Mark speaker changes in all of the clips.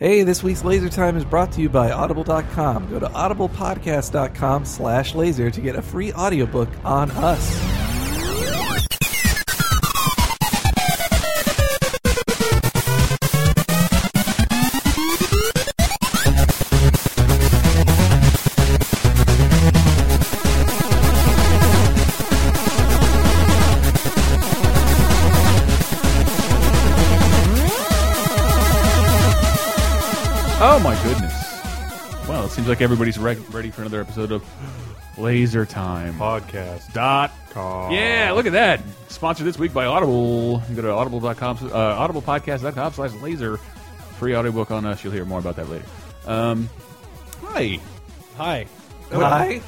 Speaker 1: Hey, this week's Laser Time is brought to you by Audible.com. Go to audiblepodcast.com slash laser to get a free audiobook on us.
Speaker 2: Oh my goodness! Well, it seems like everybody's re ready for another episode of Laser Time.
Speaker 3: podcast.com.
Speaker 2: Yeah, look at that. Sponsored this week by Audible. You go to audible.com, uh, audiblepodcast.com slash laser. Free audiobook on us. You'll hear more about that later. Um, hi.
Speaker 3: Hi.
Speaker 2: Oh,
Speaker 1: Hi.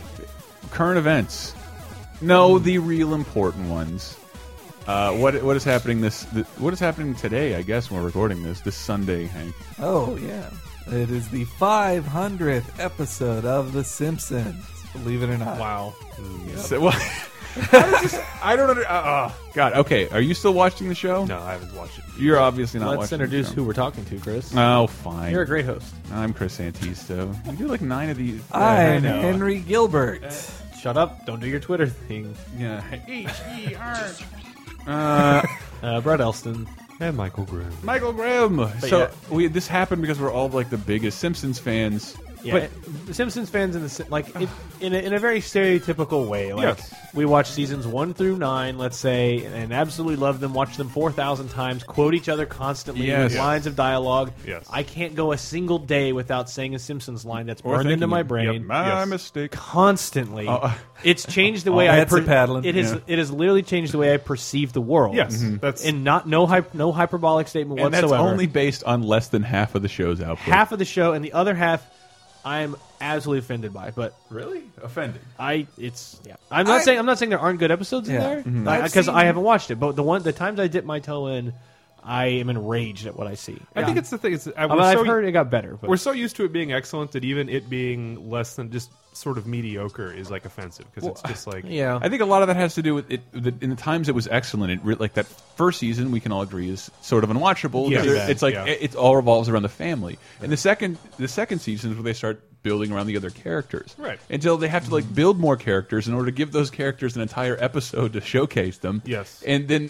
Speaker 2: Current events. No, the real important ones. Uh, what what is happening this, th what is happening today? I guess when we're recording this this Sunday, Hank.
Speaker 1: Oh, yeah. It is the 500th episode of The Simpsons. Believe it or not.
Speaker 3: Wow.
Speaker 2: So, well, how does this- I don't under, uh, uh, God. Okay, are you still watching the show?
Speaker 3: No, I haven't watched it.
Speaker 2: You're obviously not.
Speaker 4: Let's
Speaker 2: watching
Speaker 4: introduce
Speaker 2: the
Speaker 4: who
Speaker 2: show.
Speaker 4: we're talking to, Chris.
Speaker 2: Oh, fine.
Speaker 4: You're a great host.
Speaker 2: I'm Chris Antista. You do like nine of these.
Speaker 1: I'm
Speaker 2: Yeah, I know. Eh.
Speaker 1: Henry Gilbert.
Speaker 4: Shut up. Don't do your Twitter thing.
Speaker 2: Yeah. H E R.
Speaker 4: Uh, Brett Elston.
Speaker 3: And Michael Grimm.
Speaker 2: Michael Graham. so
Speaker 4: yeah.
Speaker 2: we this happened because we're all like the biggest Simpsons fans.
Speaker 4: Yeah, but Simpsons fans in the Sim- like it, in a, in a very stereotypical way. Like
Speaker 2: Yes.
Speaker 4: we watch seasons one through nine, let's say, and absolutely love them. Watch them four thousand times. Quote each other constantly
Speaker 2: Yes.
Speaker 4: with lines of dialogue.
Speaker 3: Yes.
Speaker 4: I can't go a single day without saying a Simpsons line that's
Speaker 2: Or
Speaker 4: burned into
Speaker 2: thinking-
Speaker 4: my
Speaker 2: Yep,
Speaker 4: brain.
Speaker 2: my
Speaker 3: Yes.
Speaker 2: mistake.
Speaker 4: Constantly,
Speaker 2: uh,
Speaker 4: it's changed the way
Speaker 1: Oh,
Speaker 4: I
Speaker 1: that's a paddling.
Speaker 4: It has
Speaker 2: Yeah.
Speaker 4: it has literally changed the way I perceive the world.
Speaker 3: Yes, Mhm. that's-
Speaker 4: and not no hype no hyperbolic statement
Speaker 2: And that's
Speaker 4: whatsoever
Speaker 2: only based on less than half of the show's output.
Speaker 4: half of the show and the other half I'm absolutely offended by. But
Speaker 2: Really offended.
Speaker 4: I it's yeah. I'm not
Speaker 1: I-
Speaker 4: saying I'm not saying there aren't good episodes
Speaker 1: Yeah.
Speaker 4: in
Speaker 1: Mhm.
Speaker 4: there
Speaker 1: I've
Speaker 4: because
Speaker 1: seen-
Speaker 4: I haven't watched it. But the one the times I dip my toe in, I am enraged at what I see.
Speaker 3: I think it's the thing. It's, I,
Speaker 4: I
Speaker 3: we're,
Speaker 4: have
Speaker 3: so,
Speaker 4: heard it got better. But
Speaker 3: we're so used to it being excellent that even it being less than just sort of mediocre is like offensive because it's just like
Speaker 4: yeah,
Speaker 2: I think a lot of that has to do with it. The, in the times it was excellent, it re, like that first season, we can all agree is sort of unwatchable.
Speaker 3: Yeah.
Speaker 2: Because
Speaker 3: Yeah.
Speaker 2: it's like
Speaker 3: Yeah.
Speaker 2: it, it all revolves around the family. And the second, the second season is where they start building around the other characters,
Speaker 3: Right.
Speaker 2: Until they have to like build more characters in order to give those characters an entire episode to showcase them.
Speaker 3: Yes.
Speaker 2: and then,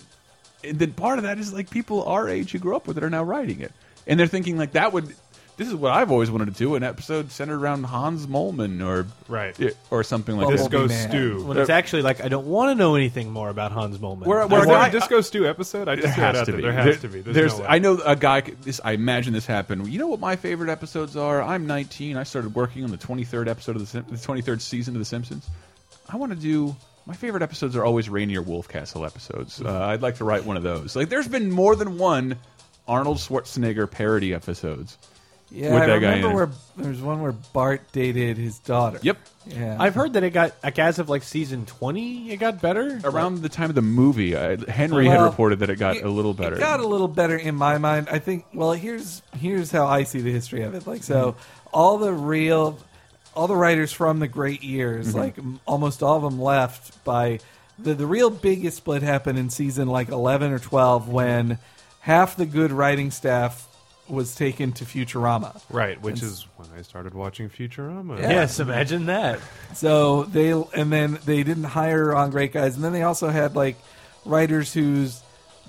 Speaker 2: and then part of that is like people our age who grew up with it are now writing it, and they're thinking like that would. This is what I've always wanted to do—an episode centered around Hans Molman or
Speaker 3: Right.
Speaker 2: or something like
Speaker 1: Well,
Speaker 2: that.
Speaker 3: Disco
Speaker 1: Be mad.
Speaker 3: Stew.
Speaker 4: when it's actually like I don't want to know anything more about Hans Molman.
Speaker 2: We're-
Speaker 4: I
Speaker 2: we're-
Speaker 3: Was there
Speaker 2: I-
Speaker 3: a Disco Stew episode? I just threw that out there. There has to be. There's, no way.
Speaker 2: I know a guy. This I imagine this happened. You know what my favorite episodes are? I'm 19. I started working on the 23rd episode of the, Sim- the 23rd season of The Simpsons. I want to do. My favorite episodes are always Rainier Wolfcastle episodes. Uh, I'd like to write one of those. Like, there's been more than one Arnold Schwarzenegger parody episodes.
Speaker 1: Yeah,
Speaker 2: With
Speaker 1: I
Speaker 2: that guy
Speaker 1: remember
Speaker 2: in it.
Speaker 1: where there's one where Bart dated his daughter.
Speaker 2: Yep.
Speaker 1: Yeah.
Speaker 4: I've heard that it got like as of like season twenty, it got better.
Speaker 2: Around the time of the movie, I, Henry had
Speaker 1: Well,
Speaker 2: reported that it got
Speaker 1: it-
Speaker 2: a little better.
Speaker 1: It got a little better in my mind. I think. Well, here's here's how I see the history of it. Like so, all the real, all the writers from the great years,
Speaker 2: Mm-hmm.
Speaker 1: like m- almost all of them left by the the real biggest split happened in season like eleven or twelve when half the good writing staff was taken to Futurama.
Speaker 3: right, which is when I started watching Futurama.
Speaker 4: Yes, imagine that.
Speaker 1: So they and then they didn't hire on great guys, and then they also had like writers whose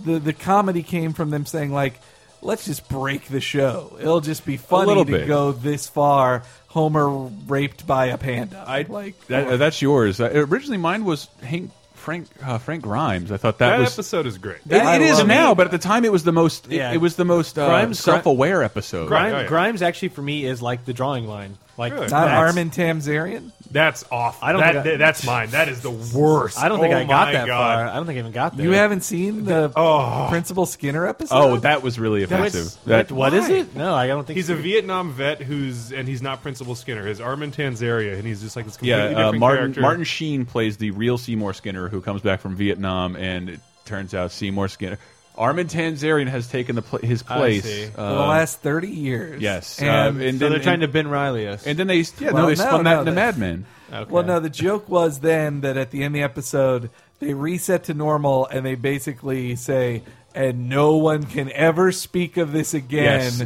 Speaker 1: the the comedy came from them saying like, let's just break the show. It'll just be funny
Speaker 2: little
Speaker 1: to
Speaker 2: bit.
Speaker 1: go this far. Homer raped by a panda.
Speaker 2: I like that, that's yours. Uh, originally, mine was Hank, Frank uh, Frank Grimes. I thought that,
Speaker 3: That
Speaker 2: was
Speaker 3: episode is great.
Speaker 2: It-
Speaker 1: I
Speaker 2: it is
Speaker 1: love
Speaker 2: now, but at the time it was the most. It,
Speaker 4: Yeah.
Speaker 2: it was the most uh,
Speaker 4: Grimes-
Speaker 2: self-aware episode.
Speaker 3: Grimes-
Speaker 4: Grimes,
Speaker 3: oh, yeah.
Speaker 4: Grimes actually for me is like the drawing line. Like
Speaker 3: Really?
Speaker 1: Not
Speaker 4: that's-
Speaker 1: Armin Tamzarian.
Speaker 3: That's off.
Speaker 4: I don't
Speaker 3: That-
Speaker 4: think I-
Speaker 3: that's mine. That is the worst.
Speaker 4: I don't think
Speaker 3: Oh
Speaker 4: I got
Speaker 3: my
Speaker 4: that
Speaker 3: God.
Speaker 4: far. I don't think I even got there.
Speaker 1: You haven't seen the
Speaker 3: Oh.
Speaker 1: Principal Skinner episode?
Speaker 2: Oh, that was really
Speaker 4: That's-
Speaker 2: offensive.
Speaker 4: that- what is
Speaker 3: Why?
Speaker 4: it? No, I don't think
Speaker 3: He's
Speaker 4: so.
Speaker 3: a Vietnam vet who's and he's not Principal Skinner. His Armin Tanzaria, and he's just like this
Speaker 2: yeah,
Speaker 3: completely
Speaker 2: uh,
Speaker 3: different
Speaker 2: Martin
Speaker 3: character.
Speaker 2: Martin Sheen plays the real Seymour Skinner who comes back from Vietnam, and it turns out Seymour Skinner, Armin Tanzarian has taken the pla his place.
Speaker 4: see.
Speaker 1: For the
Speaker 2: uh,
Speaker 1: last thirty years.
Speaker 2: yes,
Speaker 1: and,
Speaker 2: uh, and
Speaker 4: So
Speaker 2: then,
Speaker 4: they're trying
Speaker 2: and,
Speaker 4: to Ben Riley us.
Speaker 2: and then they yeah
Speaker 1: Well,
Speaker 2: no they
Speaker 1: no,
Speaker 2: spun
Speaker 1: no,
Speaker 2: that into
Speaker 1: they-
Speaker 2: Mad Men.
Speaker 4: Okay.
Speaker 1: Well, no, the joke was then that at the end of the episode, they reset to normal and they basically say, and no one can ever speak of this again.
Speaker 2: Yes.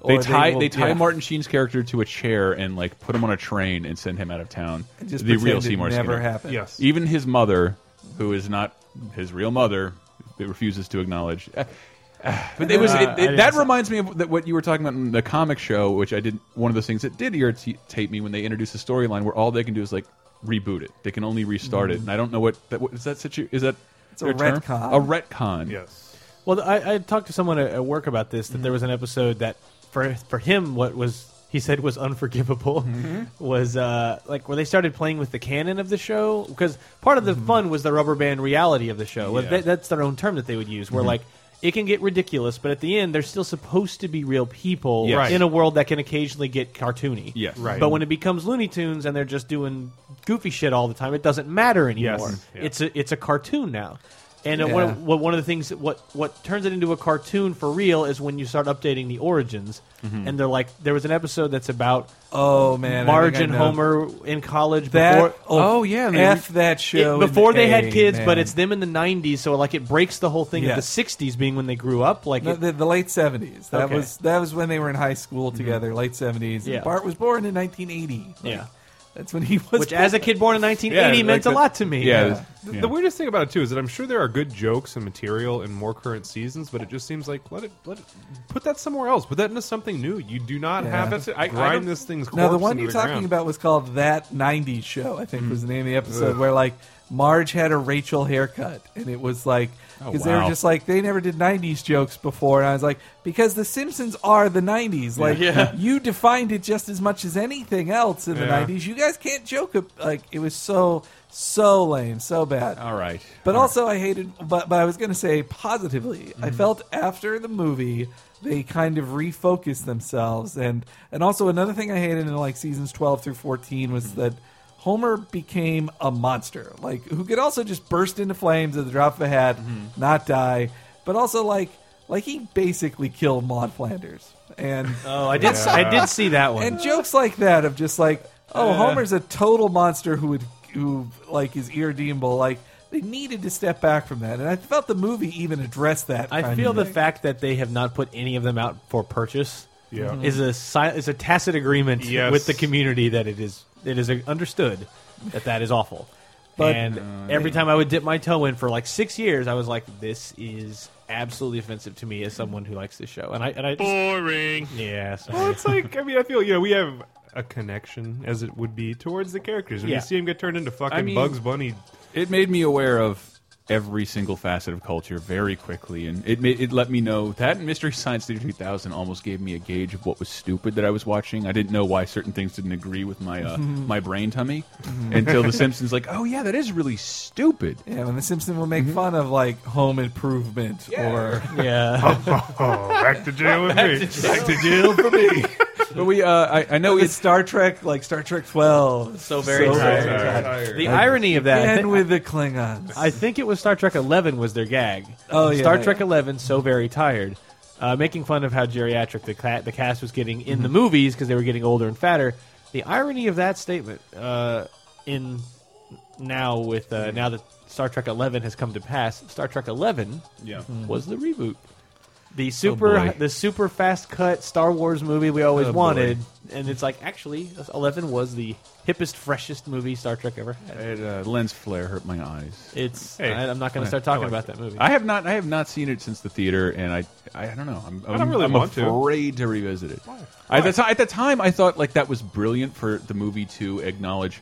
Speaker 1: Or
Speaker 2: They tie
Speaker 1: will-
Speaker 2: they tie
Speaker 1: yeah.
Speaker 2: Martin Sheen's character to a chair and like put him on a train and send him out of town.
Speaker 1: And Just
Speaker 2: the real
Speaker 1: pretend it
Speaker 2: Seymour
Speaker 1: never
Speaker 2: Skinner.
Speaker 1: happened.
Speaker 3: Yes.
Speaker 2: Even his mother, who is not his real mother, it refuses to acknowledge. Uh, uh, But it was
Speaker 4: Uh,
Speaker 2: it,
Speaker 4: I
Speaker 2: it-
Speaker 4: didn't
Speaker 2: that
Speaker 4: see-
Speaker 2: reminds me of that what you were talking about in the comic show, which I did. One of the things that did irritate me when they introduced a storyline where all they can do is like reboot it. They can only restart it, and I don't know what that what, is that situ is that
Speaker 1: It's a
Speaker 2: their term?
Speaker 1: retcon.
Speaker 2: A retcon.
Speaker 3: Yes.
Speaker 4: Well, I, I talked to someone at, at work about this that there
Speaker 2: Mm-hmm.
Speaker 4: was an episode that for for him what was he said was unforgivable
Speaker 2: Mm-hmm.
Speaker 4: was uh, like where they started playing with the canon of the show because part of the fun was the rubber band reality of the show.
Speaker 2: Mm-hmm. Yeah.
Speaker 4: Well,
Speaker 2: Mm-hmm.
Speaker 4: that- that's their own term that they would use. Where like it can get ridiculous, but at the end they're still supposed to be real people
Speaker 2: Yes.
Speaker 4: in a world that can occasionally get cartoony.
Speaker 2: Yes.
Speaker 3: Right.
Speaker 4: But when it becomes Looney Tunes and they're just doing goofy shit all the time, it doesn't matter
Speaker 3: Yes.
Speaker 4: anymore.
Speaker 3: Yeah.
Speaker 4: It's a it's a cartoon now. And uh,
Speaker 1: Yeah.
Speaker 4: one, well, one of the things that what what turns it into a cartoon for real is when you start updating the origins, and they're like, there was an episode that's about
Speaker 1: Oh man, Mm-hmm. I
Speaker 4: Marge
Speaker 1: think I
Speaker 4: and
Speaker 1: know.
Speaker 4: Homer in college
Speaker 1: That
Speaker 4: before.
Speaker 1: oh,
Speaker 2: Oh, yeah, and they
Speaker 1: f
Speaker 2: re-
Speaker 1: that
Speaker 4: it-
Speaker 1: show
Speaker 4: before
Speaker 1: and
Speaker 4: they had
Speaker 1: A,
Speaker 4: kids, but
Speaker 1: man.
Speaker 4: it's them in the '90s, so like it breaks the whole thing of
Speaker 1: Yes.
Speaker 4: the '60s being when they grew up. Like,
Speaker 1: No,
Speaker 4: it-
Speaker 1: the, the late seventies. That
Speaker 4: Okay. Mm-hmm.
Speaker 1: was that was when they were in high school together. Late seventies.
Speaker 4: Yeah.
Speaker 1: Bart was born in nineteen eighty.
Speaker 4: yeah,
Speaker 1: that's when he was.
Speaker 4: which as a kid born in 1980
Speaker 2: Yeah,
Speaker 4: meant
Speaker 2: like the-
Speaker 4: a lot to me.
Speaker 2: Yeah.
Speaker 3: The,
Speaker 2: yeah.
Speaker 3: the weirdest thing about it too is that I'm sure there are good jokes and material in more current seasons, but it just seems like let it let it put that somewhere else. Put that into something new. You do not
Speaker 1: Yeah.
Speaker 3: have
Speaker 1: That's
Speaker 3: to
Speaker 2: it. I- I
Speaker 3: grind
Speaker 2: don't-
Speaker 3: this thing's.
Speaker 1: Now the
Speaker 3: corpse
Speaker 1: one
Speaker 3: into
Speaker 1: you're
Speaker 3: the
Speaker 1: talking
Speaker 3: ground.
Speaker 1: about was called that '90s show. I think was the name of the episode where like Marge had a Rachel haircut, and it was like
Speaker 2: Oh,
Speaker 1: because they
Speaker 2: wow.
Speaker 1: were just like they never did '90s jokes before, and I was like because the Simpsons are the '90s. Like
Speaker 2: Yeah.
Speaker 1: you defined it just as much as anything else in the
Speaker 3: Yeah.
Speaker 1: '90s. You guys can't joke. ab- Like it was so so lame, so bad.
Speaker 2: All right.
Speaker 1: But
Speaker 2: All right.
Speaker 1: also, I hated. But but I was going to say positively. I felt after the movie they kind of refocused themselves, and and also another thing I hated in like seasons twelve through fourteen was that Homer became a monster, like who could also just burst into flames at the drop of a hat, not die, but also like like he basically killed Maud Flanders, and
Speaker 4: Oh, I did. I did see that one.
Speaker 1: and jokes like that of just like, oh, Homer's a total monster who would who like is irredeemable. Like they needed to step back from that, and I felt the movie even addressed that.
Speaker 4: I
Speaker 1: kind
Speaker 4: feel
Speaker 1: of
Speaker 4: the
Speaker 1: thing.
Speaker 4: fact that they have not put any of them out for purchase
Speaker 3: Yeah.
Speaker 1: Mm-hmm.
Speaker 4: is a si- is a tacit agreement
Speaker 3: Yes.
Speaker 4: with the community that it is it is understood that that is awful.
Speaker 1: But-
Speaker 4: and
Speaker 3: Uh,
Speaker 4: every time I would dip my toe in for like six years, I was like, "This is absolutely offensive to me as someone who likes this show." And I and I just,
Speaker 3: boring.
Speaker 4: yeah,
Speaker 3: Well,
Speaker 4: sorry.
Speaker 3: it's like I mean, I feel you know we have a connection as it would be towards the characters. When
Speaker 4: Yeah.
Speaker 3: you see him get turned into fucking
Speaker 2: I mean-
Speaker 3: Bugs Bunny,
Speaker 2: it made me aware of every single facet of culture very quickly and it made, it let me know that and mystery science theater 2000 almost gave me a gauge of what was stupid that i was watching i didn't know why certain things didn't agree with my uh, my brain tummy until the simpsons like oh yeah that is really stupid
Speaker 1: yeah, when the Simpsons will make fun of like Home Improvement or
Speaker 4: yeah,
Speaker 3: oh, back to jail with me.
Speaker 2: back to jail for me but we uh, I, I know
Speaker 1: with
Speaker 2: it's
Speaker 1: Star Trek, like Star Trek Twelve,
Speaker 4: so very
Speaker 1: So
Speaker 4: tired.
Speaker 1: very
Speaker 3: tired.
Speaker 4: The irony of that, I
Speaker 1: and
Speaker 4: thi-
Speaker 1: with the Klingons.
Speaker 4: I think it was Star Trek Eleven was their gag.
Speaker 1: Oh, yeah,
Speaker 4: Star
Speaker 1: yeah.
Speaker 4: Trek Eleven, so very tired, uh, making fun of how geriatric the ca- the cast was getting in the movies because they were getting older and fatter. The irony of that statement uh, in now with uh, now that Star Trek Eleven has come to pass, Star Trek Eleven
Speaker 2: yeah
Speaker 4: was the reboot. The super
Speaker 2: boy.
Speaker 4: the super fast cut Star Wars movie we always
Speaker 2: Oh, boy.
Speaker 4: wanted, and it's like actually Eleven was the hippest, freshest movie Star Trek ever had.
Speaker 2: it, uh, lens flare hurt my eyes
Speaker 4: It's
Speaker 3: Hey,
Speaker 4: I, I'm not going to start talking about that movie.
Speaker 2: I have not I have not seen it since the theater, and I I don't know. I'm, I'm
Speaker 3: don't really
Speaker 2: I'm
Speaker 3: want to.
Speaker 2: afraid to. revisit it. I, at, the ti- at the time, I thought like that was brilliant for the movie to acknowledge.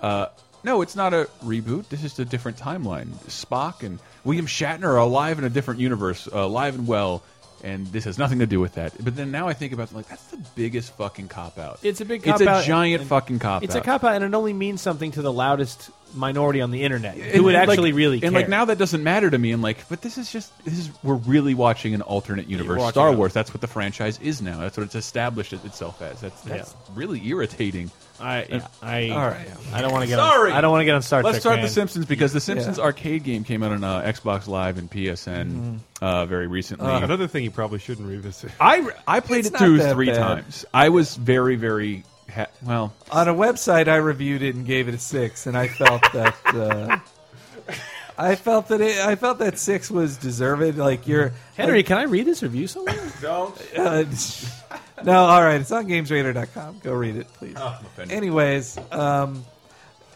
Speaker 2: Uh, no, it's not a reboot. This is a different timeline. Spock and William Shatner are alive in a different universe, uh, alive and well, and this has nothing to do with that. But then now I think about it, like that's the biggest fucking cop out.
Speaker 4: It's a big
Speaker 2: It's
Speaker 4: cop-out,
Speaker 2: a giant
Speaker 4: and-
Speaker 2: fucking cop out.
Speaker 4: It's a cop out, and it only means something to the loudest minority on the internet who would actually
Speaker 2: like,
Speaker 4: really
Speaker 2: and
Speaker 4: care.
Speaker 2: like now that doesn't matter to me and like but this is just this is we're really watching an alternate universe
Speaker 4: watching
Speaker 2: star
Speaker 4: it.
Speaker 2: wars that's what the franchise is now that's what it's established it- itself as that's that's really irritating
Speaker 4: I, yeah, I,
Speaker 1: All right.
Speaker 4: I don't want to get.
Speaker 2: Sorry.
Speaker 4: on, I don't want to get on Star
Speaker 2: let's
Speaker 4: Trek.
Speaker 2: start
Speaker 4: man.
Speaker 2: the simpsons because the simpsons
Speaker 1: Yeah.
Speaker 2: arcade game came out on uh, xbox live and psn uh, very recently
Speaker 3: Another thing you probably shouldn't revisit.
Speaker 2: i i played
Speaker 1: It's
Speaker 2: it
Speaker 1: not
Speaker 2: through
Speaker 1: that
Speaker 2: three
Speaker 1: bad.
Speaker 2: times i was very very ha well
Speaker 1: on a website I reviewed it and gave it a six, and I felt that uh, I felt that it, I felt that six was deserved. Like you're
Speaker 4: Henry, can I read this review somewhere?
Speaker 2: don't
Speaker 1: Uh, no, all right. It's on GamesRadar.com. Go read it, please.
Speaker 2: Oh, I'm offended.
Speaker 1: Anyways, um,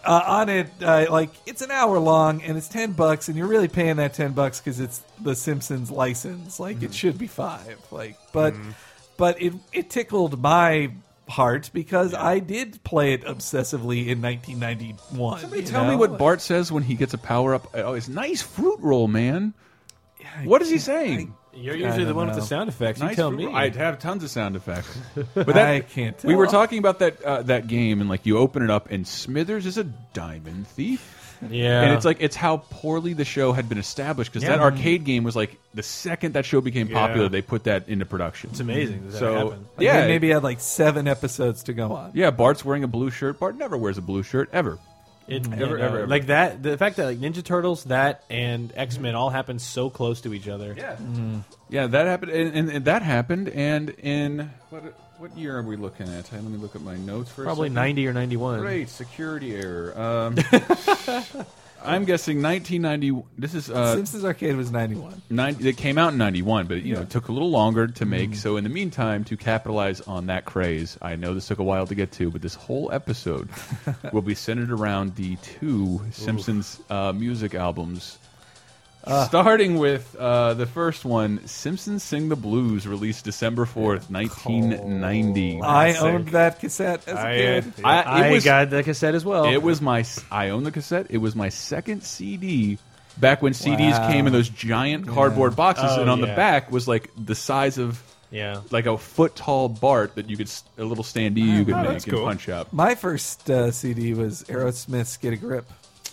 Speaker 1: uh, on it, uh, like it's an hour long and it's ten bucks, and you're really paying that ten bucks because it's the Simpsons license. Like
Speaker 2: Mm-hmm.
Speaker 1: it should be five. Like, but but it it tickled my heart because I did play it obsessively in 1991.
Speaker 2: Somebody
Speaker 1: you
Speaker 2: tell me
Speaker 1: know?
Speaker 2: what Bart says when he gets a power up. Oh, it's nice fruit roll, man.
Speaker 1: I
Speaker 2: what is he
Speaker 1: can't-
Speaker 2: saying?
Speaker 4: You're
Speaker 1: I
Speaker 4: usually the
Speaker 1: don't
Speaker 4: one with
Speaker 1: know.
Speaker 4: the sound effects.
Speaker 2: nice
Speaker 4: you tell
Speaker 2: fruit
Speaker 4: me.
Speaker 2: roll. I'd have tons of sound effects. But
Speaker 1: I,
Speaker 2: that,
Speaker 1: I can't. Tell.
Speaker 2: we were talking about that uh, that game, and like you open it up, and Smithers is a diamond thief,
Speaker 4: yeah,
Speaker 2: and it's like it's how poorly the show had been established because that
Speaker 4: Yeah.
Speaker 2: arcade game was like the second that show became
Speaker 3: Yeah.
Speaker 2: popular, they put that into production.
Speaker 4: it's amazing. That that
Speaker 2: So
Speaker 4: happened.
Speaker 1: Like, they
Speaker 2: yeah,
Speaker 1: maybe had like seven episodes to go on.
Speaker 2: yeah. Bart's wearing a blue shirt. Bart never wears a blue shirt ever.
Speaker 4: Mm, It,
Speaker 2: Ever,
Speaker 4: you know,
Speaker 2: ever, ever.
Speaker 4: Like that, the fact that like Ninja Turtles, that and X Men all happen so close to each other.
Speaker 2: Yeah. Mm-hmm. Yeah, that happened, and, and, and that happened, and in what what year are we looking at? Let me look at my notes for
Speaker 4: Probably
Speaker 2: a second.
Speaker 4: ninety or ninety one.
Speaker 2: Great security error. Um, I'm guessing 1990. This is uh,
Speaker 1: Simpsons Arcade was 91.
Speaker 2: 90, it came out in 91, but you know it took a little longer to make. So in the meantime, to capitalize on that craze, I know this took a while to get to, but this whole episode will be centered around the two Simpsons uh, music albums. Starting with uh, the first one, Simpsons Sing the Blues, released December 4th, 1990.
Speaker 1: I
Speaker 4: Classic.
Speaker 1: owned that cassette as a
Speaker 3: I,
Speaker 1: kid.
Speaker 3: uh,
Speaker 2: I-
Speaker 4: I
Speaker 2: it was-
Speaker 4: got the cassette as well.
Speaker 2: It was my. I own the cassette. It was my second CD. Back when CDs
Speaker 1: Wow.
Speaker 2: came in those giant cardboard boxes,
Speaker 4: Oh,
Speaker 2: and on the
Speaker 4: yeah.
Speaker 2: back was like the size of
Speaker 4: yeah.
Speaker 2: like a foot tall Bart that you could s- a little standee you could
Speaker 4: Oh,
Speaker 3: wow,
Speaker 2: make
Speaker 3: that's
Speaker 2: and
Speaker 3: cool.
Speaker 2: punch up.
Speaker 1: My first uh, CD was Aerosmith's Get a Grip.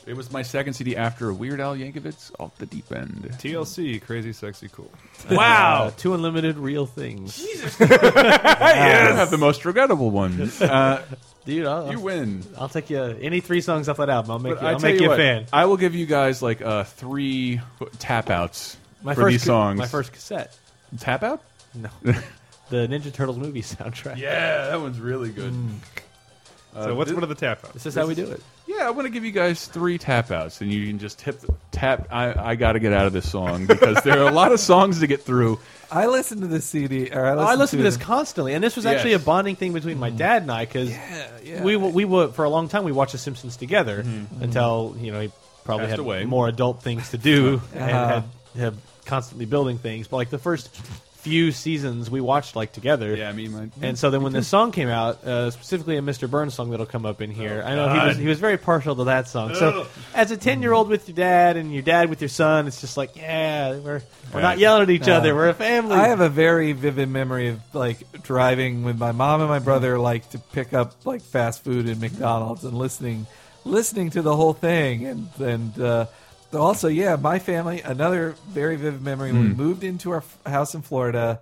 Speaker 2: It was my second CD after Weird Al Yankovic's Off the Deep End.
Speaker 3: TLC, crazy, sexy, cool.
Speaker 4: Wow, Uh, two unlimited real things,
Speaker 2: Yes, have the most regrettable one. Uh,
Speaker 4: dude. I'll,
Speaker 2: you win.
Speaker 4: I'll take you any three songs off that album. I'll make
Speaker 2: But
Speaker 4: you.
Speaker 2: I
Speaker 4: I'll
Speaker 2: tell
Speaker 4: make
Speaker 2: you
Speaker 4: you, a
Speaker 2: what,
Speaker 4: fan.
Speaker 2: I will give you guys like uh, three tap outs
Speaker 4: My
Speaker 2: for
Speaker 4: first
Speaker 2: these
Speaker 4: ca-
Speaker 2: songs.
Speaker 4: My first cassette.
Speaker 2: tap out.
Speaker 4: No, the Ninja Turtles movie soundtrack.
Speaker 2: Yeah, that one's really good.
Speaker 1: Uh,
Speaker 3: So what's one of the tap outs?
Speaker 4: This is how we do it.
Speaker 2: Yeah, I want to give you guys three tap outs, and you can just tip tap. I, I got to get out of this song because there are a lot of songs to get through.
Speaker 1: I listened to this CD. Or I listened,
Speaker 4: Oh, I listened to this
Speaker 1: the-
Speaker 4: constantly, and this was
Speaker 2: Yes.
Speaker 4: actually a bonding thing between my dad and I because
Speaker 1: yeah. Mm-hmm.
Speaker 4: we we were for a long time we watched The Simpsons together until you know he probably
Speaker 2: Mm-hmm. Passed
Speaker 4: had
Speaker 2: away.
Speaker 4: more adult things to do and
Speaker 1: Uh-huh.
Speaker 4: had, had constantly building things. But like the first few seasons, we watched like together.
Speaker 2: Yeah, I mean, my,
Speaker 4: And so then when this song came out, uh, specifically a Mr. Burns song that'll come up in here, I know he was, he was very partial to that song. So as a 10-year-old with your dad and your dad with your son, it's just like, yeah, we're, we're
Speaker 2: Right.
Speaker 4: not yelling at
Speaker 2: Uh,
Speaker 4: each
Speaker 1: No.
Speaker 4: other. We're a family.
Speaker 1: I have a very vivid memory of like driving with my mom and my brother, like to pick up like fast food in McDonald's and listening, listening to the whole thing. And and uh, also, yeah, my family. Another very vivid memory. when We moved into our f- house in Florida.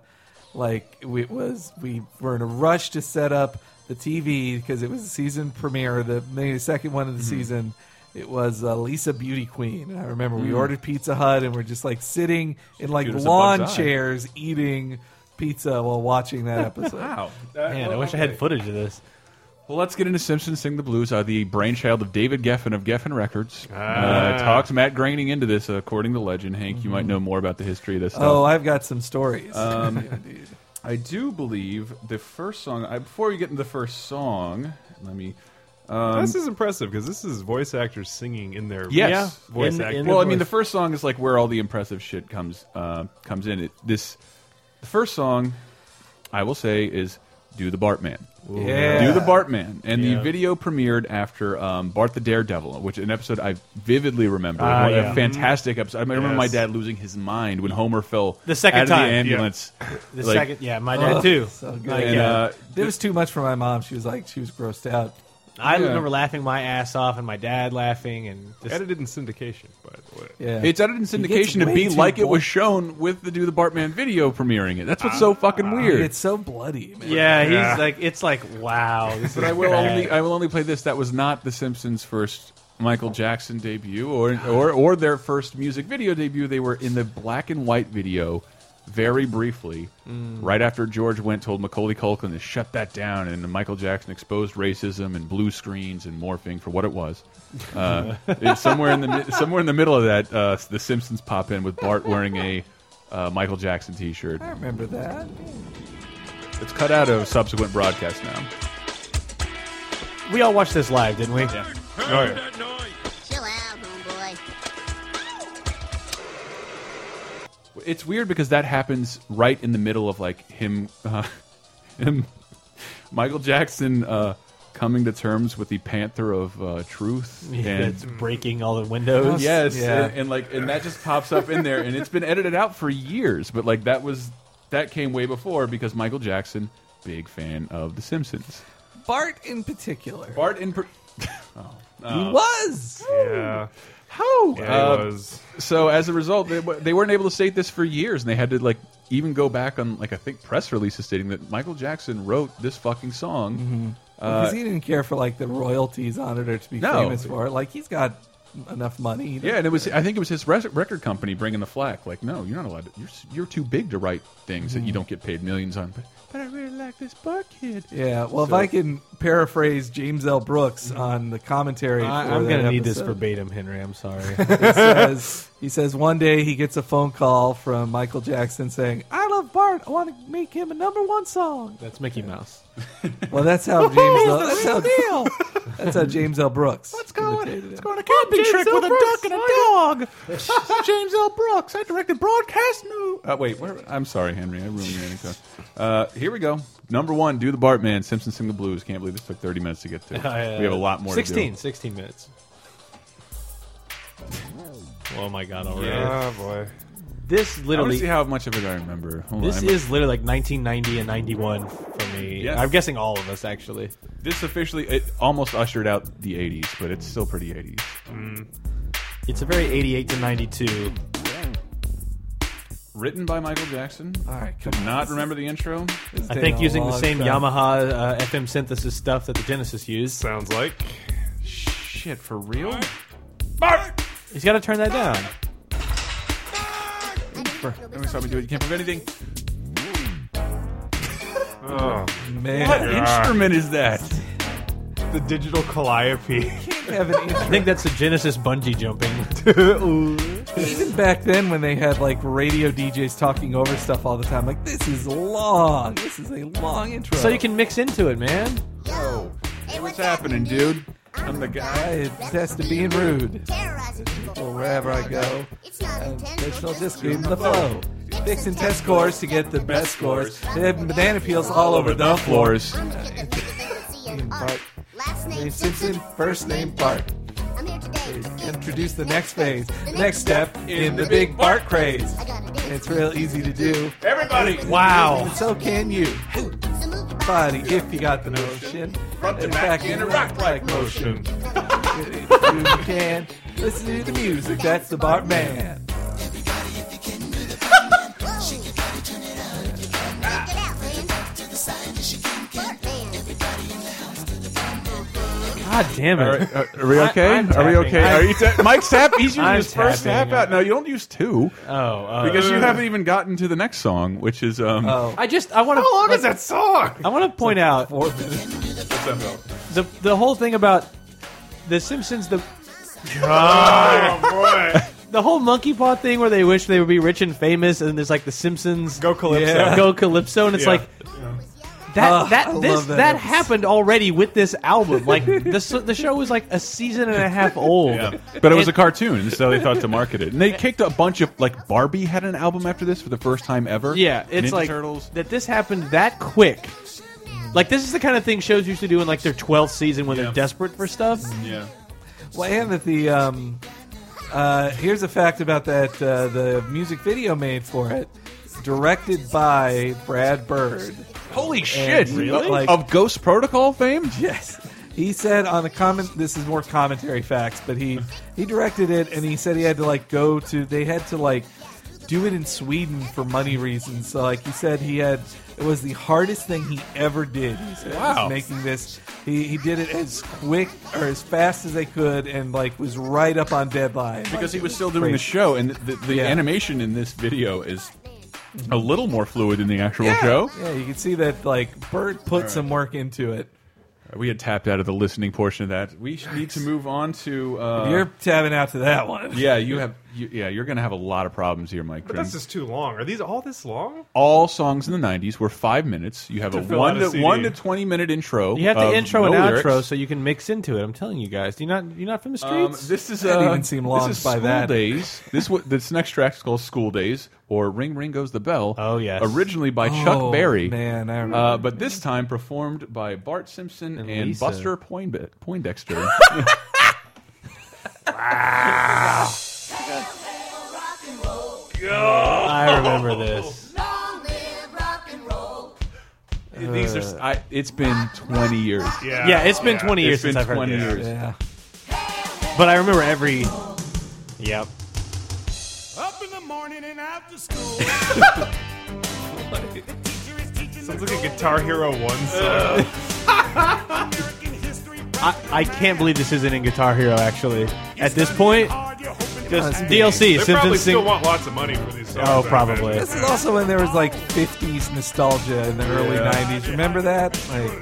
Speaker 1: Like we it was, we were in a rush to set up the TV because it was the season premiere, the maybe the second one of the season. It was uh, Lisa Beauty Queen. And I remember we ordered Pizza Hut and we're just like sitting in like
Speaker 2: Computer's a
Speaker 1: lawn
Speaker 2: Bug's Eye.
Speaker 1: chairs upstairs eating pizza while watching that episode.
Speaker 2: wow.
Speaker 4: Man, I wish I had footage of this.
Speaker 2: Well, let's get into Simpsons Sing the Blues, uh, the brainchild of David Geffen of Geffen Records. Uh,
Speaker 3: Ah.
Speaker 2: talks Matt Groening into this, uh, according to legend. Hank, you might know more about the history of this stuff.
Speaker 1: Oh, I've got some stories.
Speaker 2: I do believe the first song, I, before we get into the first song, let me.
Speaker 3: this is impressive because this is voice actors singing in their
Speaker 2: Yes.
Speaker 4: Yeah.
Speaker 3: voice
Speaker 4: In-
Speaker 3: acting.
Speaker 4: in-
Speaker 2: Well, I
Speaker 4: voice.
Speaker 2: mean, the first song is like where all the impressive shit comes uh, comes in. It, this the first song, I will say, is "Do the Bartman."
Speaker 1: Yeah.
Speaker 2: Do the Bartman, and the
Speaker 4: Yeah.
Speaker 2: video premiered after um, Bart the Daredevil, which an episode I vividly remember.
Speaker 4: Ah,
Speaker 2: One- A
Speaker 4: yeah.
Speaker 2: fantastic episode. I remember
Speaker 3: Yes.
Speaker 2: my dad losing his mind when Homer fell
Speaker 4: The second
Speaker 2: out of
Speaker 4: time,
Speaker 2: the
Speaker 4: yeah.
Speaker 2: ambulance.
Speaker 4: The
Speaker 2: Like,
Speaker 4: second, yeah, my dad
Speaker 1: Ugh,
Speaker 4: too.
Speaker 1: so good.
Speaker 4: Like,
Speaker 2: And,
Speaker 4: yeah.
Speaker 2: uh,
Speaker 1: it was too much for my mom. She was like, she was grossed out.
Speaker 4: I
Speaker 2: yeah.
Speaker 4: remember laughing my ass off, and my dad laughing, and just,
Speaker 3: edited in syndication, by the way.
Speaker 1: Yeah,
Speaker 2: It's edited in
Speaker 1: gets
Speaker 2: syndication to
Speaker 1: way
Speaker 2: be
Speaker 1: too
Speaker 2: like it
Speaker 1: bold.
Speaker 2: was shown with the Do the Bartman video premiering it. That's what's so fucking weird.
Speaker 1: It's so bloody. Man.
Speaker 4: yeah, he's
Speaker 3: Yeah.
Speaker 4: like, it's like, wow. This
Speaker 2: But
Speaker 4: is
Speaker 2: I will
Speaker 4: bad.
Speaker 2: only uh, I will only play this. That was not the Simpsons' first Michael Jackson debut, or or or their first music video debut. They were in the black and white video, very briefly, right after George went told Macaulay Culkin to shut that down, and Michael Jackson exposed racism and blue screens and morphing for what it was. Uh, it's somewhere in the mi- somewhere in the middle of that, uh, the Simpsons pop in with Bart wearing a uh, Michael Jackson T-shirt.
Speaker 1: I remember that.
Speaker 2: It's cut out of subsequent broadcasts now.
Speaker 4: We all watched this live, didn't we?
Speaker 3: All right.
Speaker 5: Chill out, homeboy.
Speaker 2: It's weird because that happens right in the middle of like him, uh, him, Michael Jackson uh, coming to terms with the Panther of uh, Truth,
Speaker 4: It's
Speaker 2: and
Speaker 4: breaking all the windows.
Speaker 2: yes,
Speaker 1: Yeah.
Speaker 2: and, and, like and that just pops up in there, and it's been edited out for years. But like that was that came way before because Michael Jackson, big fan of The Simpsons,
Speaker 1: Bart in particular.
Speaker 2: Bart in. per-
Speaker 1: he was.
Speaker 3: Yeah.
Speaker 2: How?
Speaker 3: Yeah, it
Speaker 2: Uh,
Speaker 3: was.
Speaker 2: So as a result, they, they weren't able to state this for years, and they had to like even go back on like I think press releases stating that Michael Jackson wrote this fucking song.
Speaker 4: Mm-hmm.
Speaker 2: Uh,
Speaker 1: Because he didn't care for like the royalties on it or to be
Speaker 2: No.
Speaker 1: famous for it. Like he's got enough money.
Speaker 2: Yeah, and it was I think it was his res- record company bringing the flack. Like, no, you're not allowed. To, you're s- you're too big to write things
Speaker 4: Mm-hmm.
Speaker 2: that you don't get paid millions on. But, but I really like this bar kid.
Speaker 1: Yeah, well,
Speaker 2: So-
Speaker 1: if I can paraphrase James L. Brooks on the commentary,
Speaker 4: I,
Speaker 1: for
Speaker 4: I'm
Speaker 1: that
Speaker 4: gonna need this
Speaker 1: episode,
Speaker 4: verbatim, Henry. I'm sorry.
Speaker 1: He says, he says one day he gets a phone call from Michael Jackson saying, "I love Bart. I want to make him a number one song."
Speaker 4: That's Mickey Mouse.
Speaker 1: Well, that's how James. L. That's how, that's how James L. Brooks. What's
Speaker 2: It's going a camping trip with a duck and a dog. James L. Brooks. I directed broadcast news. Uh, wait, where, I'm sorry, Henry. I ruined your anecdote. Uh, here we go. Number one, do the Bartman. Simpson sing the blues. Can't believe this took 30 minutes to get to. we have a lot more.
Speaker 4: 16,
Speaker 2: To
Speaker 4: 16 uh, minutes. Oh my god! Already,
Speaker 3: Oh boy.
Speaker 4: this
Speaker 2: do. I want
Speaker 4: literally,
Speaker 2: to see how much of it I remember. Hold
Speaker 4: this
Speaker 2: on. I'm-
Speaker 4: is literally like 1990 and 91 for me.
Speaker 2: Yes.
Speaker 4: I'm guessing all of us actually.
Speaker 2: this officially it almost ushered out the 80s, but it's still pretty 80s.
Speaker 4: It's a very 88 to 92.
Speaker 2: Written by Michael Jackson.
Speaker 1: All right, come
Speaker 2: Did
Speaker 1: on.
Speaker 2: not
Speaker 1: This
Speaker 2: remember the intro.
Speaker 1: This is
Speaker 4: I
Speaker 1: taking
Speaker 4: think
Speaker 1: a
Speaker 4: using the
Speaker 1: long
Speaker 4: same
Speaker 1: time.
Speaker 4: Yamaha uh, FM synthesis stuff that the Genesis used.
Speaker 3: Sounds like.
Speaker 2: Shit, for real?
Speaker 4: He's got to turn that down.
Speaker 2: Let me stop me do it. You can't prove anything.
Speaker 3: Oh,
Speaker 1: man.
Speaker 2: What instrument is that?
Speaker 3: the digital calliope.
Speaker 1: Can't have an
Speaker 4: I
Speaker 1: intro.
Speaker 4: think that's the Genesis bungee jumping.
Speaker 1: Even back then, when they had like radio DJs talking over stuff all the time, like this is long. This is a long intro.
Speaker 4: so you can mix into it, man.
Speaker 5: Yo. Hey,
Speaker 2: What's happening, dude? I'm the guy.
Speaker 1: I attest to being rude.
Speaker 5: Terrorizing people
Speaker 1: Well, wherever I go,
Speaker 5: It's not intentional.
Speaker 1: intentional
Speaker 5: Just
Speaker 1: disc in the flow. Fix and test scores to get the best scores. They have banana peels all over the floors.
Speaker 5: I'm the kid that made the vacancy in art.
Speaker 1: Bart.
Speaker 5: Last name
Speaker 1: Name
Speaker 5: Simpson.
Speaker 1: Simpson, first name Bart.
Speaker 5: I'm here today. to
Speaker 1: Introduce the next phase. Next step in the big Bart craze.
Speaker 5: I got it.
Speaker 1: It's real easy to do,
Speaker 2: Everybody,
Speaker 4: Wow.
Speaker 1: and so can you. Body, if you got the notion.
Speaker 2: Front to
Speaker 1: In
Speaker 2: back
Speaker 1: fact,
Speaker 2: in
Speaker 1: you
Speaker 2: a rock like
Speaker 1: motion. you can listen to the music. That's the Bart Man.
Speaker 4: God damn
Speaker 2: Are,
Speaker 4: it.
Speaker 2: uh, are, are we
Speaker 4: I-
Speaker 2: okay?
Speaker 4: I'm
Speaker 2: are we
Speaker 4: tapping.
Speaker 2: okay?
Speaker 4: I'm-
Speaker 2: Are you ta Mike's tap? He's using
Speaker 4: I'm
Speaker 2: his first
Speaker 4: tapping.
Speaker 2: tap out. No, you don't use two
Speaker 4: Oh, uh,
Speaker 2: because you haven't even gotten to the next song, which is um.
Speaker 1: Oh.
Speaker 4: I just I want to.
Speaker 3: How long is that song?
Speaker 4: I want to point out
Speaker 1: Four minutes.
Speaker 4: the the whole thing about the Simpsons the
Speaker 3: Oh boy.
Speaker 4: the whole monkey paw thing where they wish they would be rich and famous, and there's like the Simpsons
Speaker 3: Go Calypso.
Speaker 1: Yeah.
Speaker 4: go Calypso, and it's
Speaker 3: Yeah.
Speaker 4: like that
Speaker 1: Oh, I
Speaker 4: that
Speaker 1: love
Speaker 4: this that,
Speaker 1: that episode.
Speaker 4: happened already with this album. Like the s- the show was like a season and a half old.
Speaker 2: But it was
Speaker 4: And-
Speaker 2: a cartoon, so they thought to market it. And they kicked a bunch of like Barbie had an album after this for the first time ever.
Speaker 4: Yeah, it's
Speaker 2: Ninja
Speaker 4: like
Speaker 2: Turtles.
Speaker 4: that. This happened that quick. Like this is the kind of thing shows used to do in like their twelfth season when
Speaker 2: Yeah.
Speaker 4: they're desperate for stuff.
Speaker 2: Yeah.
Speaker 1: Well, and that the um, uh, here's a fact about that uh, the music video made for it, directed by Brad Bird.
Speaker 2: Holy shit!
Speaker 1: really? Like-
Speaker 2: of Ghost Protocol fame?
Speaker 1: Yes, he said on the comment. This is more commentary facts, but he he directed it, and he said he had to like go to. They had to like do it in Sweden for money reasons. So like he said he had it was the hardest thing he ever did. He said,
Speaker 2: Wow.
Speaker 1: was making this. He, he did it as quick or as fast as they could, and like was right up on deadline.
Speaker 2: Because he
Speaker 1: Like,
Speaker 2: was still doing the
Speaker 1: crazy.
Speaker 2: show, and the, the, the
Speaker 1: Yeah.
Speaker 2: animation in this video is a little more fluid than the actual show.
Speaker 1: Yeah, you can see that like Bert put some work into it.
Speaker 2: We had tapped out of the listening portion of that. We should need to move on to. Uh,
Speaker 1: You're tabbing out to that one.
Speaker 2: yeah, you have you, yeah, you're going to have a lot of problems here, Mike.
Speaker 3: But
Speaker 2: Grimm.
Speaker 3: that's just too long. Are these all this long?
Speaker 2: All songs in the '90s were five minutes. You have a
Speaker 3: fill
Speaker 2: one
Speaker 3: out a
Speaker 2: to one to
Speaker 3: CD.
Speaker 2: twenty minute intro.
Speaker 4: You have to
Speaker 2: of
Speaker 4: intro
Speaker 2: no
Speaker 4: and outro
Speaker 2: lyrics.
Speaker 4: so you can mix into it. I'm telling you guys, do you not you're not from the
Speaker 2: Um,
Speaker 4: streets.
Speaker 2: this is
Speaker 1: That
Speaker 2: uh,
Speaker 1: even seemed long
Speaker 2: this is
Speaker 1: by
Speaker 2: school
Speaker 1: that.
Speaker 2: days. This wa- this next track is called "School Days" or "Ring Ring Goes the Bell."
Speaker 4: Oh, yes.
Speaker 2: originally by
Speaker 1: Oh,
Speaker 2: Chuck Berry,
Speaker 1: Man, I remember.
Speaker 2: uh, but this time performed by Bart Simpson and,
Speaker 4: Lisa.
Speaker 2: Buster Poindexter. Poindexter.
Speaker 4: I remember this.
Speaker 5: Long live rock and roll.
Speaker 2: These are I, it's been twenty years.
Speaker 3: Yeah.
Speaker 4: Yeah, it's been 20 years
Speaker 2: It's been
Speaker 4: since I've heard
Speaker 2: 20
Speaker 4: this.
Speaker 2: years.
Speaker 1: yeah.
Speaker 4: But I remember every. Yep.
Speaker 6: Up in the morning and after school. Teacher is teaching
Speaker 3: Sounds
Speaker 6: the
Speaker 3: like a Guitar Hero 1 song.
Speaker 6: American history.
Speaker 4: I, I can't believe this isn't in Guitar Hero. Actually, at this point, just
Speaker 1: Must be.
Speaker 4: DLC
Speaker 3: they probably
Speaker 4: Simpsons
Speaker 3: still
Speaker 4: sing.
Speaker 3: want lots of money for these songs.
Speaker 4: Oh,
Speaker 3: I
Speaker 4: probably.
Speaker 3: imagine.
Speaker 1: This is also when there was like 50s nostalgia in the early 90s. Remember that? Like,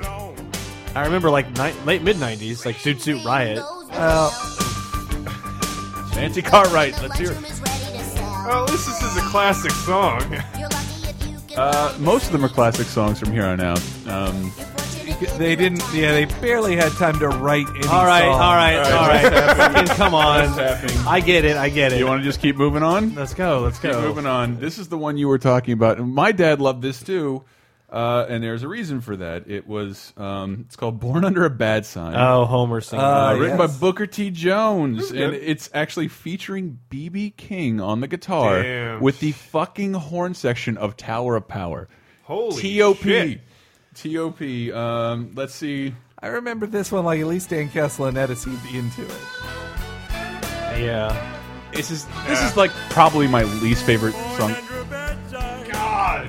Speaker 4: I remember like ni- late mid '90s, like Zoot Suit Riot.
Speaker 1: Uh,
Speaker 2: Nancy Cartwright. Let's hear. it.
Speaker 3: Well, at least Oh, this is a classic song.
Speaker 1: Oh.
Speaker 2: Uh, most of them are classic songs from here on out. Um,
Speaker 1: they didn't. Yeah, they barely had time to write any
Speaker 4: All right,
Speaker 1: song.
Speaker 4: all right, all right. Fucking come on. I get it. I get it.
Speaker 2: you want to just keep moving on?
Speaker 4: let's go. Let's
Speaker 2: Keep
Speaker 4: go.
Speaker 2: moving on. This is the one you were talking about. And My dad loved this too, uh, and there's a reason for that. It was um, it's called "Born Under a Bad Sign,"
Speaker 4: Oh, Homer singing.
Speaker 2: uh,
Speaker 1: Uh,
Speaker 2: written
Speaker 1: yes.
Speaker 2: by Booker T. Jones, and
Speaker 3: good.
Speaker 2: it's actually featuring BB King on the guitar
Speaker 3: Damn.
Speaker 2: with the fucking horn section of "Tower of Power."
Speaker 3: Holy
Speaker 2: Top
Speaker 3: shit.
Speaker 2: top. Um, let's see.
Speaker 1: I remember this one. Like at least Dan Castellaneta seemed into it.
Speaker 4: yeah.
Speaker 2: This is this is like probably my least favorite song.
Speaker 3: God.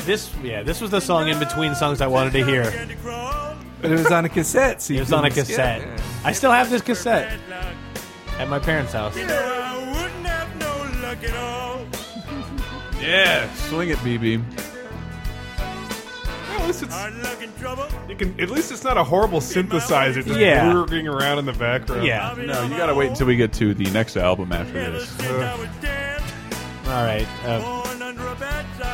Speaker 4: This yeah. This was the song in between songs I wanted to hear.
Speaker 1: But it was on a cassette. So you
Speaker 4: It was on a
Speaker 1: couldn't skip
Speaker 4: cassette.
Speaker 1: it.
Speaker 4: I still have this cassette at my parents' house.
Speaker 3: Yeah.
Speaker 2: Swing it, BB.
Speaker 3: Well, at least it's you can. At least it's not a horrible synthesizer just
Speaker 4: Yeah.
Speaker 3: lurking around in the background.
Speaker 4: Yeah. All
Speaker 2: No, you gotta wait until we get to the next album after this.
Speaker 4: right. Uh,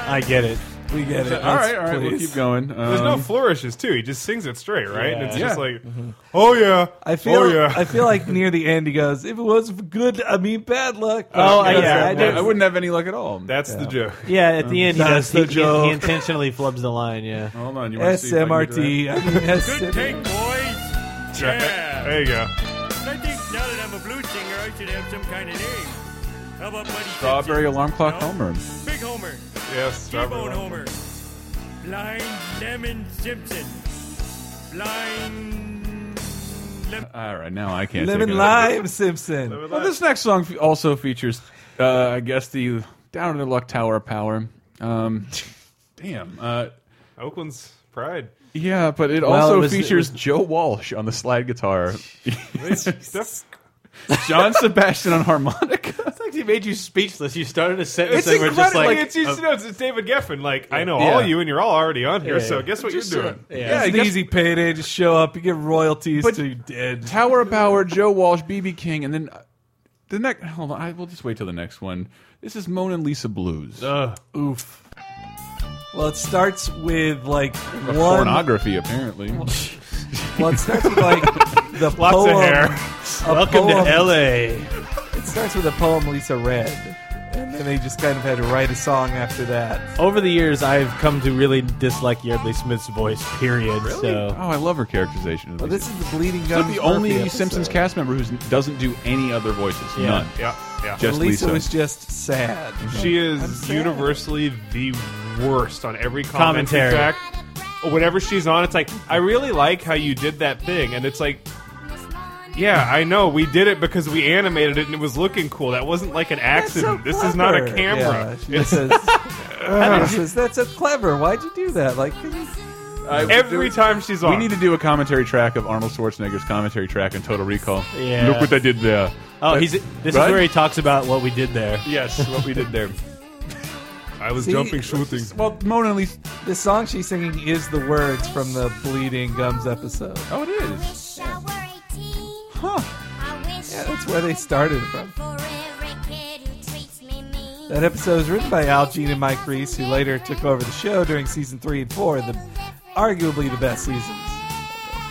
Speaker 4: I get it.
Speaker 1: We get it.
Speaker 2: all right, all right, we'll
Speaker 1: Please.
Speaker 2: keep going. Um,
Speaker 3: There's no flourishes too. He just sings it straight, right? And it's
Speaker 4: Yeah. Mm-hmm.
Speaker 3: just like, oh yeah,
Speaker 1: I feel.
Speaker 3: oh yeah.
Speaker 1: I feel like near the end he goes, "If it was for good, I mean bad luck."
Speaker 4: Oh, I-
Speaker 1: But-
Speaker 4: yeah, I
Speaker 2: I,
Speaker 4: did.
Speaker 2: wouldn't have any luck at all.
Speaker 3: That's the joke.
Speaker 4: Yeah. At the end, Um, he
Speaker 1: That's the
Speaker 4: does. He, he, he
Speaker 1: joke.
Speaker 4: intentionally flubs the line. Yeah.
Speaker 2: Hold on, you want to see if I can get to
Speaker 1: SMRT. I mean,
Speaker 6: Good
Speaker 1: SMRT.
Speaker 6: take, boys. Yeah.
Speaker 3: There you go.
Speaker 6: I think now that I'm a blues singer, I should have some kind of name. How about Buddy
Speaker 2: that? Strawberry
Speaker 6: Simpson?
Speaker 2: alarm clock
Speaker 6: No.
Speaker 2: Homer.
Speaker 6: Big Homer.
Speaker 3: Yes.
Speaker 6: T-Bone
Speaker 3: Robert.
Speaker 6: Homer. Blind Lemon Simpson. Blind Lemon.
Speaker 2: All right, now I can't.
Speaker 1: Lemon
Speaker 2: take it.
Speaker 1: Lime Simpson.
Speaker 2: Well, this next song fe- also features, uh, I guess, the Down in the Luck Tower of Power. Um, damn. Uh,
Speaker 3: Oakland's pride.
Speaker 2: yeah, but it
Speaker 4: Well,
Speaker 2: also
Speaker 4: it was- it
Speaker 2: features
Speaker 4: was-
Speaker 2: Joe Walsh on the slide guitar, John Sebastian on harmonica.
Speaker 4: It's like he made you speechless. You started a sentence
Speaker 3: It's
Speaker 4: and we're just
Speaker 3: incredibly.
Speaker 4: like,
Speaker 3: it's,
Speaker 1: uh,
Speaker 3: you know, it's, it's David Geffen. Like I know
Speaker 2: Yeah.
Speaker 3: all you, and you're all already on here.
Speaker 4: Yeah,
Speaker 3: so
Speaker 4: yeah.
Speaker 3: guess what
Speaker 2: uh,
Speaker 3: you're doing?
Speaker 4: yeah.
Speaker 2: I
Speaker 1: It's an
Speaker 2: guess-
Speaker 1: easy payday. Just show up. You get royalties
Speaker 2: But-
Speaker 1: till you're dead.
Speaker 2: Tower of Power, Joe Walsh, BB King, and then uh, the next. Hold on, I, we'll just wait till the next one. This is Mona Lisa Blues.
Speaker 1: Oof. Well, it starts with like one.
Speaker 2: Pornography, apparently.
Speaker 1: Well, it starts with like the
Speaker 3: Lots
Speaker 1: poem.
Speaker 3: of hair.
Speaker 1: a
Speaker 4: Welcome
Speaker 1: poem-
Speaker 4: to L.A.
Speaker 1: It starts with a poem Lisa read, and then they just kind of had to write a song after that.
Speaker 4: Over the years, I've come to really dislike Yardley Smith's voice. Period.
Speaker 2: Oh,
Speaker 4: So
Speaker 2: I love her characterization. of
Speaker 1: Well,
Speaker 2: Lisa.
Speaker 1: this is the Bleeding
Speaker 2: She's
Speaker 1: Gums.
Speaker 2: the
Speaker 1: Murphy
Speaker 2: only
Speaker 1: episode.
Speaker 2: Simpsons cast member who doesn't do any other voices.
Speaker 4: Yeah.
Speaker 2: None.
Speaker 3: Yeah. Yeah.
Speaker 2: Just
Speaker 1: Lisa,
Speaker 2: Lisa.
Speaker 1: was just sad.
Speaker 3: She
Speaker 1: I'm
Speaker 3: is
Speaker 1: sad.
Speaker 3: universally the worst on every
Speaker 4: Commentary.
Speaker 3: commentary. track.
Speaker 1: Oh.
Speaker 3: Whenever she's on, it's like, I really like how you did that thing. And it's like, yeah, I know. We did it because we animated it and it was looking cool. That wasn't like an
Speaker 1: That's so
Speaker 3: accident. this is not a
Speaker 1: clever.
Speaker 3: camera.
Speaker 1: Yeah, she says, Hannah says, that's so clever. Why'd you do that? Like,
Speaker 2: I-
Speaker 3: Every time she's on.
Speaker 2: we need to do a commentary track of Arnold Schwarzenegger's commentary track in Total Recall.
Speaker 4: Yeah.
Speaker 2: Look what I did there.
Speaker 4: oh, he's this is
Speaker 2: Right?
Speaker 4: where he talks about what we did there.
Speaker 2: Yes, what we did there.
Speaker 3: I was
Speaker 1: See?
Speaker 3: jumping shooting.
Speaker 2: Well, Mona Lisa.
Speaker 1: the song she's singing is the words from the Bleeding Gums episode.
Speaker 2: Oh, it is.
Speaker 5: Huh.
Speaker 2: Oh, Huh.
Speaker 5: I wish
Speaker 1: Yeah, that's That's where they started from.
Speaker 5: For every kid who treats me mean.
Speaker 1: That episode was written by Al Jean and Mike Reese, who later took over the show during season three and four, the arguably the best seasons.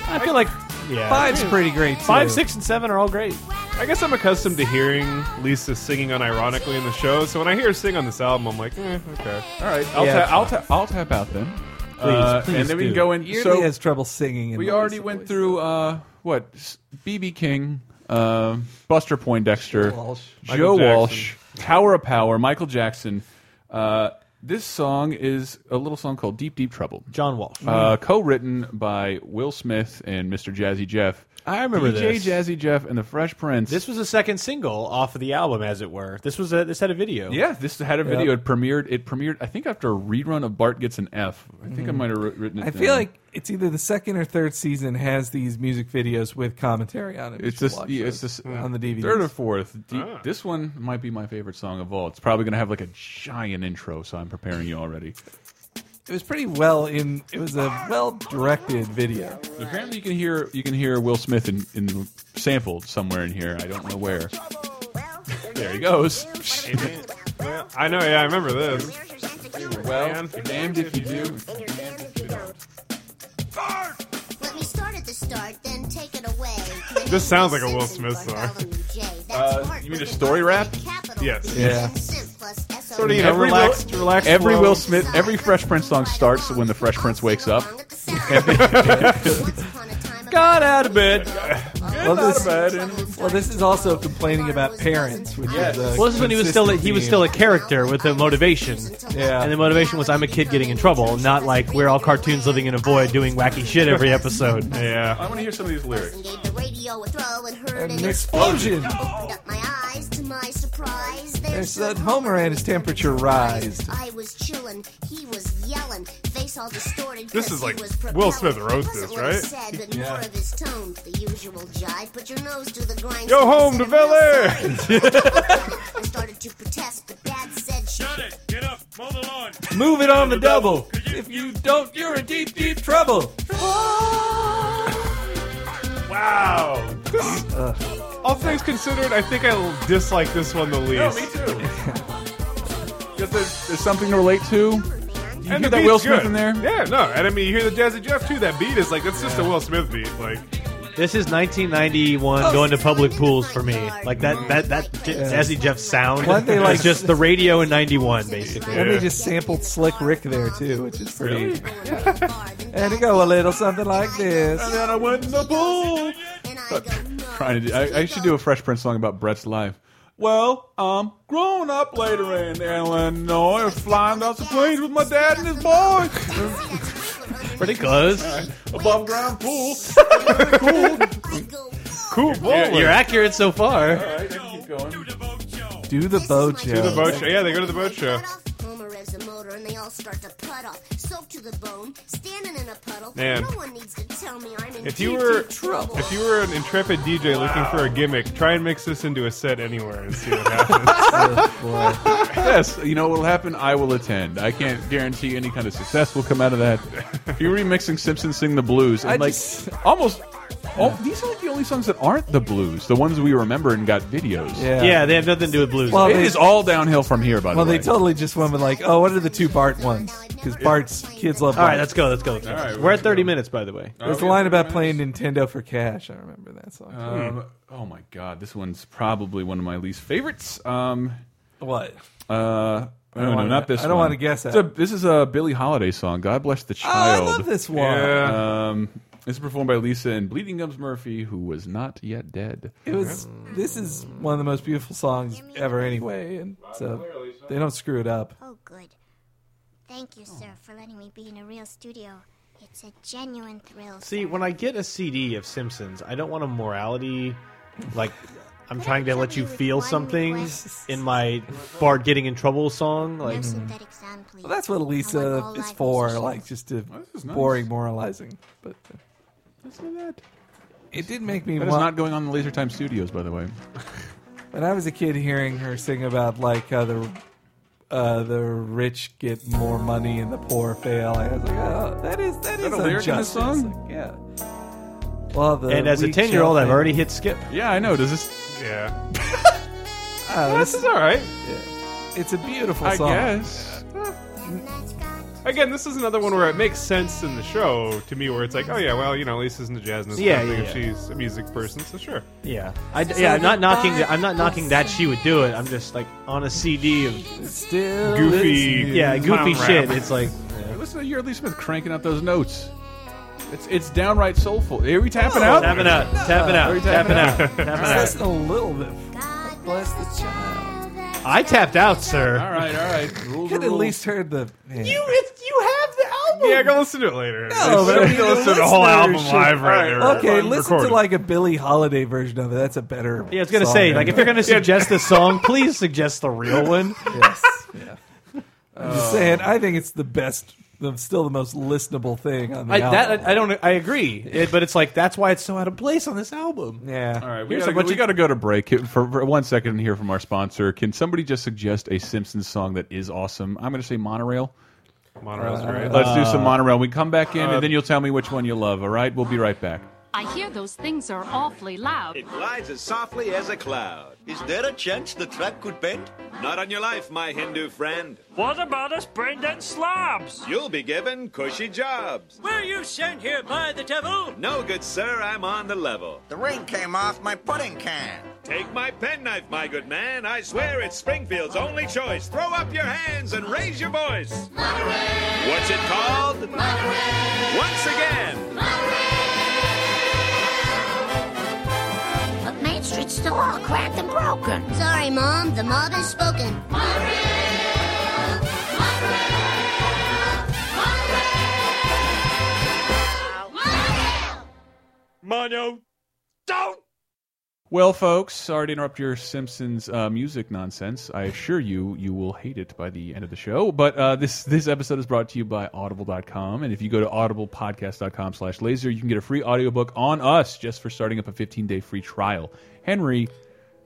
Speaker 4: I feel like yeah,
Speaker 1: Five's pretty great. Too.
Speaker 4: five, six, and seven are all great.
Speaker 3: I guess I'm accustomed to hearing Lisa singing unironically in the show, so when I hear her sing on this album, I'm like, eh, okay.
Speaker 2: All right, I'll,
Speaker 1: Yeah.
Speaker 2: ta- I'll, ta- I'll tap out then. Please,
Speaker 4: please
Speaker 2: and then we
Speaker 4: do.
Speaker 2: can go in.
Speaker 1: Yearly
Speaker 2: So
Speaker 1: has trouble singing. in
Speaker 2: we
Speaker 1: the
Speaker 2: already
Speaker 1: voice
Speaker 2: went
Speaker 1: voice.
Speaker 2: through uh, what S- BB King, uh, Buster Poindexter,
Speaker 1: Walsh.
Speaker 2: Joe
Speaker 3: Michael Jackson.
Speaker 2: Walsh, Tower of Power, Michael Jackson. Uh, this song is a little song called "Deep Deep Trouble,"
Speaker 4: John Walsh.
Speaker 2: uh, co-written by Will Smith and Mr. Jazzy Jeff.
Speaker 4: I remember
Speaker 2: DJ
Speaker 4: this.
Speaker 2: Jazzy Jeff and the Fresh Prince.
Speaker 4: This was the second single off of the album, as it were. This was a this had a video.
Speaker 2: Yeah, this had a video. It premiered. It premiered. I think after a rerun of Bart gets an F. I think
Speaker 4: Mm-hmm.
Speaker 2: I might have writ- written. It
Speaker 1: I feel
Speaker 2: down.
Speaker 1: like it's either the second or third season has these music videos with commentary on it.
Speaker 2: it's
Speaker 1: You
Speaker 2: this.
Speaker 1: should watch
Speaker 2: yeah, it's
Speaker 1: those
Speaker 2: this
Speaker 1: on the DVD.
Speaker 2: Third or fourth. D- This one might be my favorite song of all. It's probably going to have like a giant intro, so I'm preparing you already.
Speaker 1: It was pretty well in. It was a well directed video.
Speaker 2: Apparently, you can hear you can hear Will Smith in, in sampled somewhere in here. I don't know where. There he goes.
Speaker 3: Well, I know, yeah, I remember this.
Speaker 2: Well, damned if you do.
Speaker 7: Let me start at the start, then take it away.
Speaker 3: This sounds like a Will Smith song.
Speaker 2: Uh, you mean a story rap?
Speaker 3: Yes.
Speaker 1: Yeah.
Speaker 3: Sort of, you know,
Speaker 2: Every
Speaker 3: relaxed, relaxed.
Speaker 2: Every
Speaker 3: flow.
Speaker 2: Will Smith, every Fresh Prince song starts when the Fresh Prince wakes up.
Speaker 7: Got
Speaker 4: out of bed.
Speaker 1: Well, this, well, this is also complaining about parents, which
Speaker 7: Yes.
Speaker 1: is a
Speaker 4: Well, this is when he was still a,
Speaker 1: consistent
Speaker 4: he was
Speaker 1: theme.
Speaker 4: still a character with a motivation.
Speaker 1: Yeah.
Speaker 4: And the motivation was I'm a kid getting in trouble, not like we're all cartoons living in a void doing wacky shit every episode.
Speaker 3: Yeah.
Speaker 2: I want to hear some of these lyrics.
Speaker 7: Gave the radio a throw and heard
Speaker 1: And
Speaker 7: an
Speaker 1: an explosion.
Speaker 7: Opened up my eyes to my surprise.
Speaker 1: There's that Homer and his temperature rise.
Speaker 7: I was chillin', he was yelling, face all distorted.
Speaker 3: This
Speaker 7: 'cause
Speaker 3: is
Speaker 7: he
Speaker 3: like
Speaker 7: was propelling.
Speaker 3: Will Smith wrote
Speaker 7: Wasn't
Speaker 3: this,
Speaker 7: what he
Speaker 3: right?
Speaker 7: Said, but more of his tone, the usual jive. Put your nose to the grind.
Speaker 3: Go home to Bel Air!
Speaker 7: I started to protest, but Dad said she
Speaker 6: Shut it. Get up. Mow the lawn.
Speaker 1: Move it on the double. If you don't, you're in deep, deep trouble.
Speaker 3: Wow. This- all things considered, I think I dislike this one the least.
Speaker 2: too. Just there's, there's something to relate to. You
Speaker 3: and
Speaker 2: hear
Speaker 3: the
Speaker 2: that
Speaker 3: beat's
Speaker 2: Will Smith
Speaker 3: good.
Speaker 2: in there?
Speaker 3: Yeah, no. And I mean, you hear the Jazzy Jeff too. That beat is like that's just a Will Smith beat. Like,
Speaker 4: This is 1991 going to public pools for me. Like that that that J- Jazzy Jeff sound.
Speaker 1: Why don't they, like-
Speaker 4: is just the radio in 91 basically.
Speaker 1: And
Speaker 3: Yeah.
Speaker 1: they just sampled Slick Rick there too, which is pretty.
Speaker 2: Really?
Speaker 1: And it go a little something like this.
Speaker 2: And then I went in the pool.
Speaker 7: and I go, no.
Speaker 2: Trying to do, I, I should do a Fresh Prince song about Brett's life. Well, I'm grown up later in Illinois, flying down the plains with my dad and his boy.
Speaker 4: Pretty close.
Speaker 2: Above ground pool.
Speaker 7: I go,
Speaker 3: cool bowling.
Speaker 4: You're accurate so far.
Speaker 2: All right, keep going.
Speaker 6: Do the boat show.
Speaker 1: Do the boat
Speaker 7: Do the
Speaker 1: show.
Speaker 3: the boat show. Yeah, they go to the boat show.
Speaker 7: Homer revs the motor and they all start to putt off. Soaked to the bone, standing in a puddle.
Speaker 3: Man.
Speaker 7: No one needs to tell me I'm in
Speaker 3: If you
Speaker 7: deep,
Speaker 3: were
Speaker 7: deep trouble.
Speaker 3: if you were an intrepid DJ looking for a gimmick, try and mix this into a set anywhere and see what happens.
Speaker 2: Yes, you know what will happen? I will attend. I can't guarantee any kind of success will come out of that. If you're remixing Simpsons Sing the Blues, and
Speaker 1: I
Speaker 2: like
Speaker 1: just-
Speaker 2: almost all, these are like the only songs that aren't the blues, the ones we remember and got videos.
Speaker 1: Yeah.
Speaker 4: Yeah, they have nothing to do with blues.
Speaker 1: Well,
Speaker 2: It
Speaker 1: they-
Speaker 2: is all downhill from here, by
Speaker 1: Well,
Speaker 2: the way.
Speaker 1: they totally just went with like, oh, what are the two Bart ones? Because Bart's kids love.
Speaker 4: all
Speaker 1: Bart.
Speaker 4: right, let's go. Let's go. Let's go.
Speaker 2: right,
Speaker 4: we're at 30 minutes by the way.
Speaker 1: There's a line about playing Nintendo for cash. I remember that song.
Speaker 2: Um, oh my god, this one's probably one of my least favorites. Um,
Speaker 1: what?
Speaker 2: uh, no, no,
Speaker 1: wanna-
Speaker 2: not this.
Speaker 1: I don't
Speaker 2: one.
Speaker 1: wanna guess
Speaker 2: It's
Speaker 1: that.
Speaker 2: a- this is a Billie Holiday song. God bless the
Speaker 1: Oh, I
Speaker 2: child.
Speaker 1: love this one.
Speaker 3: yeah.
Speaker 2: Um, this is performed by Lisa and Bleeding Gums Murphy, who was not yet dead.
Speaker 1: It was. This is one of the most beautiful songs ever, anyway, and so they don't screw it up.
Speaker 8: Oh, good. Thank you,
Speaker 1: Oh.
Speaker 8: sir, for letting me be in a real studio. It's a genuine thrill.
Speaker 4: See,
Speaker 8: sir.
Speaker 4: when I get a CD of Simpsons, I don't want a morality. Like, I'm trying to let you feel something in my Bart getting in trouble song.
Speaker 8: No
Speaker 4: Like,
Speaker 8: synthetic sound, please.
Speaker 1: hmm. Well, that's what
Speaker 8: I want
Speaker 1: Elisa
Speaker 8: all
Speaker 1: is
Speaker 8: live
Speaker 1: for,
Speaker 8: musicians.
Speaker 1: like just to
Speaker 2: this is nice.
Speaker 1: boring moralizing. But uh,
Speaker 2: Listen to that.
Speaker 1: it did make me
Speaker 2: That is
Speaker 1: wa-
Speaker 2: not going on in the Laser Time Studios, by the way.
Speaker 1: When I was a kid, hearing her sing about like how the uh, the rich get more money and the poor fail, I was like, oh, that is that is
Speaker 2: a lyric in
Speaker 1: injustice.
Speaker 2: this song?
Speaker 1: Like, yeah. Well, the
Speaker 4: and as a
Speaker 1: weak
Speaker 4: 10 year old,
Speaker 1: shall
Speaker 4: I've
Speaker 1: fail.
Speaker 4: already hit skip.
Speaker 2: Yeah, I know. Does this?
Speaker 3: Yeah.
Speaker 1: Oh,
Speaker 3: This
Speaker 1: it's,
Speaker 3: is all right.
Speaker 1: it's a beautiful
Speaker 3: I
Speaker 1: song.
Speaker 3: guess.
Speaker 8: And that's got
Speaker 3: Again, this is another one where it makes sense in the show to me, where it's like, oh yeah, well, you know, Lisa's into jazz and this
Speaker 4: Yeah,
Speaker 3: kind of
Speaker 4: yeah,
Speaker 3: thing, and she's a music person, so sure.
Speaker 4: Yeah, I, yeah. I'm not knocking. The, I'm not knocking that she would do it. I'm just like on a CD of
Speaker 9: Oh,
Speaker 1: Still
Speaker 3: Goofy.
Speaker 1: listening.
Speaker 4: yeah, goofy
Speaker 3: Clown
Speaker 4: shit.
Speaker 3: rap.
Speaker 4: It's like
Speaker 2: Listen to your Lee Smith cranking out those notes. It's it's downright soulful. Are we tapping out?
Speaker 4: tapping out, tapping
Speaker 2: Are you
Speaker 4: out, tapping
Speaker 2: tapping
Speaker 4: out,
Speaker 2: out?
Speaker 4: tapping
Speaker 1: Just
Speaker 4: out.
Speaker 1: listen a little bit.
Speaker 8: God
Speaker 1: Bless
Speaker 8: bless
Speaker 1: the
Speaker 8: the child. that
Speaker 4: I tapped out, sir.
Speaker 2: All right, all right. Rules
Speaker 1: Could
Speaker 2: are
Speaker 1: at
Speaker 2: rules.
Speaker 1: least heard the. yeah.
Speaker 4: if you have the album,
Speaker 3: Yeah, go listen to it
Speaker 1: No,
Speaker 3: later. It's-
Speaker 1: but I
Speaker 3: you
Speaker 1: mean,
Speaker 3: can
Speaker 1: the
Speaker 3: listen to the whole album
Speaker 1: listeners should-
Speaker 3: live right uh,
Speaker 2: All
Speaker 3: there.
Speaker 1: Okay,
Speaker 3: Live
Speaker 1: listen
Speaker 3: recorded.
Speaker 1: to like a Billie Holiday version of it. That's a better.
Speaker 4: yeah. I was gonna
Speaker 1: song
Speaker 4: say,
Speaker 1: than
Speaker 4: like, if
Speaker 1: that.
Speaker 4: you're gonna suggest a song, please suggest the real one.
Speaker 1: Yes. Yeah. I'm just saying, I think it's the best, the, still the most listenable thing on the
Speaker 4: I,
Speaker 1: album.
Speaker 4: that I, I don't. I agree, It- but it's like that's why it's so out of place on this album.
Speaker 1: yeah.
Speaker 2: All right, we
Speaker 4: Here's
Speaker 2: gotta,
Speaker 4: a bunch
Speaker 2: we
Speaker 4: of-
Speaker 2: gotta go to break Here- for, for one second and hear from our sponsor. Can somebody just suggest a Simpsons song that is awesome? I'm going to say Monorail.
Speaker 3: Monorail's great.
Speaker 2: Let's do some Monorail. We come back in, and then you'll tell me which one you love. All right, we'll be right back.
Speaker 10: I hear those things are awfully loud.
Speaker 9: It glides as softly as a cloud. Is there a chance the track could bend? Not on your life, my Hindu friend.
Speaker 6: What about us Brendan slobs?
Speaker 9: You'll be given cushy jobs.
Speaker 6: Were you sent here by the devil?
Speaker 9: No, good sir, I'm on the level.
Speaker 11: The ring came off my pudding can.
Speaker 9: Take my penknife, my good man. I swear it's Springfield's only choice. Throw up your hands and raise your voice. What's it called? Once again.
Speaker 8: But Main Street's still all cracked and broken.
Speaker 7: Sorry, Mom. The mob has spoken.
Speaker 6: Mono, don't!
Speaker 2: Well, folks, sorry to interrupt your Simpsons uh, music nonsense. I assure you, you will hate it by the end of the show. But uh, this this episode is brought to you by Audible.com, and if you go to audiblepodcast.com/laser, you can get a free audiobook on us just for starting up a 15-day free trial. Henry,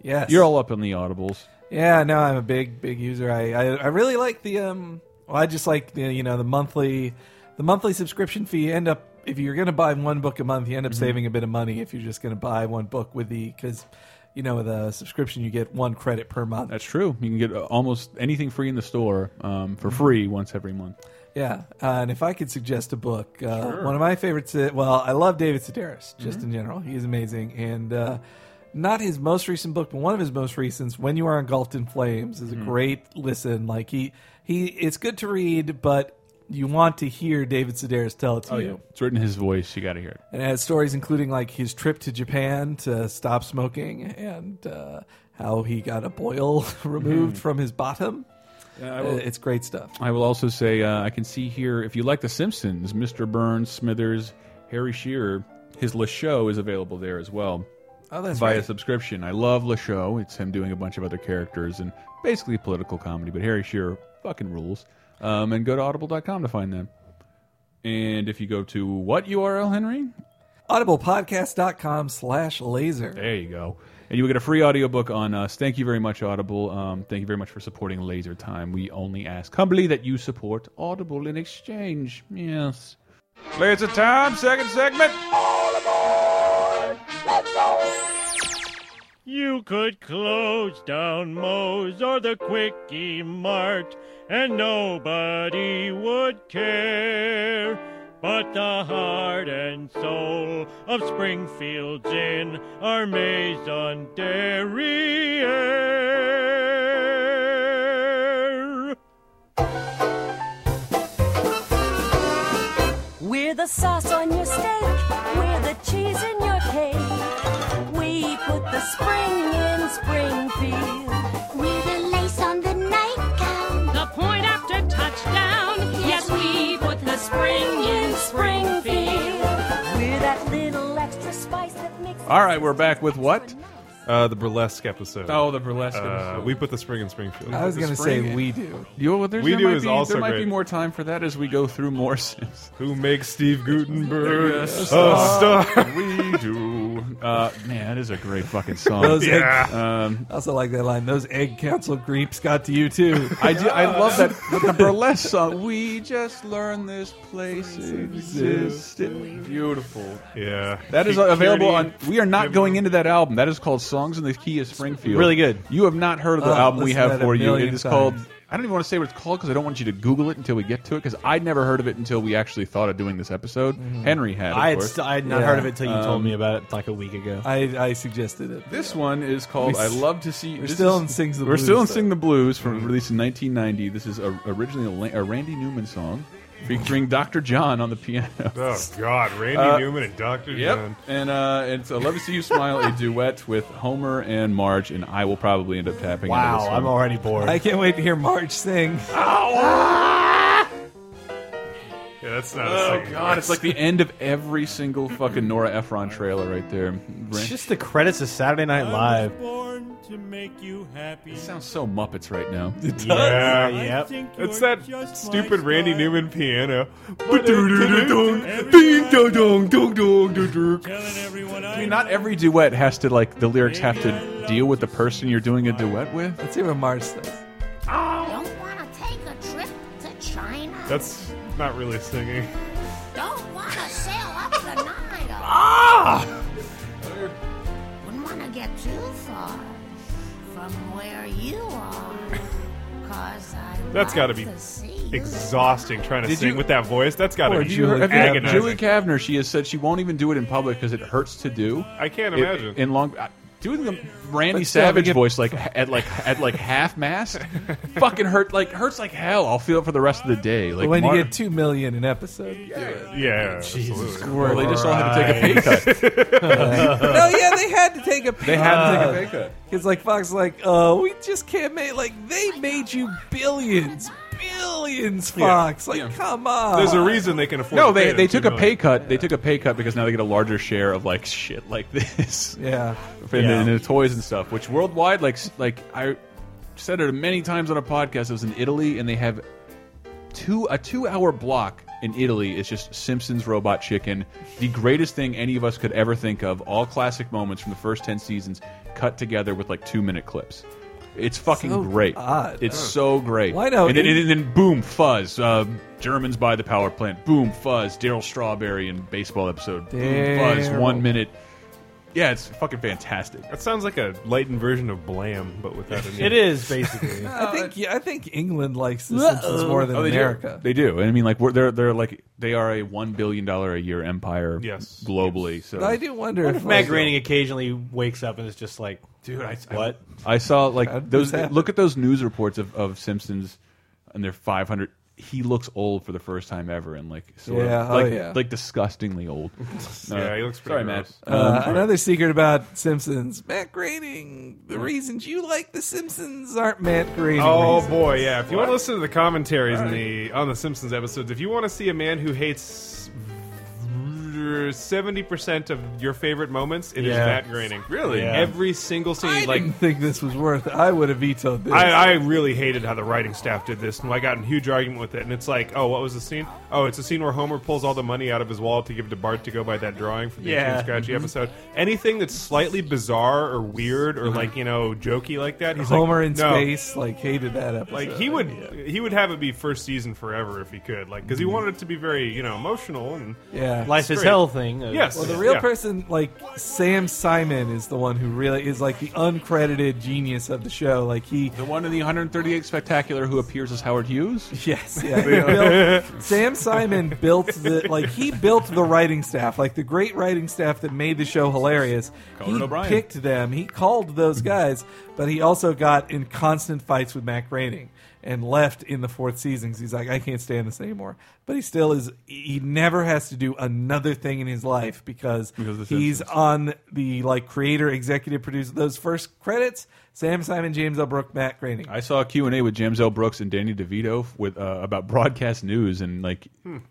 Speaker 1: Yes.
Speaker 2: you're all up in the audibles.
Speaker 1: Yeah, no, I'm a big, big user. I, I, I really like the um. Well, I just like the you know the monthly, the monthly subscription fee. You end up if you're going to buy one book a month, you end up
Speaker 4: Mm-hmm.
Speaker 1: saving a bit of money if you're just going to buy one book with the because, you know, with a subscription you get one credit per month.
Speaker 2: That's true. You can get uh, almost anything free in the store um, for free once every month.
Speaker 1: Yeah, uh, and if I could suggest a book, uh, one of my favorites. uh, Well, I love David Sedaris just in general. He is amazing, and uh, not his most recent book, but one of his most recent, "When You Are Engulfed in Flames," is a great listen. Like he, he, it's good to read, but you want to hear David Sedaris tell it to you.
Speaker 2: It's written in his voice. You got to hear it.
Speaker 1: And it has stories including like his trip to Japan to stop smoking and uh, how he got a boil removed from his bottom. Uh, it's great stuff.
Speaker 2: I will also say uh, I can see here if you like The Simpsons, Mr. Burns, Smithers, Harry Shearer, his Le Show is available there as well
Speaker 1: Oh, that's
Speaker 2: via
Speaker 1: right.
Speaker 2: subscription. I love Le Show. It's him doing a bunch of other characters and basically political comedy. But Harry Shearer fucking rules. Um, and go to audible.com to find them. And if you go to what URL, Henry?
Speaker 1: audiblepodcast.com slash laser
Speaker 2: There you go. And you will get a free audiobook on us. Thank you very much, Audible. Um, thank you very much for supporting Laser Time. We only ask humbly that you support Audible in exchange. Yes. Laser Time, second segment.
Speaker 6: You could close down Moe's or the Quickie Mart, and nobody would care. But the heart and soul of Springfield's Inn are Maison Derriere.
Speaker 10: We're the sauce on your steak. We're the cheese in your cake. We put the spring in Springfield.
Speaker 8: We're the lace on the nightgown.
Speaker 10: The point after touchdown. Yes, we put the spring in Springfield. We're that little extra spice that makes.
Speaker 2: All right, we're back with what?
Speaker 3: Uh, the burlesque episode.
Speaker 2: Oh, the burlesque.
Speaker 3: Uh,
Speaker 2: episode.
Speaker 3: we put the spring in Springfield.
Speaker 1: i was
Speaker 2: the
Speaker 1: going to
Speaker 2: spring
Speaker 1: say
Speaker 2: in.
Speaker 1: we do
Speaker 2: You know, there's,
Speaker 3: We
Speaker 2: there
Speaker 3: Do
Speaker 2: might
Speaker 3: is
Speaker 2: be,
Speaker 3: also
Speaker 2: There might be
Speaker 3: great.
Speaker 2: more time for that as we go through more Sims.
Speaker 3: Who makes Steve Gutenberg a star?
Speaker 2: we do. Uh, man, that is a great fucking song.
Speaker 1: Those
Speaker 2: yeah.
Speaker 1: egg-
Speaker 2: um,
Speaker 1: I also like that line. Those egg council creeps got to you too.
Speaker 2: I do. I love that the burlesque song. We just learned this place existed. Beautiful.
Speaker 3: Yeah.
Speaker 2: That is available on. We are not going into that album. That is called Songs in the Key of Springfield.
Speaker 4: Really good.
Speaker 2: You have not heard of the
Speaker 1: Oh,
Speaker 2: album we
Speaker 1: listen to
Speaker 2: have
Speaker 1: that a
Speaker 2: for you. It
Speaker 1: million
Speaker 2: is
Speaker 1: times.
Speaker 2: called. I don't even want to say what it's called because I don't want you to Google it until we get to it because I'd never heard of it until we actually thought of doing this episode.
Speaker 1: Mm-hmm.
Speaker 2: Henry had. Of
Speaker 4: I had,
Speaker 2: course.
Speaker 4: st- I had not
Speaker 1: Yeah.
Speaker 4: heard of it till you told
Speaker 2: Um,
Speaker 4: me about it like a week ago.
Speaker 1: I, I suggested it.
Speaker 2: This one is called
Speaker 1: We
Speaker 2: "I
Speaker 1: s-
Speaker 2: Love to See."
Speaker 1: we're
Speaker 2: this
Speaker 1: still
Speaker 2: is-
Speaker 1: in "Sings the
Speaker 2: We're still in
Speaker 1: Blues,"
Speaker 2: "Sing the Blues" from released in 1990. This is a, originally a, La- a Randy Newman song, featuring Dr. John on the piano.
Speaker 3: Oh God, Randy
Speaker 2: Uh,
Speaker 3: Newman and Doctor
Speaker 2: Yep,
Speaker 3: John.
Speaker 2: and uh, it's "I Love to See You Smile," a duet with Homer and Marge, and I will probably end up tapping. into
Speaker 4: Wow,
Speaker 2: this
Speaker 4: I'm
Speaker 2: one.
Speaker 4: already bored.
Speaker 1: I can't wait to hear March sing.
Speaker 3: Yeah, that's not. a
Speaker 2: Oh
Speaker 3: singing
Speaker 2: God!
Speaker 3: voice.
Speaker 2: It's like the end of every single fucking Nora Ephron trailer right there.
Speaker 4: It's
Speaker 2: Ran-
Speaker 4: just the credits of Saturday Night
Speaker 6: I was
Speaker 4: Live.
Speaker 6: born to make you happy.
Speaker 2: It sounds so Muppets right now.
Speaker 3: Yeah.
Speaker 6: I
Speaker 4: Yep.
Speaker 6: think
Speaker 3: It's
Speaker 6: you're
Speaker 3: that
Speaker 6: just
Speaker 3: stupid
Speaker 6: my
Speaker 3: Randy
Speaker 6: style.
Speaker 3: Newman piano.
Speaker 6: Everyone
Speaker 3: Ding dong
Speaker 6: I'm
Speaker 3: dong dong dong dong dong.
Speaker 6: telling everyone
Speaker 2: I
Speaker 6: I
Speaker 2: mean, not every duet has to like the lyrics have to deal with the person you're doing a duet with.
Speaker 1: Let's hear what March says.
Speaker 8: Don't want to take a trip to China?
Speaker 3: That's not really singing.
Speaker 8: Don't want to sail up the Nile. Ah! Wouldn't want to get too far from where you are. Cause I
Speaker 3: That's
Speaker 8: got
Speaker 3: gotta be Exhausting trying to
Speaker 2: Did
Speaker 3: sing
Speaker 2: you-
Speaker 3: with that voice. That's got to
Speaker 1: Or
Speaker 3: be
Speaker 1: did you- have you-
Speaker 3: agonizing.
Speaker 2: Julie Kavner, she has said she won't even do it in public because it hurts to do.
Speaker 3: I can't
Speaker 2: It-
Speaker 3: imagine.
Speaker 2: in long I- doing the Randy
Speaker 1: But still, we
Speaker 2: Savage
Speaker 1: get-
Speaker 2: voice like at like at like half mast. fucking hurt like hurts like hell. I'll feel it for the rest of the day. Like
Speaker 1: But when
Speaker 2: Mar-
Speaker 1: you get two million an episode,
Speaker 3: yeah, absolutely.
Speaker 2: Well, they just all had to take a pay cut.
Speaker 1: no, yeah, they had to take a.
Speaker 2: Uh. They had to take a pay
Speaker 3: Uh,
Speaker 2: cut.
Speaker 1: Because like Fox, is like, oh, we just can't make like they made you billions, billions, Fox. Like,
Speaker 2: Yeah.
Speaker 1: come on.
Speaker 3: There's a reason they can afford.
Speaker 2: No,
Speaker 3: to pay
Speaker 2: they
Speaker 3: the
Speaker 2: they
Speaker 3: two
Speaker 2: took a
Speaker 3: million.
Speaker 2: pay cut. They took a pay cut because now they get a larger share of like shit like this.
Speaker 1: Yeah,
Speaker 2: and,
Speaker 4: Yeah.
Speaker 2: the, and the toys and stuff. Which worldwide, like like I said it many times on a podcast. It was in Italy, and they have two a two hour block in Italy. It's just Simpsons Robot Chicken, the greatest thing any of us could ever think of. All classic moments from the first ten seasons cut together with like two minute clips. It's fucking
Speaker 1: So
Speaker 2: great.
Speaker 1: odd.
Speaker 2: It's so great.
Speaker 1: Why no?
Speaker 2: And then, and then boom, fuzz. Uh, Germans buy the power plant. Boom, fuzz. Daryl Strawberry in baseball episode. Boom, fuzz.
Speaker 1: Daryl.
Speaker 2: One minute. Yeah, it's fucking fantastic.
Speaker 3: That sounds like a lightened version of Blam, but without any.
Speaker 4: It is basically.
Speaker 3: Oh,
Speaker 1: I think yeah, I think England likes the Simpsons more than
Speaker 2: Oh, they
Speaker 1: America.
Speaker 2: Do. They do. And I mean, like we're, they're they're like they are a one billion dollar a year empire.
Speaker 3: Yes.
Speaker 2: globally. So
Speaker 1: But I do wonder if,
Speaker 4: Matt
Speaker 1: like,
Speaker 4: Groening occasionally wakes up and is just like,
Speaker 2: dude, I, I-
Speaker 4: what?
Speaker 2: I saw like
Speaker 1: How'd
Speaker 2: those.
Speaker 1: this happen?
Speaker 2: Look at those news reports of of Simpsons and their five hundred. He looks old for the first time ever, and like sort
Speaker 1: Yeah,
Speaker 2: of
Speaker 1: oh,
Speaker 2: like
Speaker 1: yeah.
Speaker 2: like disgustingly old.
Speaker 3: Yeah, he looks
Speaker 2: sorry,
Speaker 3: pretty gross.
Speaker 2: Matt.
Speaker 1: Uh, another secret about Simpsons: Matt Groening. The reasons you like the Simpsons aren't Matt Groening.
Speaker 3: Oh
Speaker 1: reasons.
Speaker 3: boy, yeah. If you want to listen to the commentaries in the on the Simpsons episodes, if you want to see a man who hates seventy percent of your favorite moments, it is
Speaker 4: Yeah.
Speaker 3: Matt Groening. Really,
Speaker 4: Yeah.
Speaker 3: every single scene.
Speaker 1: I
Speaker 3: like
Speaker 1: didn't think this was worth. It. I would have vetoed this.
Speaker 3: I, I really hated how the writing staff did this, and I got in a huge argument with it. And it's like, oh, what was the scene? Oh, it's a scene where Homer pulls all the money out of his wallet to give to Bart to go buy that drawing from the
Speaker 4: Yeah.
Speaker 3: Itchy and Scratchy
Speaker 1: Mm-hmm.
Speaker 3: episode. Anything that's slightly bizarre or weird or like you know jokey like that, he's
Speaker 1: Mm-hmm. Homer
Speaker 3: like,
Speaker 1: in
Speaker 3: no.
Speaker 1: space like hated that episode.
Speaker 3: Like he would, he would have it be first season forever if he could, like because he wanted it to be very you know emotional and
Speaker 1: yeah.
Speaker 4: Life is
Speaker 3: great.
Speaker 4: hell thing. Uh,
Speaker 3: yes,
Speaker 1: Well, the real
Speaker 3: yeah.
Speaker 1: person, like Sam Simon, is the one who really is like the uncredited genius of the show. Like he,
Speaker 2: The one in the 138 spectacular who appears as Howard Hughes.
Speaker 1: yes, yeah. he built- Sam Simon built the like he built the writing staff, like the great writing staff that made the show hilarious.
Speaker 2: Conan
Speaker 1: he
Speaker 2: O'Brien. Mm-hmm.
Speaker 1: picked them. He called those guys, but he also got in constant fights with Matt Groening and left in the fourth season 'cause he's like, I can't stand this anymore. But he still is. He never has to do another thing in his life because,
Speaker 2: Because of The
Speaker 1: he's on the like creator, executive producer. Those first credits: Sam Simon, James L. Brook, Matt Groening.
Speaker 2: I saw a Q&A with James L. Brooks and Danny DeVito with uh, about broadcast news and like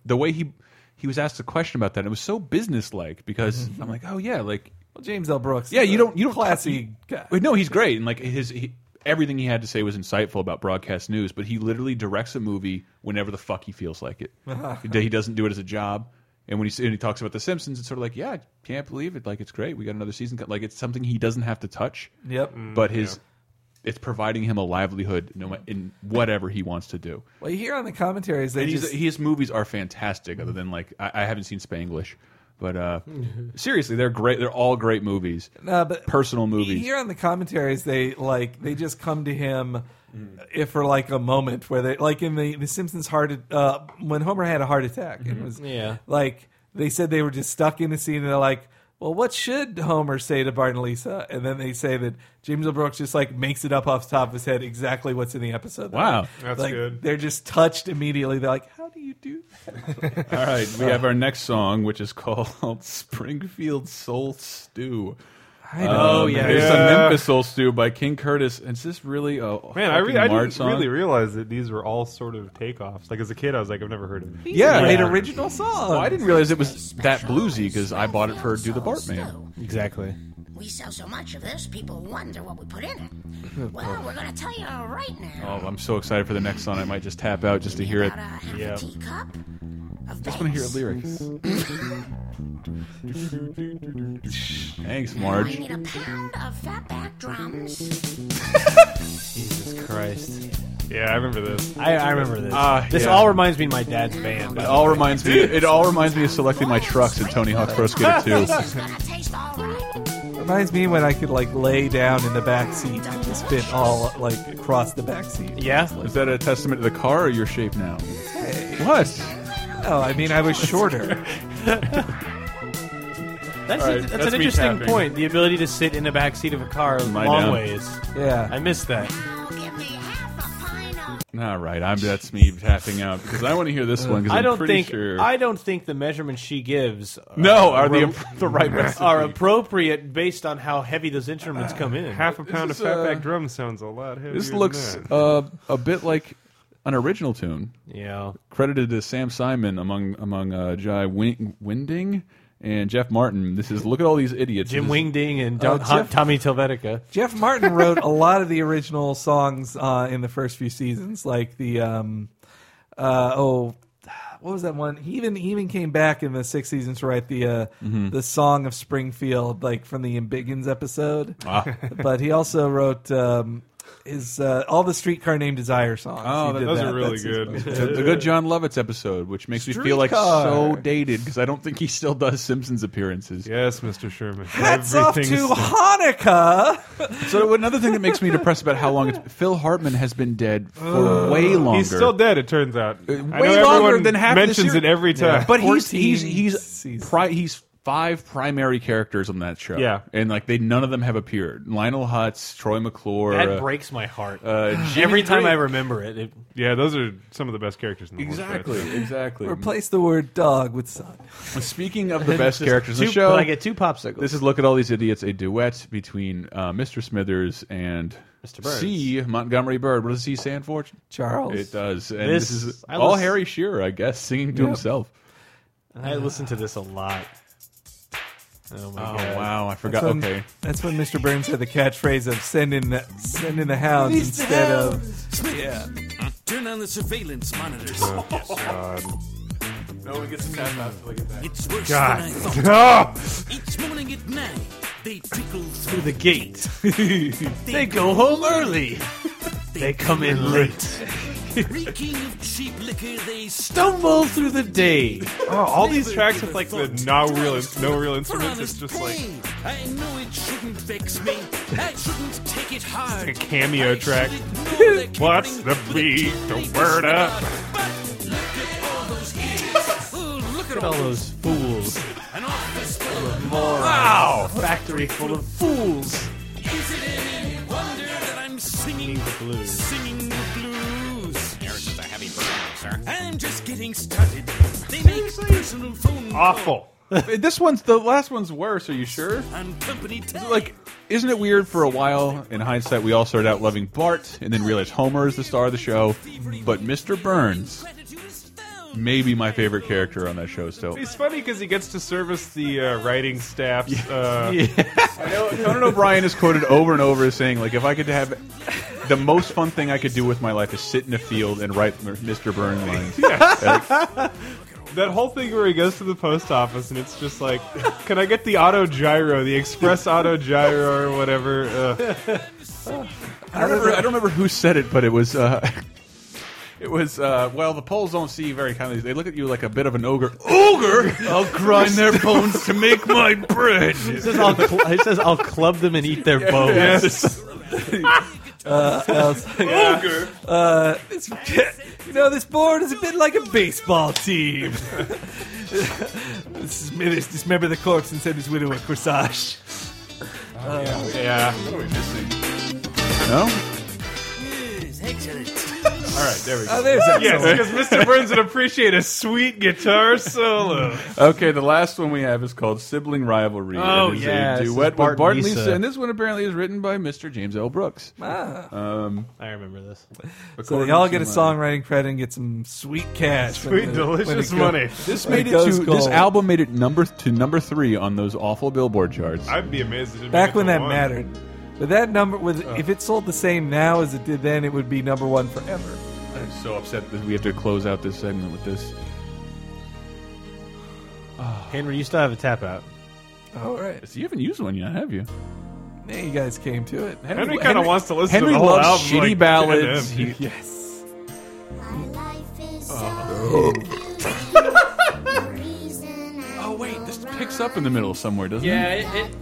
Speaker 2: the way he he was asked a question about that. It was so businesslike because I'm like, oh yeah, like
Speaker 1: Well, James L. Brooks.
Speaker 2: yeah,
Speaker 1: is
Speaker 2: you
Speaker 1: a
Speaker 2: don't you don't
Speaker 1: classy
Speaker 2: you-
Speaker 1: guy.
Speaker 2: Wait, no, he's great and like his he, everything he had to say was insightful about broadcast news. But he literally directs a movie whenever the fuck he feels like it. he doesn't do it as a job. And when he, s- and he talks about The Simpsons, it's sort of like, yeah, I can't believe it. Like, it's great. We got another season. co- Like, it's something he doesn't have to touch.
Speaker 1: Yep. Mm,
Speaker 2: But his, it's providing him a livelihood no, ma- in whatever he wants to do.
Speaker 1: Well, you hear on the commentaries they
Speaker 2: And he's-
Speaker 1: just
Speaker 2: his movies are fantastic. Other than like, I, I haven't seen Spanglish, but uh, seriously, they're great. They're all great movies.
Speaker 1: No, but
Speaker 2: personal movies.
Speaker 1: Here on the commentaries, they like they just come to him
Speaker 2: Mm.
Speaker 1: if for like a moment where they like in the the Simpsons heart uh, when Homer had a heart attack. It
Speaker 2: Mm-hmm.
Speaker 1: was
Speaker 4: Yeah.
Speaker 1: like they said they were just stuck in the scene and they're like. Well, what should Homer say to Bart and Lisa? And then they say that James L. Brooks just like makes it up off the top of his head exactly what's in the episode. They're
Speaker 2: Wow.
Speaker 1: like-
Speaker 2: That's
Speaker 1: like,
Speaker 2: good.
Speaker 1: They're just touched immediately. They're like, "How do you do?" That?
Speaker 2: All right, we have our next song, which is called Springfield Soul Stew.
Speaker 1: I know.
Speaker 2: Um,
Speaker 3: yeah.
Speaker 2: it's
Speaker 3: Yeah.
Speaker 2: a Memphis Soul Stew by King Curtis. Is this really a
Speaker 3: Man, I, re-
Speaker 2: fucking
Speaker 3: I
Speaker 2: Marge
Speaker 3: didn't
Speaker 2: song?
Speaker 3: really realize that these were all sort of takeoffs. Like as a kid, I was like, I've never heard of it.
Speaker 2: yeah,
Speaker 1: made original songs.
Speaker 2: Well, I didn't realize it was that bluesy because I bought it for Do the Bartman.
Speaker 4: Exactly.
Speaker 8: We sell so much of this, people wonder what we put in it. Well, we're gonna tell you right now.
Speaker 2: Oh, I'm so excited for the next song. I might just tap out just Oh, to hear it.
Speaker 8: Yeah. Teacup of
Speaker 2: Just want to hear a lyric. Thanks,
Speaker 8: I
Speaker 2: Marge.
Speaker 8: need a pound of fatback drums.
Speaker 4: Jesus Christ.
Speaker 3: Yeah, I remember this.
Speaker 4: I, I remember this.
Speaker 2: Ah,
Speaker 4: this
Speaker 2: yeah.
Speaker 4: all reminds me of my dad's band.
Speaker 2: It all reminds me. It all reminds me of selecting my trucks in Tony Hawk's Pro Skater 2.
Speaker 1: Reminds me when I could like lay down in the back seat and just fit all like across the back seat.
Speaker 4: Yeah.
Speaker 2: Is that a testament to the car or your shape now? What?
Speaker 1: No, Oh, I mean I was shorter. All
Speaker 4: That's, a,
Speaker 1: right,
Speaker 4: that's,
Speaker 1: that's
Speaker 4: an
Speaker 1: me
Speaker 4: interesting
Speaker 1: tapping.
Speaker 4: point. The ability to sit in the back seat of a car
Speaker 2: Lie
Speaker 4: long
Speaker 2: down.
Speaker 4: ways.
Speaker 1: Yeah.
Speaker 4: I missed that.
Speaker 2: All right, I'm that's me tapping out because I want to hear this one. Because
Speaker 4: I don't
Speaker 2: am pretty
Speaker 4: think
Speaker 2: sure.
Speaker 4: I don't think the measurements she gives are,
Speaker 2: No, are the-
Speaker 4: rep-
Speaker 2: the right recipe.
Speaker 4: are appropriate based on how heavy those instruments come in.
Speaker 3: Half a pound
Speaker 2: is,
Speaker 3: of fatback
Speaker 2: uh,
Speaker 3: drum sounds a lot heavier.
Speaker 2: this looks
Speaker 3: than that.
Speaker 2: uh, a bit like an original tune.
Speaker 4: Yeah.
Speaker 2: credited to Sam Simon among among uh, Jai Win- Winding and Jeff Martin. This is look at all these idiots.
Speaker 4: Jim
Speaker 2: This is-
Speaker 4: Wingding and
Speaker 1: Oh,
Speaker 4: Don, Hot
Speaker 1: Jeff-
Speaker 4: Tommy Telvetica.
Speaker 1: Jeff Martin wrote a lot of the original songs uh, in the first few seasons, like the um, uh, oh, what was that one? He even he even came back in the sixth season to write the uh,
Speaker 2: Mhm.
Speaker 1: the song of Springfield, like from the Biggins episode.
Speaker 2: Ah.
Speaker 1: But he also wrote. Um, his uh, all the streetcar named desire songs.
Speaker 2: Oh,
Speaker 1: He
Speaker 2: that-
Speaker 1: did
Speaker 2: those
Speaker 1: that.
Speaker 2: are really
Speaker 1: That's his
Speaker 2: good.
Speaker 1: most-
Speaker 2: It's a, a good John Lovitz episode, which makes me feel like so
Speaker 1: Streetcar.
Speaker 2: dated because I don't think he still does Simpsons appearances.
Speaker 3: Yes, Mr. Sherman.
Speaker 1: Hats off to Hanukkah.
Speaker 2: So another thing that makes me depressed about how long it's Phil Hartman has been dead for way longer.
Speaker 3: He's still dead. It turns out. I know
Speaker 2: way longer
Speaker 3: everyone
Speaker 2: than half of the
Speaker 3: mentions
Speaker 2: series.
Speaker 3: it every time.
Speaker 2: But he's he's
Speaker 1: 14
Speaker 2: he's pri he's five primary characters on that show.
Speaker 3: Yeah.
Speaker 2: and like they none of them have appeared. Lionel Hutz, Troy McClure.
Speaker 4: That
Speaker 2: uh,
Speaker 4: breaks my heart.
Speaker 2: uh, Jimmy
Speaker 4: Every time
Speaker 2: Green.
Speaker 4: I remember it, it
Speaker 3: Yeah, those are some of the best characters in the
Speaker 2: Exactly,
Speaker 3: world.
Speaker 2: exactly.
Speaker 1: Replace the word dog with son.
Speaker 2: Speaking of the best
Speaker 4: Just
Speaker 2: characters in the
Speaker 4: two-
Speaker 2: show,
Speaker 4: but I get two popsicles.
Speaker 2: This is look at all these idiots. A duet between uh, Mr. Smithers and
Speaker 4: Mr. Burns.
Speaker 2: C Montgomery Bird. What does C stand for?
Speaker 1: Charles.
Speaker 2: It uh, does. And this,
Speaker 4: This-
Speaker 2: is
Speaker 4: I
Speaker 2: all
Speaker 4: was-
Speaker 2: Harry Shearer, I guess, singing to
Speaker 1: Yep.
Speaker 2: himself.
Speaker 4: I listen to this a lot. Oh my
Speaker 2: Oh
Speaker 4: god!
Speaker 2: wow, I
Speaker 1: That's
Speaker 2: forgot.
Speaker 1: when,
Speaker 2: okay,
Speaker 1: That's when Mr. Burns had the catchphrase of send in the send in the hounds
Speaker 12: These
Speaker 1: instead of
Speaker 12: hounds.
Speaker 1: yeah.
Speaker 12: Turn on the surveillance monitors.
Speaker 4: No one gets a tap out until I get back.
Speaker 12: It's worse
Speaker 4: God.
Speaker 12: than I thought. Each morning at nine, they trickle
Speaker 4: Through the
Speaker 12: through
Speaker 4: gate.
Speaker 12: They
Speaker 4: they go home early. They come in late.
Speaker 12: reeking of cheap liquor. They
Speaker 4: Stumble through the day.
Speaker 3: Oh, all these tracks with like the no real no real instruments. It's just like
Speaker 12: I know it shouldn't vex me. I shouldn't take it hard.
Speaker 3: a cameo track. What's the beat? The word up.
Speaker 4: Look at all those fools. Ah,
Speaker 12: Wow!
Speaker 4: Factory full of fools.
Speaker 12: Is it any wonder that I'm singing the blues? Singing the blues. Yours is a heavy program, sir. I'm just getting started. They make personal phone
Speaker 3: Awful.
Speaker 2: this one's the last one's worse. Are you sure?
Speaker 12: on company time.
Speaker 2: Like, isn't it weird? For a while, in hindsight, we all started out loving Bart, and then realized Homer is the star of the show. But Mr. Burns, maybe my favorite character on that show still.
Speaker 3: He's funny because he gets to service the uh, writing staff's. Uh,
Speaker 2: I know Conan O'Brien is quoted over and over as saying, like, if I could have the most fun thing I could do with my life is sit in a field and write Mr. Burns lines. Like,
Speaker 3: that whole thing where he goes to the post office and it's just like, can I get the auto gyro, the express auto gyro or whatever? Uh,
Speaker 2: I don't remember. I don't remember who said it, but it was. Uh, it was. Uh, well, the Poles don't see you very kindly. They look at you like a bit of an ogre. Ogre! I'll grind their bones to make my bread.
Speaker 4: He says, I'll cl- he says, I'll club them and eat their bones.
Speaker 1: uh, I was like, uh,
Speaker 4: Ogre.
Speaker 1: uh, this, you know, this board is a bit like a baseball team. this is Smithers dismembered the corpse and sent his widow a corsage. Uh,
Speaker 3: yeah.
Speaker 2: What are we missing? No?
Speaker 3: all right, there we go.
Speaker 1: Oh, there's that
Speaker 3: Yes,
Speaker 1: song.
Speaker 3: because Mr. Burns would appreciate a sweet guitar solo.
Speaker 2: Okay, the last one we have is called Sibling Rivalry.
Speaker 3: Oh,
Speaker 2: It is
Speaker 3: yeah,
Speaker 2: a
Speaker 3: this is
Speaker 2: duet
Speaker 3: Bart
Speaker 2: with Bart
Speaker 3: and
Speaker 2: Lisa.
Speaker 3: Lisa.
Speaker 2: and this one apparently is written by Mr. James L. Brooks.
Speaker 1: Ah.
Speaker 2: Um,
Speaker 4: I remember this.
Speaker 1: so they all get a songwriting credit and get some sweet cash. when
Speaker 3: Sweet,
Speaker 1: it-
Speaker 3: delicious
Speaker 1: when it go-
Speaker 3: money.
Speaker 2: This
Speaker 1: when
Speaker 2: made it
Speaker 1: goes
Speaker 2: to this
Speaker 1: gold.
Speaker 2: album made it number to number three on those awful Billboard charts.
Speaker 3: I'd be amazed. If it
Speaker 1: Back when that
Speaker 3: one.
Speaker 1: mattered, but that number was if it sold the same now as it did then, it would be number one forever.
Speaker 2: I'm so upset that we have to close out this segment with this.
Speaker 4: Henry, you still have a tap out.
Speaker 1: All right,
Speaker 2: So you haven't used one yet, have you?
Speaker 1: man, you guys came to it.
Speaker 3: Henry kinda wants to listen to
Speaker 2: Henry
Speaker 3: the whole
Speaker 2: loves
Speaker 3: album,
Speaker 2: Shitty
Speaker 3: like,
Speaker 2: ballads.
Speaker 3: goddamn.
Speaker 2: He-
Speaker 1: yes.
Speaker 2: oh wait, this picks up in the middle somewhere, doesn't
Speaker 4: Yeah,
Speaker 2: it?
Speaker 4: it,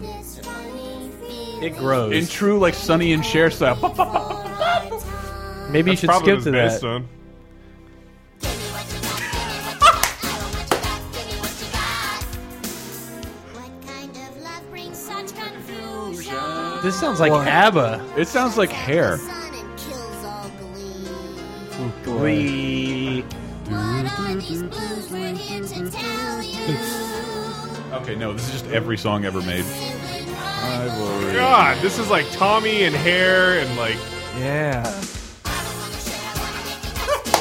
Speaker 4: it, it grows.
Speaker 2: In true like Sonny and Cher style.
Speaker 4: Maybe you
Speaker 3: That's
Speaker 4: should
Speaker 3: probably
Speaker 4: skip
Speaker 3: his
Speaker 4: to
Speaker 3: bass
Speaker 4: that.
Speaker 3: One.
Speaker 4: This sounds like
Speaker 2: What?
Speaker 4: ABBA.
Speaker 2: It sounds like hair.
Speaker 4: Glee.
Speaker 2: Okay, no, this is just every song ever made. Rivalry.
Speaker 3: God, this is like Tommy and Hair and like.
Speaker 1: Yeah.
Speaker 3: I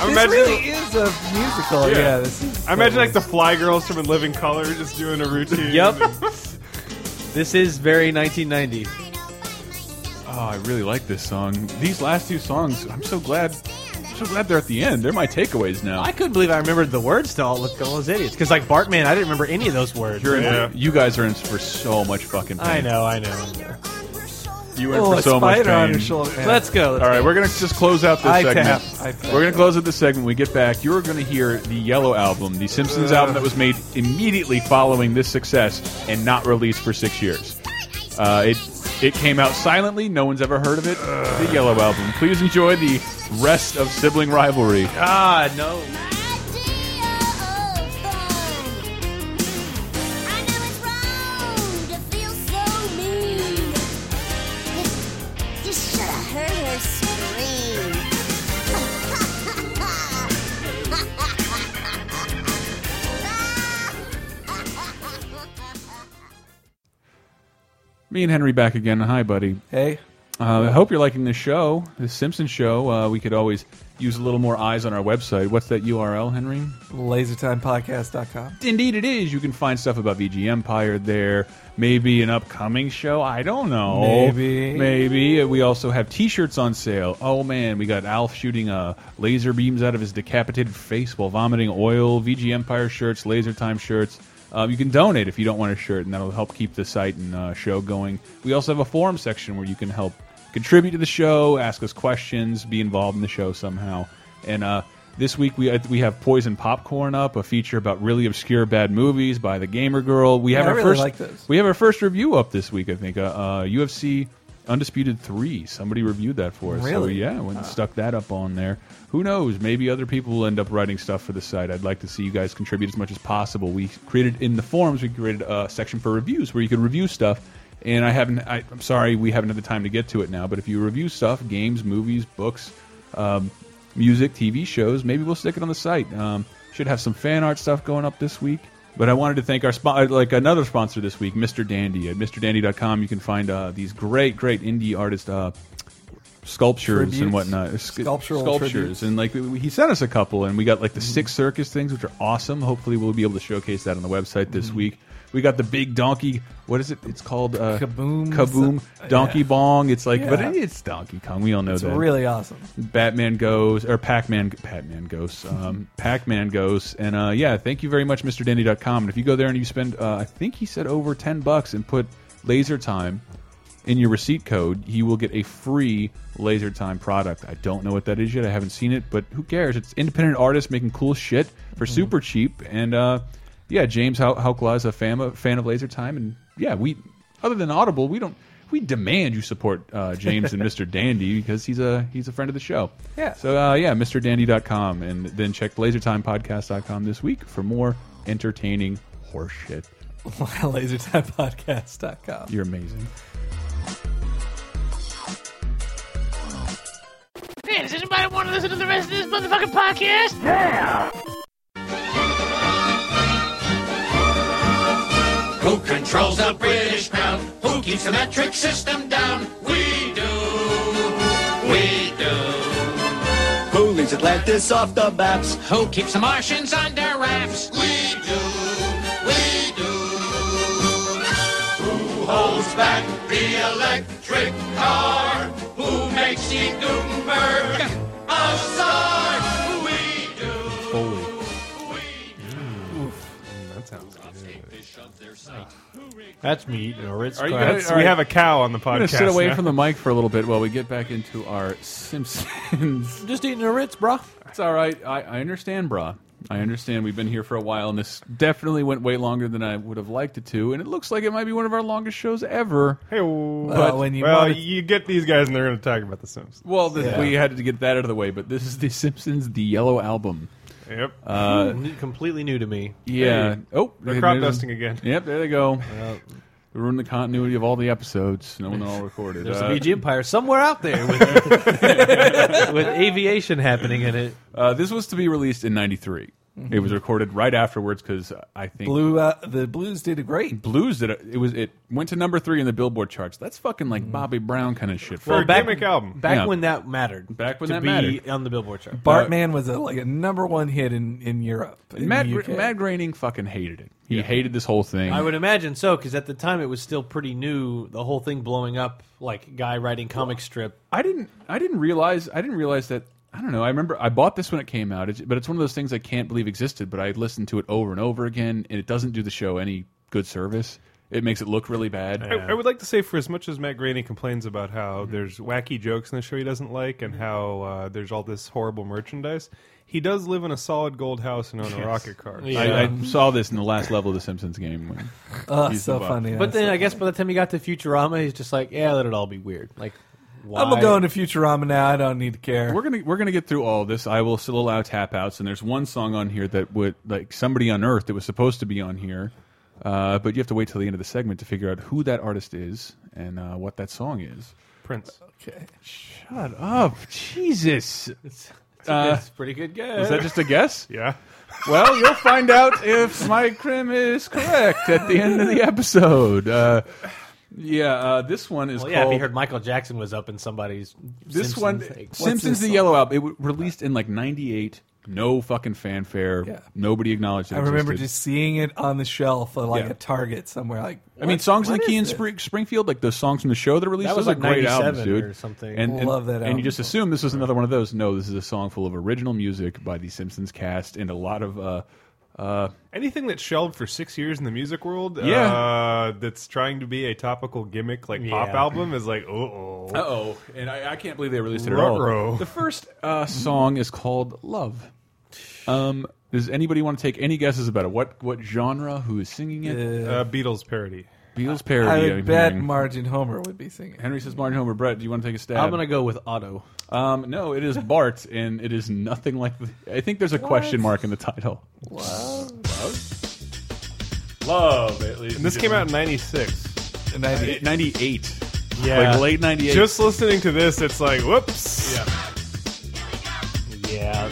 Speaker 1: this
Speaker 3: imagine-
Speaker 1: really is a musical. Yeah, this is.
Speaker 3: I imagine like the Fly Girls from In Living Color just doing a routine.
Speaker 4: Yep. this is very 1990.
Speaker 2: Oh, I really like this song. These last two songs, I'm so glad. I'm so glad they're at the end. They're my takeaways now.
Speaker 4: I couldn't believe I remembered the words to all look all those idiots. Because like Bartman, I didn't remember any of those words.
Speaker 2: You're in-
Speaker 3: Yeah.
Speaker 2: You guys are in for so much fucking pain.
Speaker 4: I know, I know.
Speaker 2: You are in
Speaker 1: Oh,
Speaker 2: for
Speaker 1: a
Speaker 2: so much pain.
Speaker 1: spider on your shoulder. man.
Speaker 4: Let's go. Let's
Speaker 2: All
Speaker 4: go.
Speaker 2: right, we're gonna just close out this
Speaker 1: I
Speaker 2: segment.
Speaker 1: tap. I tap.
Speaker 2: We're gonna close out this segment. When we get back, you're gonna hear the Yellow album, the Simpsons album that was made immediately following this success and not released for six years. Uh, it it came out silently. No one's ever heard of it. The Yellow album. Please enjoy the rest of sibling rivalry.
Speaker 4: God, no.
Speaker 7: You should have heard her scream.
Speaker 2: Me and Henry back again. Hi, buddy.
Speaker 1: Hey,
Speaker 2: Uh, I hope you're liking this show, the Simpsons show. Uh, we could always use a little more eyes on our website. What's that URL, Henry?
Speaker 1: lasertimepodcast.com.
Speaker 2: Indeed, it is. You can find stuff about VG Empire there. Maybe an upcoming show. I don't know.
Speaker 1: Maybe.
Speaker 2: Maybe. We also have t shirts on sale. Oh, man. We got Alf shooting uh, laser beams out of his decapitated face while vomiting oil. VG Empire shirts, Laser Time shirts. Uh, you can donate if you don't want a shirt, and that'll help keep the site and uh, show going. We also have a forum section where you can help contribute to the show, ask us questions, be involved in the show somehow. And uh, this week we we have Poison Popcorn up, a feature about really obscure bad movies by the Gamer Girl. We
Speaker 1: Yeah,
Speaker 2: have
Speaker 1: I
Speaker 2: our
Speaker 1: really
Speaker 2: first
Speaker 1: like those.
Speaker 2: we have our first review up this week. I think uh, uh, UFC Undisputed Three. Somebody reviewed that for us. So,
Speaker 1: Really?
Speaker 2: yeah, went and stuck that up on there. Who knows? Maybe other people will end up writing stuff for the site. I'd like to see you guys contribute as much as possible. We created in the forums. We created a section for reviews where you can review stuff. And I haven't. I, I'm sorry, we haven't had the time to get to it now. But if you review stuff, games, movies, books, um, music, TV shows. Maybe we'll stick it on the site. Um, should have some fan art stuff going up this week. But I wanted to thank our spo- like another sponsor this week, Mr. Dandy at MrDandy.com. You can find uh, these great, great indie artist uh, sculptures and
Speaker 1: Tributes.
Speaker 2: whatnot, Sc-
Speaker 1: Sculptural
Speaker 2: sculptures,
Speaker 1: tributes.
Speaker 2: and like we- we- he sent us a couple, and we got like the six circus things, which are awesome. Hopefully, we'll be able to showcase that on the website this
Speaker 1: Mhm.
Speaker 2: week. We got the big donkey. What is it? It's called uh,
Speaker 1: Kaboom.
Speaker 2: Kaboom
Speaker 1: So-
Speaker 2: Donkey
Speaker 1: Uh, yeah.
Speaker 2: Bong. It's like, but
Speaker 1: Yeah.
Speaker 2: it- it's Donkey Kong. We all know
Speaker 1: It's
Speaker 2: that.
Speaker 1: really awesome.
Speaker 2: Batman goes or Pac-Man Pac-Man goes um, Pac-Man goes and uh, yeah thank you very much MrDandy.com and if you go there and you spend uh, I think he said over 10 bucks and put laser time in your receipt code you will get a free laser time product I don't know what that is yet I haven't seen it but who cares it's independent artists making cool shit for super cheap and uh, yeah James Hau- Haukla is a fan of, fan of laser time and yeah we other than Audible we don't we demand you support uh, James and Mr. Dandy because he's a he's a friend of the show.
Speaker 1: Yeah.
Speaker 2: So uh, yeah, MrDandy.com and then check LaserTimePodcast.com this week for more entertaining horseshit.
Speaker 1: LaserTimePodcast.com.
Speaker 2: You're amazing.
Speaker 13: Hey, does anybody want to listen to the rest of this motherfucking podcast? Yeah!
Speaker 12: Who controls the British pound? Who keeps the metric system down? We do. We do. Who leaves Atlantis off the maps? Who keeps the Martians under wraps? We do. We do. Who holds back the electric car? Who makes Steve Gutenberg a star? We
Speaker 2: Holy.
Speaker 4: That sounds That's me eating a Ritz
Speaker 3: Are you
Speaker 4: cracker.
Speaker 3: gonna- That's- we have a cow on the
Speaker 2: I'm gonna sit
Speaker 3: podcast
Speaker 2: away
Speaker 3: now.
Speaker 2: from the mic for a little bit while we get back into our Simpsons.
Speaker 4: Just eating a Ritz, bro.
Speaker 2: It's all right. I, I understand, brah. I understand. We've been here for a while, and this definitely went way longer than I would have liked it to. And it looks like it might be one of our longest shows ever.
Speaker 3: Hey,
Speaker 2: but
Speaker 3: well, well, you get these guys and they're going to talk about the Simpsons.
Speaker 2: Well, the,
Speaker 3: Yeah.
Speaker 2: we had to get that out of the way, but this is The Simpsons, The Yellow Album.
Speaker 3: Yep.
Speaker 2: Uh,
Speaker 4: New- completely new to me.
Speaker 2: yeah.
Speaker 4: Hey.
Speaker 2: oh,
Speaker 4: They're
Speaker 2: there-
Speaker 4: crop
Speaker 2: there's-
Speaker 4: dusting again.
Speaker 2: Yep, there they go. They ruined the continuity of all the episodes. No one all recorded.
Speaker 4: There's
Speaker 2: Uh,
Speaker 4: a BG Empire somewhere out there with, with aviation happening in it.
Speaker 2: Uh, this was to be released in '93.
Speaker 1: Mhm.
Speaker 4: Mm-hmm.
Speaker 2: It was recorded right afterwards because I think
Speaker 1: Blue, uh, the Blues did a great.
Speaker 2: Blues did it. It was it went to number three in the Billboard charts. That's fucking like Bobby Brown kind of shit. me.
Speaker 4: Back
Speaker 2: Yeah.
Speaker 4: when that mattered.
Speaker 2: Back when
Speaker 4: to
Speaker 2: that
Speaker 4: be
Speaker 2: mattered.
Speaker 4: on the Billboard chart.
Speaker 1: Bartman was a, like a number one hit in in Europe.
Speaker 2: And Matt, Matt Groening fucking hated it. He hated this whole thing.
Speaker 4: I would imagine so, because at the time it was still pretty new. The whole thing blowing up, like guy writing comic strip.
Speaker 2: I didn't. I didn't realize. I didn't realize that. I don't know. I remember I bought this when it came out, it's- but it's one of those things I can't believe existed. But I listened to it over and over again, and it doesn't do the show any good service. It makes it look really bad.
Speaker 3: I, I would like to say, for as much as Matt Graney complains about how there's wacky jokes in the show he doesn't like and how uh, there's all this horrible merchandise, he does live in a solid gold house and on a
Speaker 2: Yes.
Speaker 3: rocket car.
Speaker 2: I, I saw this in the last level of the Simpsons game. When
Speaker 1: Oh,
Speaker 2: he's the boss.
Speaker 4: But then I guess by the time he got to Futurama, he's just like, yeah, let it all be weird. Like, why?
Speaker 1: I'm going to Futurama now. I don't need to care.
Speaker 2: We're gonna we're gonna get through all this. I will still allow tap outs, and there's one song on here that would like somebody unearthed that was supposed to be on here, uh, but you have to wait till the end of the segment to figure out who that artist is and uh, what that song is.
Speaker 3: Prince.
Speaker 1: Okay.
Speaker 2: Shut up, Jesus! It's,
Speaker 4: it's a pretty good guess.
Speaker 2: uh, Was that just a guess?
Speaker 3: yeah.
Speaker 2: Well, you'll find out if my crim is correct at the end of the episode. Uh, yeah, uh, this one is
Speaker 4: Well,
Speaker 2: called.
Speaker 4: yeah, if you heard Michael Jackson was up in somebody's.
Speaker 2: This
Speaker 4: Simpsons,
Speaker 2: one,
Speaker 4: like, what's
Speaker 2: Simpsons
Speaker 4: this
Speaker 2: the Yellow Album, it w- released in like '98. No fucking fanfare.
Speaker 1: Yeah.
Speaker 2: Nobody acknowledged it.
Speaker 1: I remember
Speaker 2: existed.
Speaker 1: just seeing it on the shelf, uh, like
Speaker 2: Yeah.
Speaker 1: a Target somewhere. Like
Speaker 2: I mean,
Speaker 1: what-
Speaker 2: songs like
Speaker 1: what
Speaker 2: Key
Speaker 1: is
Speaker 2: and
Speaker 1: this?
Speaker 2: Spring, Springfield, like those songs from the show that released.
Speaker 1: That was,
Speaker 2: those are
Speaker 1: like,
Speaker 2: great albums,
Speaker 1: 97
Speaker 2: dude.
Speaker 1: or something.
Speaker 2: And, and-
Speaker 1: Love that
Speaker 2: And you
Speaker 1: album.
Speaker 2: just assume this was another one of those. No, this is a song full of original music by the Simpsons cast and a lot of. Uh, uh,
Speaker 3: Anything that's shelved for six years in the music world,
Speaker 2: Yeah.
Speaker 3: uh, that's trying to be a topical gimmick like pop
Speaker 2: Yeah.
Speaker 3: album is like, oh,
Speaker 2: uh oh, and I, I can't believe they released it at all.
Speaker 3: Ruh-roh.
Speaker 2: The first uh, song is called "Love." Um, does anybody want to take any guesses about it? What what genre? Who is singing it?
Speaker 3: Uh, Beatles parody.
Speaker 2: Beatles parody.
Speaker 1: I would
Speaker 2: I'm
Speaker 1: bet
Speaker 2: hearing.
Speaker 1: Margin Homer would be singing.
Speaker 2: Henry says Martin Homer. Brett, do you want to take a stab?
Speaker 4: I'm gonna go with Otto.
Speaker 2: Um, no, it is Bart, and it is nothing like. The, I think there's a question mark in the title. Love, at least.
Speaker 3: And this came out in 96.
Speaker 2: 98. 98.
Speaker 3: Yeah.
Speaker 2: Like late 98.
Speaker 3: Just listening to this, it's like, whoops.
Speaker 2: Yeah.
Speaker 4: Yeah.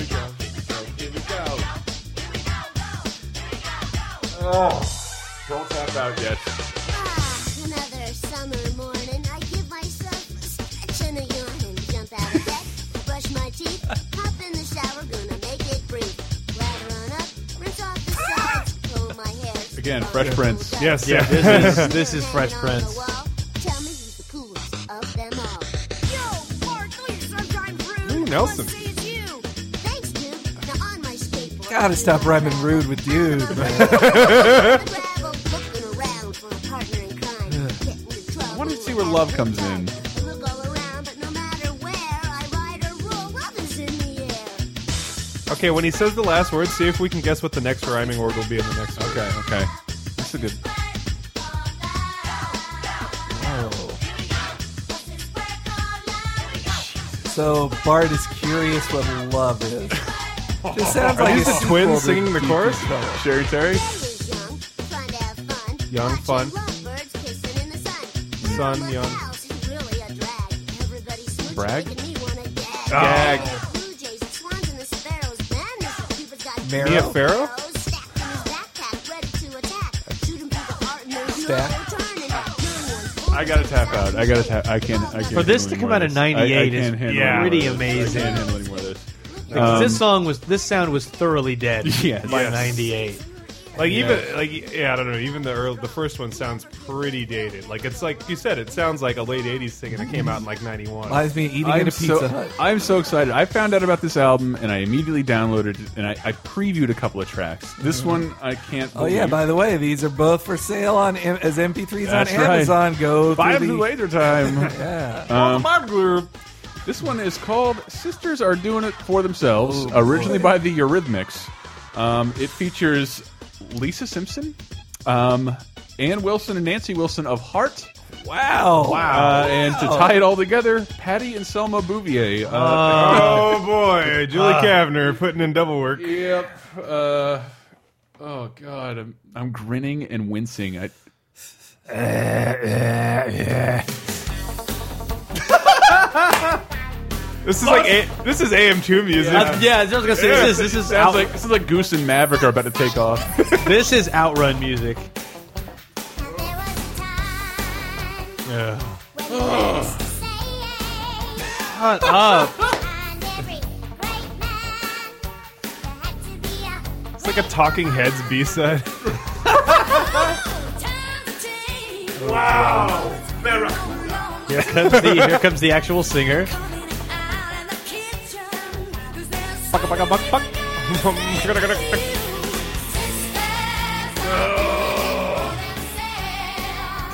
Speaker 2: Oh, don't tap out yet.
Speaker 7: Another summer morning, I give myself a stretch and a yawn and jump teeth. Hop in the shower, gonna make it brief. Lather on up, rinse off the sides, comb my hair.
Speaker 2: Again, Fresh Prince.
Speaker 4: Yes,
Speaker 2: Yeah,
Speaker 4: yeah.
Speaker 2: this is-
Speaker 4: this is Fresh
Speaker 7: Um,
Speaker 4: Prince.
Speaker 7: Tell me who's the coolest of them all. Yo, Mark, don't you sometimes rude.
Speaker 1: Ooh, Nelson.
Speaker 7: Let's say it's you. Thanks, dude. Now on my skateboard.
Speaker 1: Gotta stop rhyming rude with dude.
Speaker 7: Travel, looking around for a partner in crime. Getting in trouble.
Speaker 2: I wanted to see where love comes in.
Speaker 7: Look all around, but no matter where I ride or roll, love is in the air.
Speaker 3: Okay, when he says the last word, see if we can guess what the next rhyming word will be in the next word. Okay,
Speaker 2: okay. That's a good.
Speaker 1: So Bart is curious what love is. This sounds
Speaker 3: Are
Speaker 1: like
Speaker 3: these
Speaker 1: a
Speaker 3: the
Speaker 1: sequel
Speaker 3: twins
Speaker 1: to
Speaker 3: singing the
Speaker 1: Deep
Speaker 3: chorus?
Speaker 1: Deep Trouble.
Speaker 2: Sherry Terry?
Speaker 3: Young fun. Sun, young. Brag? Gag.
Speaker 7: Marrow?
Speaker 3: Mia Farrow?
Speaker 2: I gotta tap out. I gotta tap. I can't. I can't
Speaker 4: For this
Speaker 2: handle
Speaker 4: to
Speaker 2: any
Speaker 4: come
Speaker 2: more
Speaker 4: out
Speaker 2: of
Speaker 4: of
Speaker 2: this. I- I
Speaker 4: '98 is
Speaker 2: can't handle any more
Speaker 4: pretty
Speaker 2: of this.
Speaker 4: amazing.
Speaker 2: I can't handle any more of this.
Speaker 4: Because
Speaker 2: Um,
Speaker 4: this song was this sound was thoroughly dead.
Speaker 2: Yes.
Speaker 4: by
Speaker 2: Yes.
Speaker 4: '98.
Speaker 3: Like
Speaker 4: Yeah.
Speaker 3: even like yeah, I don't know. Even the early, the first one sounds pretty dated. Like it's like you said, it sounds like a late '80s thing, and it came out in like '91.
Speaker 2: I'm so, I'm so excited. I found out about this album and I immediately downloaded it and I, I previewed a couple of tracks. This
Speaker 4: Mm.
Speaker 1: Mhm.
Speaker 2: one I can't.
Speaker 1: Oh yeah!
Speaker 2: believe-
Speaker 1: By the way, these are both for sale on M- as MP3s
Speaker 2: That's
Speaker 1: on
Speaker 2: right.
Speaker 1: Amazon. Go
Speaker 2: buy
Speaker 1: through
Speaker 2: them
Speaker 1: the-
Speaker 2: later time.
Speaker 1: yeah.
Speaker 2: Um, This one is called "Sisters Are Doing It for Themselves,"
Speaker 1: Oh,
Speaker 2: originally
Speaker 1: boy.
Speaker 2: by the Eurythmics. Um, it features Lisa Simpson, um, Ann Wilson, and Nancy Wilson of Heart.
Speaker 1: Wow!
Speaker 2: Uh, and to tie it all together, Patty and Selma Bouvier. Uh,
Speaker 3: oh boy, Julie
Speaker 2: Uh,
Speaker 3: Kavner putting in double work.
Speaker 2: Yep. Uh, oh God, I'm, I'm grinning and wincing. I.
Speaker 1: Eh,
Speaker 3: This is like a, this is AM2 music.
Speaker 2: Yeah.
Speaker 4: Uh, yeah, I was gonna say this is this is
Speaker 2: Uh, sounds
Speaker 4: out,
Speaker 2: like this is like Goose and Maverick are about to take off.
Speaker 4: this is outrun music. Shut up.
Speaker 3: It's like a Talking Heads B-side.
Speaker 13: Wow.
Speaker 4: Here comes the here comes the actual singer. Buck, buck, buck, buck.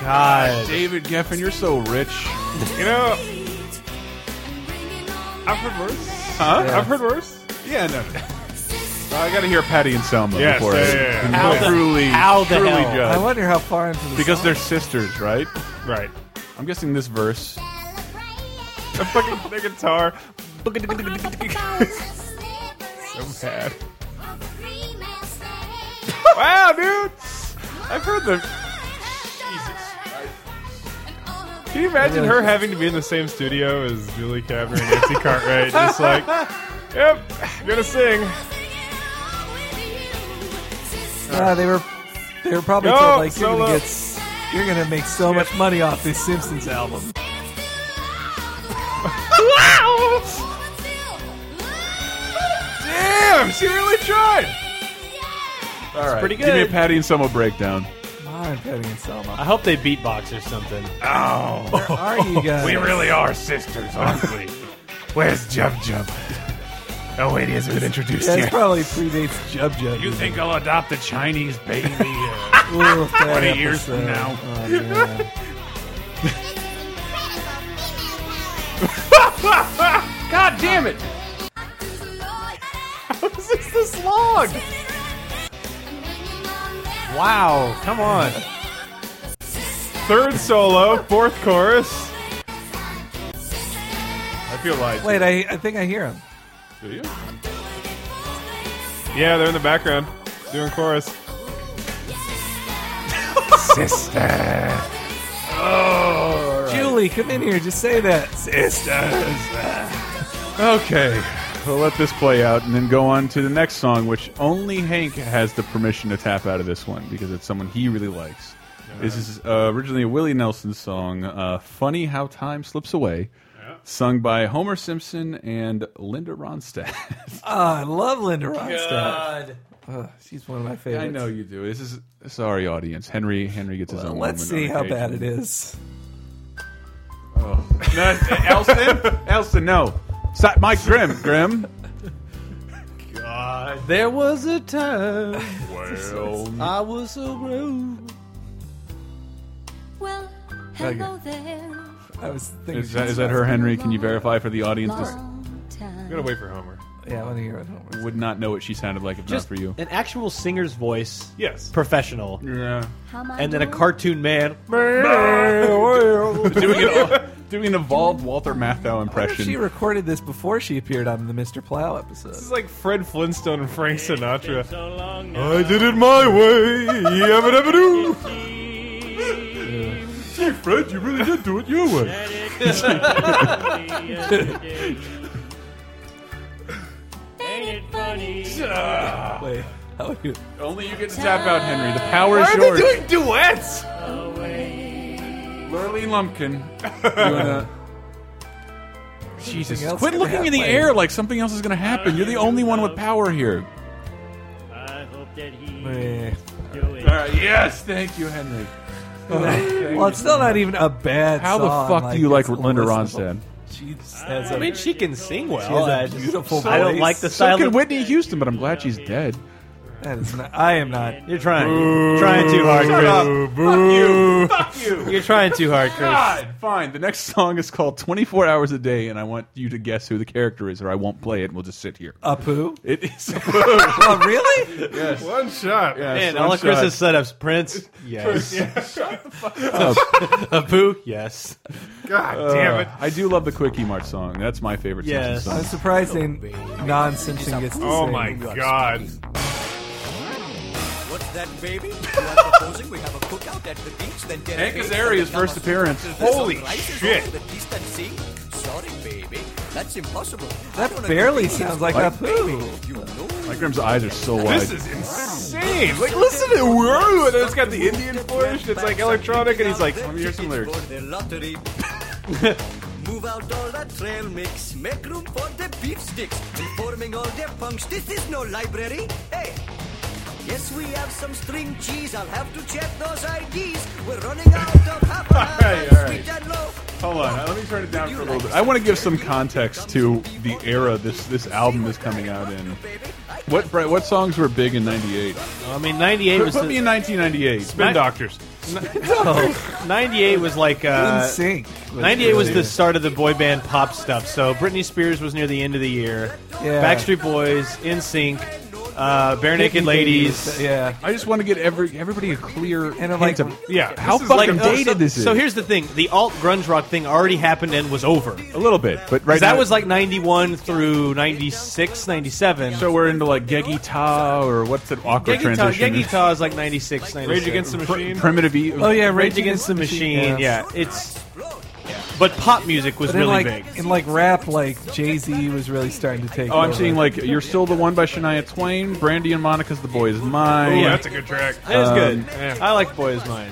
Speaker 4: God,
Speaker 2: David Geffen, you're so rich.
Speaker 3: You know, I've heard worse.
Speaker 2: Huh?
Speaker 3: I've heard worse.
Speaker 2: Yeah, no. I got to hear Patty and Selma
Speaker 3: Yes,
Speaker 2: before
Speaker 3: yeah,
Speaker 2: I
Speaker 3: yeah, yeah.
Speaker 2: can
Speaker 3: How the-
Speaker 2: truly,
Speaker 3: how the
Speaker 2: truly
Speaker 3: hell?
Speaker 1: I
Speaker 2: judge.
Speaker 1: wonder how far into the
Speaker 2: because
Speaker 1: song.
Speaker 2: they're sisters, right?
Speaker 3: Right.
Speaker 2: I'm guessing this verse.
Speaker 3: The fucking the guitar. so bad. wow, dude. I've heard the. Can you imagine her having to be in the same studio as Julie Kavner and Nancy Cartwright? Just like, yep, gonna sing.
Speaker 1: Ah, they were they were probably
Speaker 3: No,
Speaker 1: told, like you're
Speaker 3: solo.
Speaker 1: gonna get s- you're gonna make so much money off this Simpsons album.
Speaker 3: Damn, she really tried.
Speaker 2: All right,
Speaker 4: pretty
Speaker 2: Give me a
Speaker 4: good.
Speaker 2: Patty and Selma breakdown.
Speaker 1: Mine, Patty and Selma.
Speaker 4: I hope they beatbox or something.
Speaker 3: Ow.
Speaker 1: Where are you guys?
Speaker 3: We really are sisters, aren't we? Where's Jub Jub? Oh, wait, he hasn't been introduced
Speaker 1: Yeah,
Speaker 3: yet.
Speaker 1: this probably predates Jub Jub.
Speaker 3: You think I'll adopt a Chinese baby uh?
Speaker 1: Ooh, that
Speaker 3: 20 years
Speaker 1: episode.
Speaker 3: from now?
Speaker 1: Oh, man.
Speaker 13: God damn it.
Speaker 3: How is this this long?
Speaker 4: Wow, come on.
Speaker 3: Third solo, fourth chorus. I feel like.
Speaker 1: Wait, I, I think I hear him.
Speaker 2: Do you?
Speaker 3: Yeah, they're in the background doing chorus. Sister.
Speaker 1: Julie, come in here. Just say that.
Speaker 2: Okay, we'll let this play out and then go on to the next song, which only Hank has the permission to tap out of this one because it's someone he really likes. This is uh, originally a Willie Nelson song, uh, Funny How Time Slips Away, sung by Homer Simpson and Linda Ronstadt.
Speaker 1: uh, I love Linda Ronstadt. Ugh, she's one of my favorites.
Speaker 2: I know you do. This is sorry, audience. Henry Henry gets his own.
Speaker 1: Let's
Speaker 2: moment
Speaker 1: see
Speaker 2: on
Speaker 1: how bad it
Speaker 2: occasion.
Speaker 1: is.
Speaker 2: Oh. No, Elston, Elston, no. Si- Mike Grimm, Grimm.
Speaker 3: Uh,
Speaker 4: God. There was a time
Speaker 2: Well.
Speaker 4: I was so rude.
Speaker 10: Well,
Speaker 2: Okay.
Speaker 10: hello there.
Speaker 1: I was thinking
Speaker 2: Is that, is that her, Henry? Can you verify for the audience? This
Speaker 10: Long time.
Speaker 3: gotta wait for Homer.
Speaker 1: Yeah, I want to hear it. Homer.
Speaker 2: would not know what she sounded like if
Speaker 4: Just
Speaker 2: not for you.
Speaker 4: an actual singer's voice.
Speaker 3: Yes.
Speaker 4: Professional.
Speaker 2: Yeah.
Speaker 10: How am I
Speaker 4: And then a
Speaker 10: doing?
Speaker 4: cartoon man.
Speaker 2: doing, an, doing an evolved Walter Matthau impression.
Speaker 1: She recorded this before she appeared on the Mr. Plow episode.
Speaker 3: This is like Fred Flintstone and Frank Sinatra.
Speaker 6: I
Speaker 3: did it my way. Yabba dabba doo.
Speaker 2: Hey, Fred, you really did do it your way.
Speaker 12: Oh.
Speaker 10: Ain't it funny?
Speaker 1: Wait, how are you?
Speaker 2: Only you get to tap out, Henry. The power is yours.
Speaker 3: duets?
Speaker 2: Lurleen Lumpkin. You wanna- Jesus,
Speaker 1: Anything else
Speaker 2: quit
Speaker 1: gonna
Speaker 2: looking in the
Speaker 1: happen?
Speaker 2: air like something else is going to happen. You're the only one with power here.
Speaker 6: I hope that he
Speaker 1: Meh.
Speaker 6: do it.
Speaker 2: All right, Uh, yes, thank you, Henry.
Speaker 1: Well, it's still not even a bad.
Speaker 2: How the
Speaker 1: song,
Speaker 2: fuck do you like
Speaker 1: it's
Speaker 2: Linda
Speaker 1: listenable.
Speaker 2: Ronstadt?
Speaker 1: She just has
Speaker 4: I
Speaker 1: a Oh,
Speaker 4: mean, she can sing well.
Speaker 1: has a
Speaker 4: I just-
Speaker 1: beautiful
Speaker 4: I don't
Speaker 1: voice.
Speaker 4: like the
Speaker 2: So
Speaker 4: style.
Speaker 2: could
Speaker 4: of-
Speaker 2: Whitney Houston, but I'm glad she's dead.
Speaker 1: That is not, I am not.
Speaker 4: You're trying. trying too hard, Chris.
Speaker 2: Fuck you.
Speaker 4: You're trying too hard, Chris.
Speaker 2: God, fine. The next song is called 24 Hours a Day, and I want you to guess who the character is, or I won't play it, and we'll just sit here.
Speaker 1: Apu?
Speaker 2: It is.
Speaker 1: Oh, really?
Speaker 3: One shot.
Speaker 4: Man, all of Chris's setups. Prince, yes. Apu, yes.
Speaker 3: God damn it.
Speaker 2: I do love the Quickie Mart song. That's my favorite
Speaker 4: Yes.
Speaker 2: Simpsons
Speaker 1: I'm
Speaker 2: song.
Speaker 1: surprised they nonsense and gets to
Speaker 3: Oh
Speaker 1: sing.
Speaker 3: my god.
Speaker 12: What's that, baby? You are proposing we have a cookout at the beach, then get
Speaker 2: Hank
Speaker 12: a face
Speaker 2: Azaria's
Speaker 12: at the
Speaker 2: first
Speaker 12: Yamaha.
Speaker 2: appearance.
Speaker 12: Does this
Speaker 3: Holy
Speaker 12: sunrise is
Speaker 3: shit.
Speaker 12: over the distant sea? Sorry, baby. That's impossible. I
Speaker 1: That
Speaker 12: don't agree
Speaker 1: barely
Speaker 12: with you.
Speaker 1: sounds like
Speaker 2: Like-
Speaker 1: Apu.
Speaker 12: You know
Speaker 2: Mike Grimm's eyes are so wide.
Speaker 3: This is insane. Like, listen to Woo! And it's got the Indian flourish. It's like electronic, and he's like,
Speaker 12: Let
Speaker 2: me hear some lyrics.
Speaker 12: For the lottery. Move out all the trail mix. Make room for the beef sticks. Reforming all the punks. This is no library. Hey! Yes, we have some string cheese. I'll have to check those IDs. We're running out of half a
Speaker 2: right,
Speaker 12: half
Speaker 2: all right.
Speaker 12: sweet and low.
Speaker 2: Hold on, let me turn it down for a little bit. I want to give some context to the era this this album is coming out in. What Brett, what songs were big in '98?
Speaker 4: I mean, 98
Speaker 2: Put,
Speaker 4: was.
Speaker 2: put me
Speaker 4: the-
Speaker 2: in 1998.
Speaker 3: Spin Doctors.
Speaker 4: Oh, 98 was like.
Speaker 1: In
Speaker 4: Uh,
Speaker 1: sync.
Speaker 4: 98 was the start of the boy band pop stuff. So Britney Spears was near the end of the year.
Speaker 1: Yeah.
Speaker 4: Backstreet Boys, In Sync, uh, Bare Naked Ladies.
Speaker 1: Yeah.
Speaker 2: I just want to get every everybody a clear
Speaker 1: And I'm like-
Speaker 2: hint of
Speaker 3: Yeah.
Speaker 2: how
Speaker 4: This is
Speaker 2: fucking
Speaker 4: like- oh,
Speaker 2: dated
Speaker 4: so,
Speaker 2: this is.
Speaker 4: So here's the thing: the alt grunge rock thing already happened and was over.
Speaker 2: a little bit, but right
Speaker 4: that
Speaker 2: now-
Speaker 4: was like 91 through 96, 97.
Speaker 2: so we're into like Geggy Ta or what's an awkward
Speaker 4: Geggy Ta-
Speaker 2: transition?
Speaker 4: Geggy Ta is like 96, 97.
Speaker 3: Rage Against the
Speaker 2: Pr-
Speaker 3: Machine.
Speaker 2: primitive. E-
Speaker 1: Oh yeah,
Speaker 4: Rage Against the Machine. Yeah, it's. But pop music was
Speaker 1: But in
Speaker 4: really
Speaker 1: like
Speaker 4: big.
Speaker 1: in like rap, like Jay Z was really starting to take.
Speaker 2: Oh, I'm
Speaker 1: over.
Speaker 2: seeing like "You're Still the One" by Shania Twain, "Brandy and Monica's The Boy Is Mine."
Speaker 3: Ooh, Oh, that's a good track.
Speaker 4: It was good.
Speaker 2: um,
Speaker 3: yeah.
Speaker 4: I like Boy Is Mine.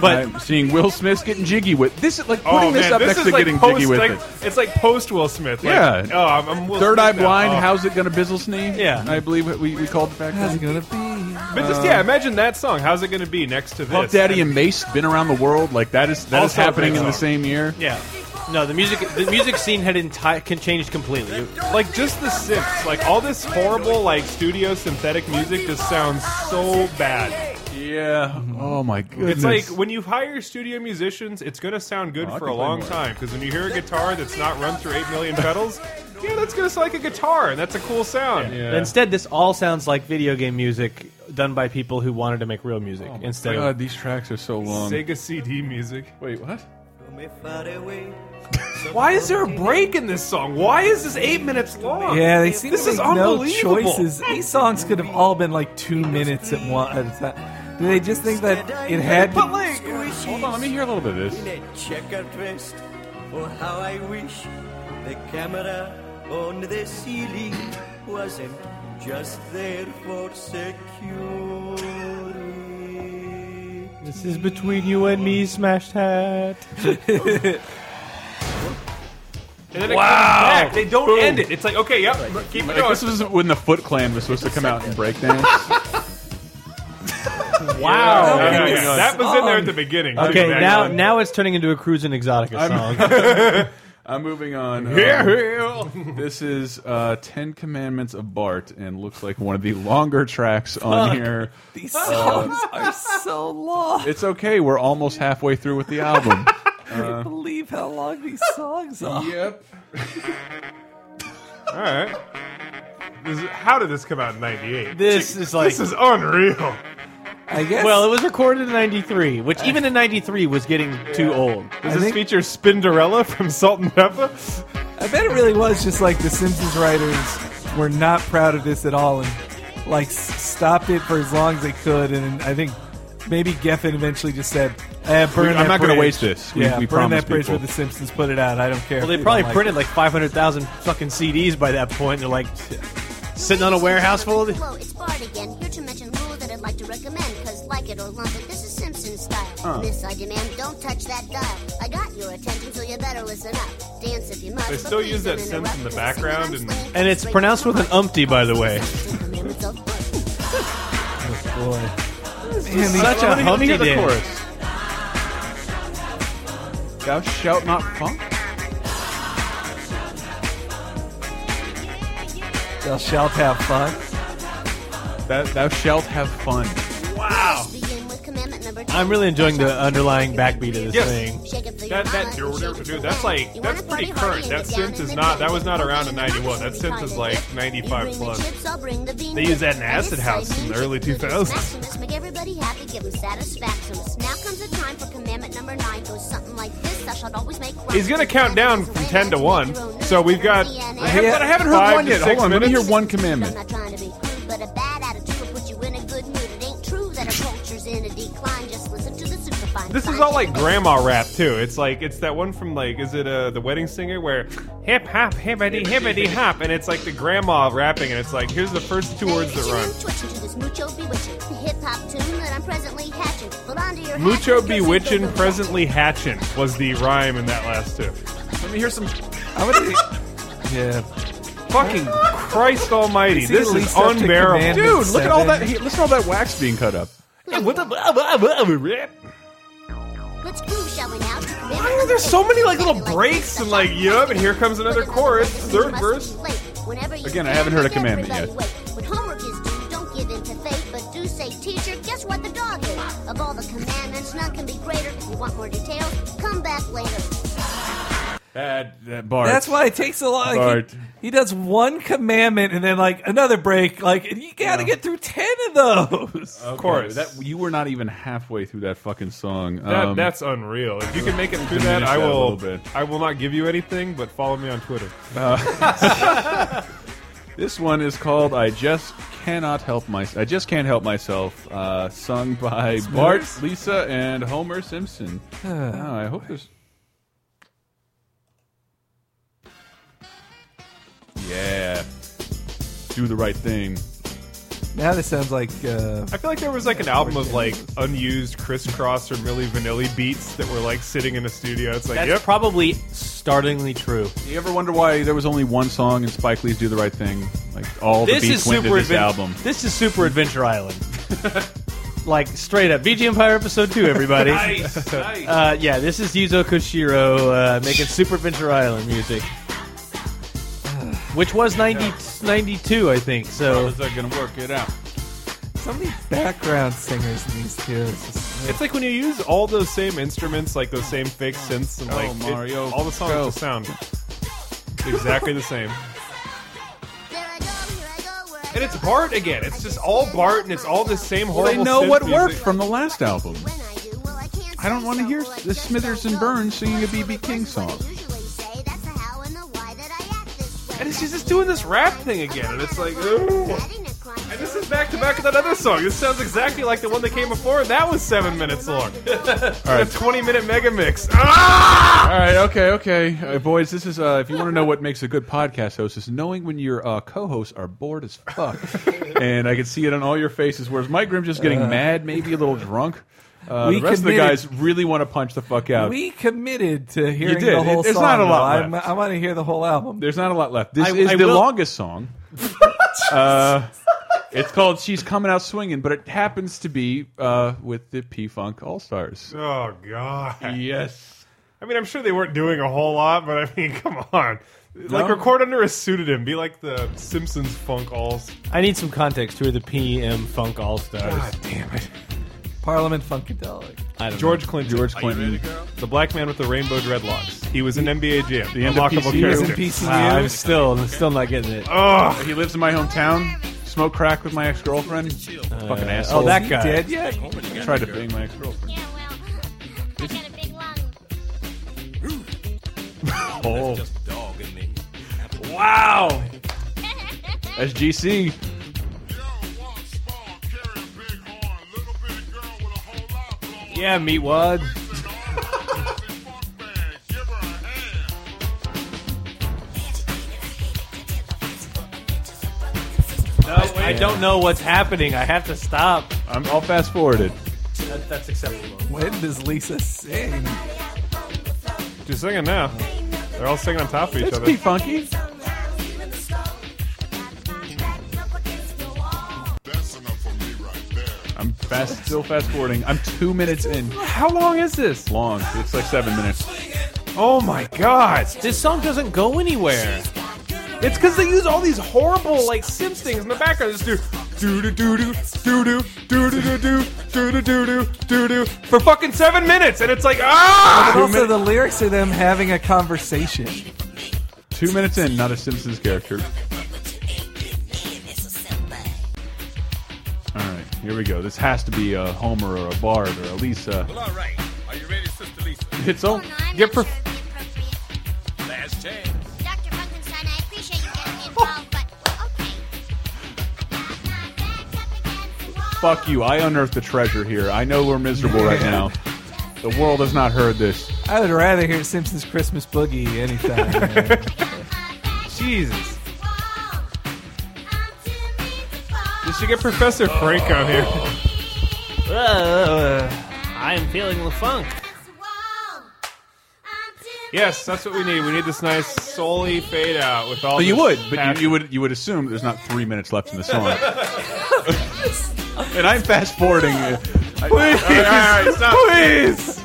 Speaker 4: But
Speaker 2: I'm seeing Will Smith getting jiggy with this. Is like putting
Speaker 3: Oh,
Speaker 2: this
Speaker 3: man,
Speaker 2: up
Speaker 3: this
Speaker 2: next
Speaker 3: is
Speaker 2: to
Speaker 3: like
Speaker 2: getting
Speaker 3: post,
Speaker 2: jiggy with
Speaker 3: like,
Speaker 2: it.
Speaker 3: It's like post Will Smith. Like,
Speaker 2: Yeah.
Speaker 3: Oh, I'm, I'm Will
Speaker 2: Third
Speaker 3: Smith
Speaker 2: Eye
Speaker 3: now.
Speaker 2: Blind.
Speaker 3: Oh.
Speaker 2: How's it gonna bizzle sneeze?
Speaker 4: Yeah.
Speaker 2: I believe what we, we called it back
Speaker 1: How's
Speaker 2: then.
Speaker 1: it gonna be?
Speaker 3: But just yeah, imagine that song. How's it going to be next to this?
Speaker 2: Puff Daddy and Mace been around the world. Like that is that is
Speaker 3: Also a
Speaker 2: happening
Speaker 3: great
Speaker 2: in the
Speaker 3: song.
Speaker 2: same year.
Speaker 4: yeah, no, the music the music scene had entire can changed completely.
Speaker 3: like just the synths, like all this horrible like studio synthetic music just sounds so bad.
Speaker 2: Yeah. Oh my
Speaker 3: It's
Speaker 2: goodness.
Speaker 3: like when you hire studio musicians, it's gonna sound good
Speaker 2: Oh, I
Speaker 3: for
Speaker 2: can
Speaker 3: a
Speaker 2: play
Speaker 3: long
Speaker 2: more.
Speaker 3: time because when you hear a guitar that's not run through eight million pedals, yeah, that's gonna sound like a guitar and that's a cool sound.
Speaker 2: Yeah.
Speaker 4: But Instead, this all sounds like video game music done by people who wanted to make real music
Speaker 2: Oh my
Speaker 4: instead
Speaker 2: God,
Speaker 4: of
Speaker 2: these tracks are so long.
Speaker 3: Sega CD music.
Speaker 2: Wait, what?
Speaker 3: Why is there a break in this song? Why is this eight minutes long?
Speaker 1: Yeah, they seem
Speaker 3: This
Speaker 1: to
Speaker 3: is
Speaker 1: make no
Speaker 3: unbelievable.
Speaker 1: choices. These songs could have all been like two minutes at one. At a time. Do they just think that it had?
Speaker 3: But
Speaker 1: To,
Speaker 3: like,
Speaker 2: Hold on, let me hear a little bit of this.
Speaker 12: In a checkered vest, oh how I wish the camera on the ceiling wasn't just there for security.
Speaker 4: This is between you and me, smashed hat.
Speaker 3: And then it
Speaker 2: Wow.
Speaker 3: comes back. They don't
Speaker 2: Boom.
Speaker 3: end it. It's like, okay, yep, keep it
Speaker 2: Like,
Speaker 3: going.
Speaker 2: this is when the Foot Clan was supposed to come out and break dance.
Speaker 3: Wow.
Speaker 2: Yeah.
Speaker 3: Okay,
Speaker 2: Yeah.
Speaker 3: That was in there at the beginning. too,
Speaker 4: Okay,
Speaker 3: back
Speaker 4: now
Speaker 3: on.
Speaker 4: now it's turning into a cruise and exotica song.
Speaker 2: I'm, I'm moving on. Um,
Speaker 4: Yeah,
Speaker 2: this is uh, Ten Commandments of Bart, and looks like one of the longer tracks
Speaker 1: Fuck.
Speaker 2: on here.
Speaker 1: These
Speaker 2: Uh,
Speaker 1: songs are so long.
Speaker 2: it's okay. We're almost halfway through with the album.
Speaker 1: I can't believe how long these songs are.
Speaker 2: Yep.
Speaker 3: All right. This is, how did this come out in '98?
Speaker 4: This is like-
Speaker 3: this is unreal.
Speaker 1: I guess.
Speaker 4: Well, it was recorded in '93, which even in '93 was getting too old.
Speaker 3: Does this feature Spinderella from Salt and Pepper?
Speaker 1: I bet it really was just like the Simpsons writers were not proud of this at all and like s- stopped it for as long as they could. And I think maybe Geffen eventually just said, eh,
Speaker 2: We-
Speaker 1: "Burn
Speaker 2: I'm
Speaker 1: that
Speaker 2: not
Speaker 1: bridge."
Speaker 2: gonna waste this. We-
Speaker 1: yeah,
Speaker 2: we
Speaker 1: burn
Speaker 2: promise
Speaker 1: that bridge
Speaker 2: people.
Speaker 1: with the Simpsons. Put it out. I don't care.
Speaker 4: Well,
Speaker 1: if
Speaker 4: they
Speaker 1: you
Speaker 4: probably
Speaker 1: don't like
Speaker 4: printed like 500,000 fucking CDs by that point. They're like sitting on a warehouse full of.
Speaker 7: Hello, it's Bart again, here to mention a rule that I'd like to recommend, cause like it or lump it, this is Simpson style.
Speaker 2: Huh.
Speaker 7: This I demand, don't touch that dial. I got your attention, so you better listen up. Dance if you must,
Speaker 3: They
Speaker 7: but
Speaker 3: still
Speaker 7: please
Speaker 3: use that
Speaker 7: don't
Speaker 3: synth in the
Speaker 7: interrupt.
Speaker 3: background, and
Speaker 4: And it's pronounced with an umpty, by the way. Such a humpty dance.
Speaker 2: Thou shalt not funk.
Speaker 1: Thou shalt have fun.
Speaker 2: Thou, thou shalt have fun.
Speaker 7: Wow. Begin with commandment number two.
Speaker 4: I'm really enjoying the underlying backbeat of this
Speaker 3: Yes.
Speaker 4: thing.
Speaker 7: Shake it for your
Speaker 3: That that
Speaker 7: mama, shake it
Speaker 3: dude,
Speaker 7: for
Speaker 3: that's
Speaker 7: mama.
Speaker 3: like
Speaker 7: You
Speaker 3: that's
Speaker 7: wanna party
Speaker 3: pretty
Speaker 7: hard,
Speaker 3: current.
Speaker 7: you
Speaker 3: That
Speaker 7: get down
Speaker 3: synth
Speaker 7: in
Speaker 3: is
Speaker 7: the
Speaker 3: not
Speaker 7: dirt.
Speaker 3: that was not
Speaker 7: Don't
Speaker 3: around
Speaker 7: be
Speaker 3: in
Speaker 7: naughty,
Speaker 3: '91. That
Speaker 7: don't be
Speaker 3: synth is
Speaker 7: naughty,
Speaker 3: like
Speaker 7: dirt.
Speaker 3: '95
Speaker 7: You bring the
Speaker 3: plus.
Speaker 7: chips, I'll bring the bean
Speaker 3: They
Speaker 7: dip.
Speaker 3: use that in
Speaker 7: On this
Speaker 3: acid
Speaker 7: side,
Speaker 3: house in the
Speaker 7: bean
Speaker 3: early
Speaker 7: dip, noodles,
Speaker 3: 2000s.
Speaker 7: snacks, and let's Make everybody happy, give them satisfaction. Now comes the time for commandment number nine. Goes something like this: Thou shalt always make. right.
Speaker 3: He's gonna count down from ten to one. So we've got.
Speaker 7: I haven't- but I haven't
Speaker 2: heard
Speaker 3: five
Speaker 2: one
Speaker 3: to
Speaker 2: yet.
Speaker 3: six
Speaker 2: Hold on, let me
Speaker 3: minutes.
Speaker 2: hear one commandment.
Speaker 7: I'm not trying to be crude, but a bad attitude will put you in a good mood. It ain't true that our culture's in a decline. Just listen to the superfine.
Speaker 3: This is all like grandma rap too. It's like it's that one from like is it uh the wedding singer where hip hop hippity hippity hop and it's like the grandma rapping and it's like here's the first two words that run.
Speaker 7: Twitching to this mucho bewitching hip hop tune that I'm presently hatching. Hold on to your
Speaker 3: Mucho
Speaker 7: hat, 'cause it goes
Speaker 3: bewitching,
Speaker 7: with
Speaker 3: presently hatching was the rhyme in that last two.
Speaker 2: Let me hear some.
Speaker 1: I'm gonna
Speaker 3: Yeah. Fucking Christ Almighty,
Speaker 2: Is he
Speaker 3: this
Speaker 2: at
Speaker 3: is
Speaker 2: least up to
Speaker 3: unbearable,
Speaker 2: Commandment Dude, look at all that- seven? he- listen to all that wax being cut up.
Speaker 7: Let's groove, shall we now?
Speaker 3: There's so many like little breaks and like yup, and here comes another chorus, third verse.
Speaker 7: Late. Whenever you
Speaker 2: Again, I
Speaker 7: can,
Speaker 2: haven't heard a
Speaker 7: make
Speaker 2: commandment
Speaker 7: everybody
Speaker 2: yet.
Speaker 7: wait. When homework is due, don't give in to fate, but do say, teacher, guess what the dog is? Of all the commandments, none can be greater. If you want more details, come back later.
Speaker 2: That, that Bart.
Speaker 1: That's why it takes a lot. Like,
Speaker 2: Bart.
Speaker 1: he, he does one commandment and then like another break. Like and you got to get through ten of those.
Speaker 2: Of
Speaker 3: course.
Speaker 2: That, you were not even halfway through that fucking song.
Speaker 3: That,
Speaker 2: Um,
Speaker 3: that's unreal. If you can make it through
Speaker 2: diminish
Speaker 3: that, I
Speaker 2: that a
Speaker 3: will.
Speaker 2: little
Speaker 3: I will not give you anything, but follow me on Twitter.
Speaker 2: This one is called "I Just Cannot Help My I Just Can't Help Myself," uh, sung by
Speaker 1: Smithers?
Speaker 2: Bart, Lisa, and Homer Simpson.
Speaker 1: Huh.
Speaker 2: Oh, I hope there's. Yeah, do the right thing.
Speaker 1: Now this sounds like uh,
Speaker 3: I feel like there was like an album of like unused crisscross or Milli Vanilli beats that were like sitting in a studio. It's like,
Speaker 4: That's
Speaker 3: yep.
Speaker 4: probably startlingly true.
Speaker 2: You ever wonder why there was only one song in Spike Lee's "Do the Right Thing"? Like all
Speaker 4: This
Speaker 2: the
Speaker 4: is
Speaker 2: beats went to
Speaker 4: super
Speaker 2: this
Speaker 4: adven-
Speaker 2: album.
Speaker 4: This is Super Adventure Island. like straight up VG Empire episode two, everybody.
Speaker 2: Nice, nice.
Speaker 4: Uh, yeah, this is Yuzo Koshiro uh, making Super Adventure Island music, which was 90, 92, I think. So
Speaker 2: Brothers are gonna work it out.
Speaker 1: so many background singers in these two. It's just-
Speaker 3: It's like when you use all those same instruments, like those same fake synths, and
Speaker 2: Go,
Speaker 3: like it-
Speaker 2: Oh, Mario,
Speaker 3: all the songs
Speaker 2: go.
Speaker 3: just sound exactly the same. And it's Bart again. It's just all Bart, and it's all the same
Speaker 2: Well, they
Speaker 3: horrible.
Speaker 2: know
Speaker 3: synth
Speaker 2: what
Speaker 3: music.
Speaker 2: worked from the last album. I don't want to hear the Smithers and Burns singing a BB King song.
Speaker 3: And it's just it's doing this rap thing again, and it's like, ooh. And this is back to back with that other song. This sounds exactly like the one that came before. and That was seven minutes long.
Speaker 2: All
Speaker 3: A
Speaker 2: right,
Speaker 3: twenty-minute mega mix. Ah!
Speaker 2: All right, okay, okay, uh, boys. This is uh, if you want to know what makes a good podcast host is knowing when your uh, co-hosts are bored as fuck, and I can see it on all your faces. Whereas Mike Grimm just getting mad, maybe a little drunk. Uh,
Speaker 1: Uh. We
Speaker 2: the rest of the
Speaker 1: committed-
Speaker 2: guys really want to punch the fuck out.
Speaker 1: We committed to hearing
Speaker 2: did.
Speaker 1: the whole
Speaker 2: There's
Speaker 1: song.
Speaker 2: not a lot
Speaker 1: though.
Speaker 2: left.
Speaker 1: I, I want to hear the whole album.
Speaker 2: There's not a lot left. This
Speaker 1: I-
Speaker 2: is
Speaker 1: I
Speaker 2: the
Speaker 1: will-
Speaker 2: longest song. uh, it's called "She's Coming Out Swinging," but it happens to be uh, with the P Funk All Stars.
Speaker 3: Oh God.
Speaker 2: Yes.
Speaker 3: I mean, I'm sure they weren't doing a whole lot, but I mean, come on. Like
Speaker 4: No.
Speaker 3: record under a pseudonym, be like the Simpsons funk alls.
Speaker 4: I need some context. Who are the PM Funk All Stars?
Speaker 3: God damn it.
Speaker 1: Parliament Funkadelic.
Speaker 4: I don't
Speaker 3: George
Speaker 4: know.
Speaker 3: Clinton.
Speaker 4: George Are you Clinton. ready,
Speaker 3: The black man with the rainbow dreadlocks. He was in NBA Jam. The
Speaker 2: end of
Speaker 3: unlockable
Speaker 2: PCU.
Speaker 3: character.
Speaker 2: He was in PCU.
Speaker 4: Wow, I'm still, I'm still not getting it.
Speaker 3: Ugh.
Speaker 2: He lives in my hometown. Smoke crack with my ex girlfriend. Fucking
Speaker 4: oh,
Speaker 2: asshole.
Speaker 4: that Is he guy.
Speaker 1: dead
Speaker 2: yet? tried to bang my ex girlfriend. Oh. Wow. That's GC.
Speaker 4: Yeah, meatwad. no, wait, I don't know what's happening. I have to stop.
Speaker 2: I'm, I'll fast forward it.
Speaker 4: That, that's acceptable.
Speaker 1: When does Lisa sing?
Speaker 3: She's singing now. They're all singing on top of each
Speaker 2: It's
Speaker 3: other.
Speaker 2: P Funky. I'm fast, still fast forwarding. I'm two minutes in.
Speaker 3: How long is this?
Speaker 2: Long. It's like seven minutes.
Speaker 3: Oh my god.
Speaker 4: This song doesn't go anywhere.
Speaker 3: It's because they use all these horrible like Sims things in the background. Just do do do do do do do do do do do do do do do do for fucking seven minutes, and it's like
Speaker 1: But
Speaker 3: ah.
Speaker 1: also, the lyrics are them having a conversation.
Speaker 2: Two minutes in, not a Simpsons character. All right, here we go. This has to be a Homer or a Bart or a Lisa.
Speaker 12: Well, all right. Are you ready, Sister Lisa?
Speaker 2: It's
Speaker 7: Oh,
Speaker 2: all. You're perf-
Speaker 12: Last chance.
Speaker 7: Dr. Funkenstein, I appreciate you getting involved, but okay.
Speaker 2: Fuck you. I unearthed the treasure here. I know we're miserable right now. The world has not heard this.
Speaker 1: I would rather hear Simpsons Christmas Boogie anytime.
Speaker 3: Jesus. You should get Professor Frank on here.
Speaker 4: Uh, I'm feeling the funk.
Speaker 3: Yes, that's what we need. We need this nice solely fade out with all.
Speaker 2: But you would,
Speaker 3: this
Speaker 2: but
Speaker 3: passion.
Speaker 2: you, you would, you would assume there's not three minutes left in the song. and I'm fast forwarding. it. I- all right, all right, stop.
Speaker 3: Please.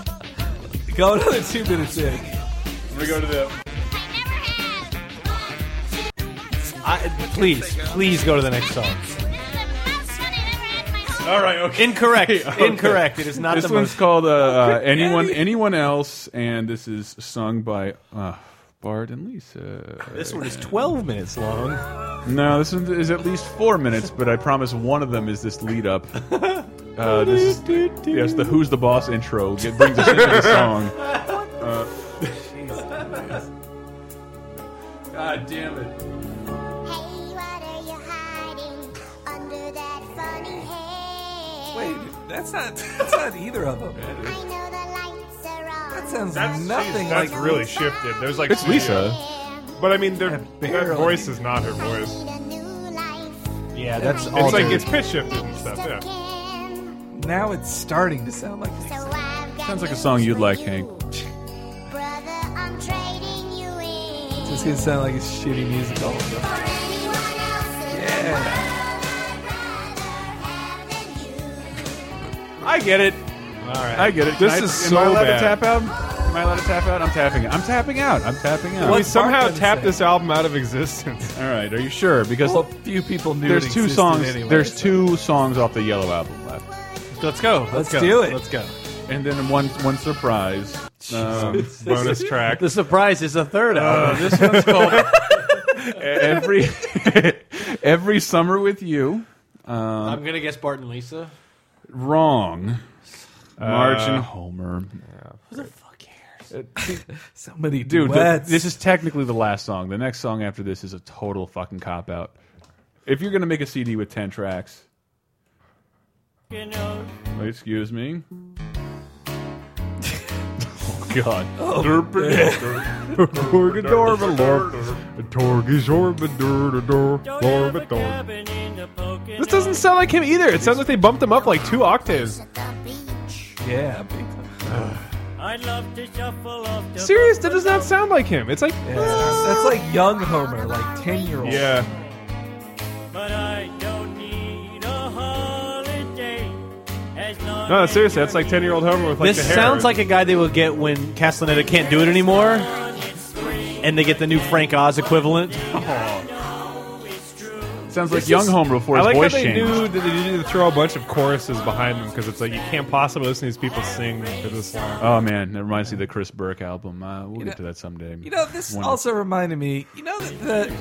Speaker 1: Go another two minutes in.
Speaker 2: We go to the.
Speaker 4: I, please, please go to the next song.
Speaker 2: All right, okay.
Speaker 4: Incorrect.
Speaker 2: Okay.
Speaker 4: Incorrect. It is not
Speaker 2: This
Speaker 4: the
Speaker 2: one's
Speaker 4: most.
Speaker 2: called uh, uh, anyone, anyone else, and this is sung by uh, Bart and Lisa.
Speaker 4: This one is 12 minutes long.
Speaker 2: No, this one is at least four minutes, but I promise one of them is this lead up. Uh, this is, yes, the "Who's the Boss" intro get, brings us into the song. Uh, God damn it!
Speaker 1: Wait, that's not that's not either of them. That sounds
Speaker 3: That's
Speaker 1: nothing
Speaker 3: jeez,
Speaker 1: like
Speaker 3: that's really shifted. There's like
Speaker 2: It's
Speaker 3: two-
Speaker 2: Lisa.
Speaker 3: but I mean, their that
Speaker 1: barely.
Speaker 3: voice is not her voice.
Speaker 4: Yeah, that's all.
Speaker 3: It's like
Speaker 4: there
Speaker 3: it's pitch shifted and stuff. Yeah.
Speaker 1: now it's starting to sound like Lisa.
Speaker 2: Sounds like a song you'd like, Hank.
Speaker 1: It's gonna sound like it's shitty music all over. Yeah.
Speaker 2: I get it.
Speaker 4: All right.
Speaker 2: I get it.
Speaker 3: This
Speaker 2: Can I-
Speaker 3: is
Speaker 2: Am I
Speaker 3: so
Speaker 2: allowed
Speaker 3: bad.
Speaker 2: to tap out? Am I allowed to tap out? I'm tapping out. I'm tapping out. I'm tapping out.
Speaker 3: We somehow
Speaker 1: Barton
Speaker 3: tapped
Speaker 1: said.
Speaker 3: this album out of existence.
Speaker 2: All right. Are you sure? Because
Speaker 1: Well, few people knew.
Speaker 2: there's
Speaker 1: it
Speaker 2: two
Speaker 1: existed
Speaker 2: songs.
Speaker 1: Anyway,
Speaker 2: there's
Speaker 1: so-
Speaker 2: two songs off the Yellow album left.
Speaker 4: Let's go.
Speaker 1: Let's
Speaker 4: Let's, go.
Speaker 1: do it.
Speaker 4: Let's go.
Speaker 2: And then one one surprise. Um,
Speaker 3: Bonus track.
Speaker 4: The surprise is a third album.
Speaker 2: this one's called every every summer with you.
Speaker 4: I'm gonna guess Bart and Lisa.
Speaker 2: Wrong. Marge
Speaker 3: Uh,
Speaker 2: and Homer.
Speaker 1: so many
Speaker 2: Dude, the,
Speaker 1: duets.
Speaker 2: this is technically the last song. The next song after this is a total fucking cop out. If you're gonna make a CD with ten tracks, excuse me. oh God.
Speaker 3: This doesn't sound like him either. It sounds like they bumped him up like two octaves.
Speaker 1: Yeah, big time.
Speaker 10: I'd love to shuffle off the
Speaker 3: Serious? That does not sound like him. It's like
Speaker 1: that's like young Homer, like ten year old.
Speaker 3: Yeah.
Speaker 10: But I don't need a holiday as long
Speaker 3: No, seriously, that's like ten year old Homer with like
Speaker 4: this
Speaker 3: the hair.
Speaker 4: sounds like a guy they will get when Castellaneta can't do it anymore, and they get the new Frank Oz equivalent.
Speaker 2: Sounds like young Homer before
Speaker 3: I
Speaker 2: his
Speaker 3: like
Speaker 2: voice
Speaker 3: how they
Speaker 2: changed.
Speaker 3: knew that they needed to throw a bunch of choruses behind them because it's like you can't possibly listen to these people sing for this long.
Speaker 2: Oh man, that reminds me of the Chris Burke album. Uh, we'll get to that someday.
Speaker 1: You know, this
Speaker 2: One-
Speaker 1: also reminded me. You know that the,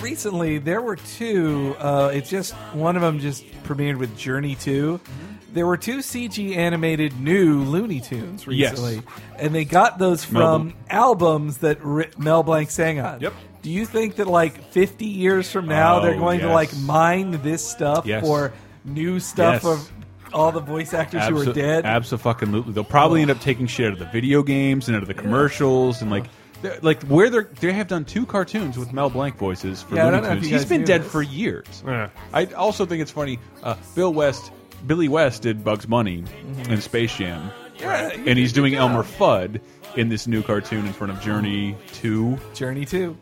Speaker 1: recently there were two. Uh, it's just one of them just premiered with Journey Two.
Speaker 2: Mm-hmm.
Speaker 1: There were two CG animated new Looney Tunes
Speaker 2: Yes.
Speaker 1: recently, and they got those from
Speaker 2: Mel Blanc.
Speaker 1: albums that ri Mel Blanc sang on. Yep. Do you think that like 50 years from now
Speaker 2: Oh,
Speaker 1: they're going to
Speaker 2: yes.
Speaker 1: like mine this stuff
Speaker 2: Yes.
Speaker 1: for new stuff
Speaker 2: Yes.
Speaker 1: of all the voice actors who are
Speaker 2: Abso-
Speaker 1: dead?
Speaker 2: Abso-fucking-lutely. They'll probably end up taking shit out of the video games and out of the commercials and like, they're- like where they're they have done two cartoons with Mel Blanc voices for
Speaker 1: Yeah, I
Speaker 2: Looney
Speaker 1: don't know if
Speaker 2: Tunes.
Speaker 1: you
Speaker 2: He's
Speaker 1: guys
Speaker 2: been
Speaker 1: knew
Speaker 2: dead
Speaker 1: this.
Speaker 2: for years. I also think it's funny. Uh, Bill West, Billy West did Bugs Bunny
Speaker 1: Mm-hmm.
Speaker 2: in Space Jam, and he's doing Elmer Fudd in this new cartoon in front of Journey Two.
Speaker 1: Journey Two.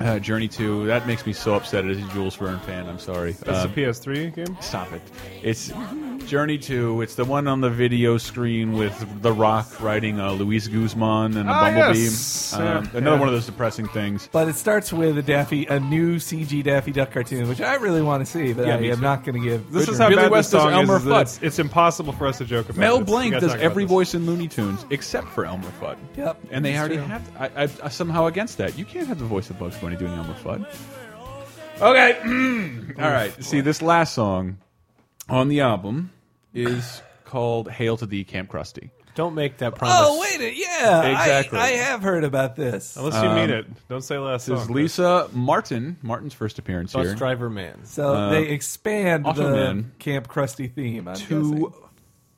Speaker 2: Uh, Journey Two. That makes me so upset as a Jules Verne fan. I'm sorry.
Speaker 3: That's a
Speaker 2: Um,
Speaker 3: PS3 game.
Speaker 2: Stop it. It's Journey 2. It's the one on the video screen with The Rock riding uh, Luis Guzman and a
Speaker 1: Ah,
Speaker 2: bumblebee.
Speaker 1: yes.
Speaker 2: Um,
Speaker 1: Yeah,
Speaker 2: Another
Speaker 1: yeah.
Speaker 2: one of those depressing things.
Speaker 1: But it starts with a Daffy, a new CG Daffy Duck cartoon, which I really want to see, but
Speaker 2: Yeah,
Speaker 1: I
Speaker 2: me
Speaker 1: am
Speaker 2: too.
Speaker 1: not going to give.
Speaker 3: This
Speaker 1: Good
Speaker 3: is how
Speaker 1: Billy
Speaker 3: bad
Speaker 1: West
Speaker 3: this
Speaker 1: does
Speaker 3: song
Speaker 1: Elmer
Speaker 3: is. is that
Speaker 1: Fudd.
Speaker 3: It's, it's impossible for us to joke about.
Speaker 2: Mel
Speaker 3: this. We
Speaker 2: Blanc
Speaker 3: gotta
Speaker 2: does
Speaker 3: talk about
Speaker 2: every
Speaker 3: this.
Speaker 2: voice in Looney Tunes except for Elmer Fudd.
Speaker 1: Yep.
Speaker 2: And they
Speaker 1: That's
Speaker 2: already
Speaker 1: true.
Speaker 2: have. I, I, I'm somehow against that. You can't have the voice of Bugs Bunny doing Elmer Fudd. Okay. All right. See, this last song on the album is called "Hail to Thee, Camp Krusty."
Speaker 4: Don't make that promise.
Speaker 1: Oh wait, a- yeah, I-
Speaker 2: Exactly.
Speaker 1: I, have heard about this.
Speaker 3: Unless you mean it, don't say last
Speaker 2: Ah! Um, This is
Speaker 3: song.
Speaker 2: Lisa Martin. Martin's first appearance
Speaker 4: Bus
Speaker 2: here.
Speaker 4: driver man.
Speaker 1: So
Speaker 2: Uh,
Speaker 1: they expand
Speaker 2: Auto
Speaker 1: the
Speaker 2: Man.
Speaker 1: Camp Krusty theme. I'm
Speaker 2: To
Speaker 1: guessing.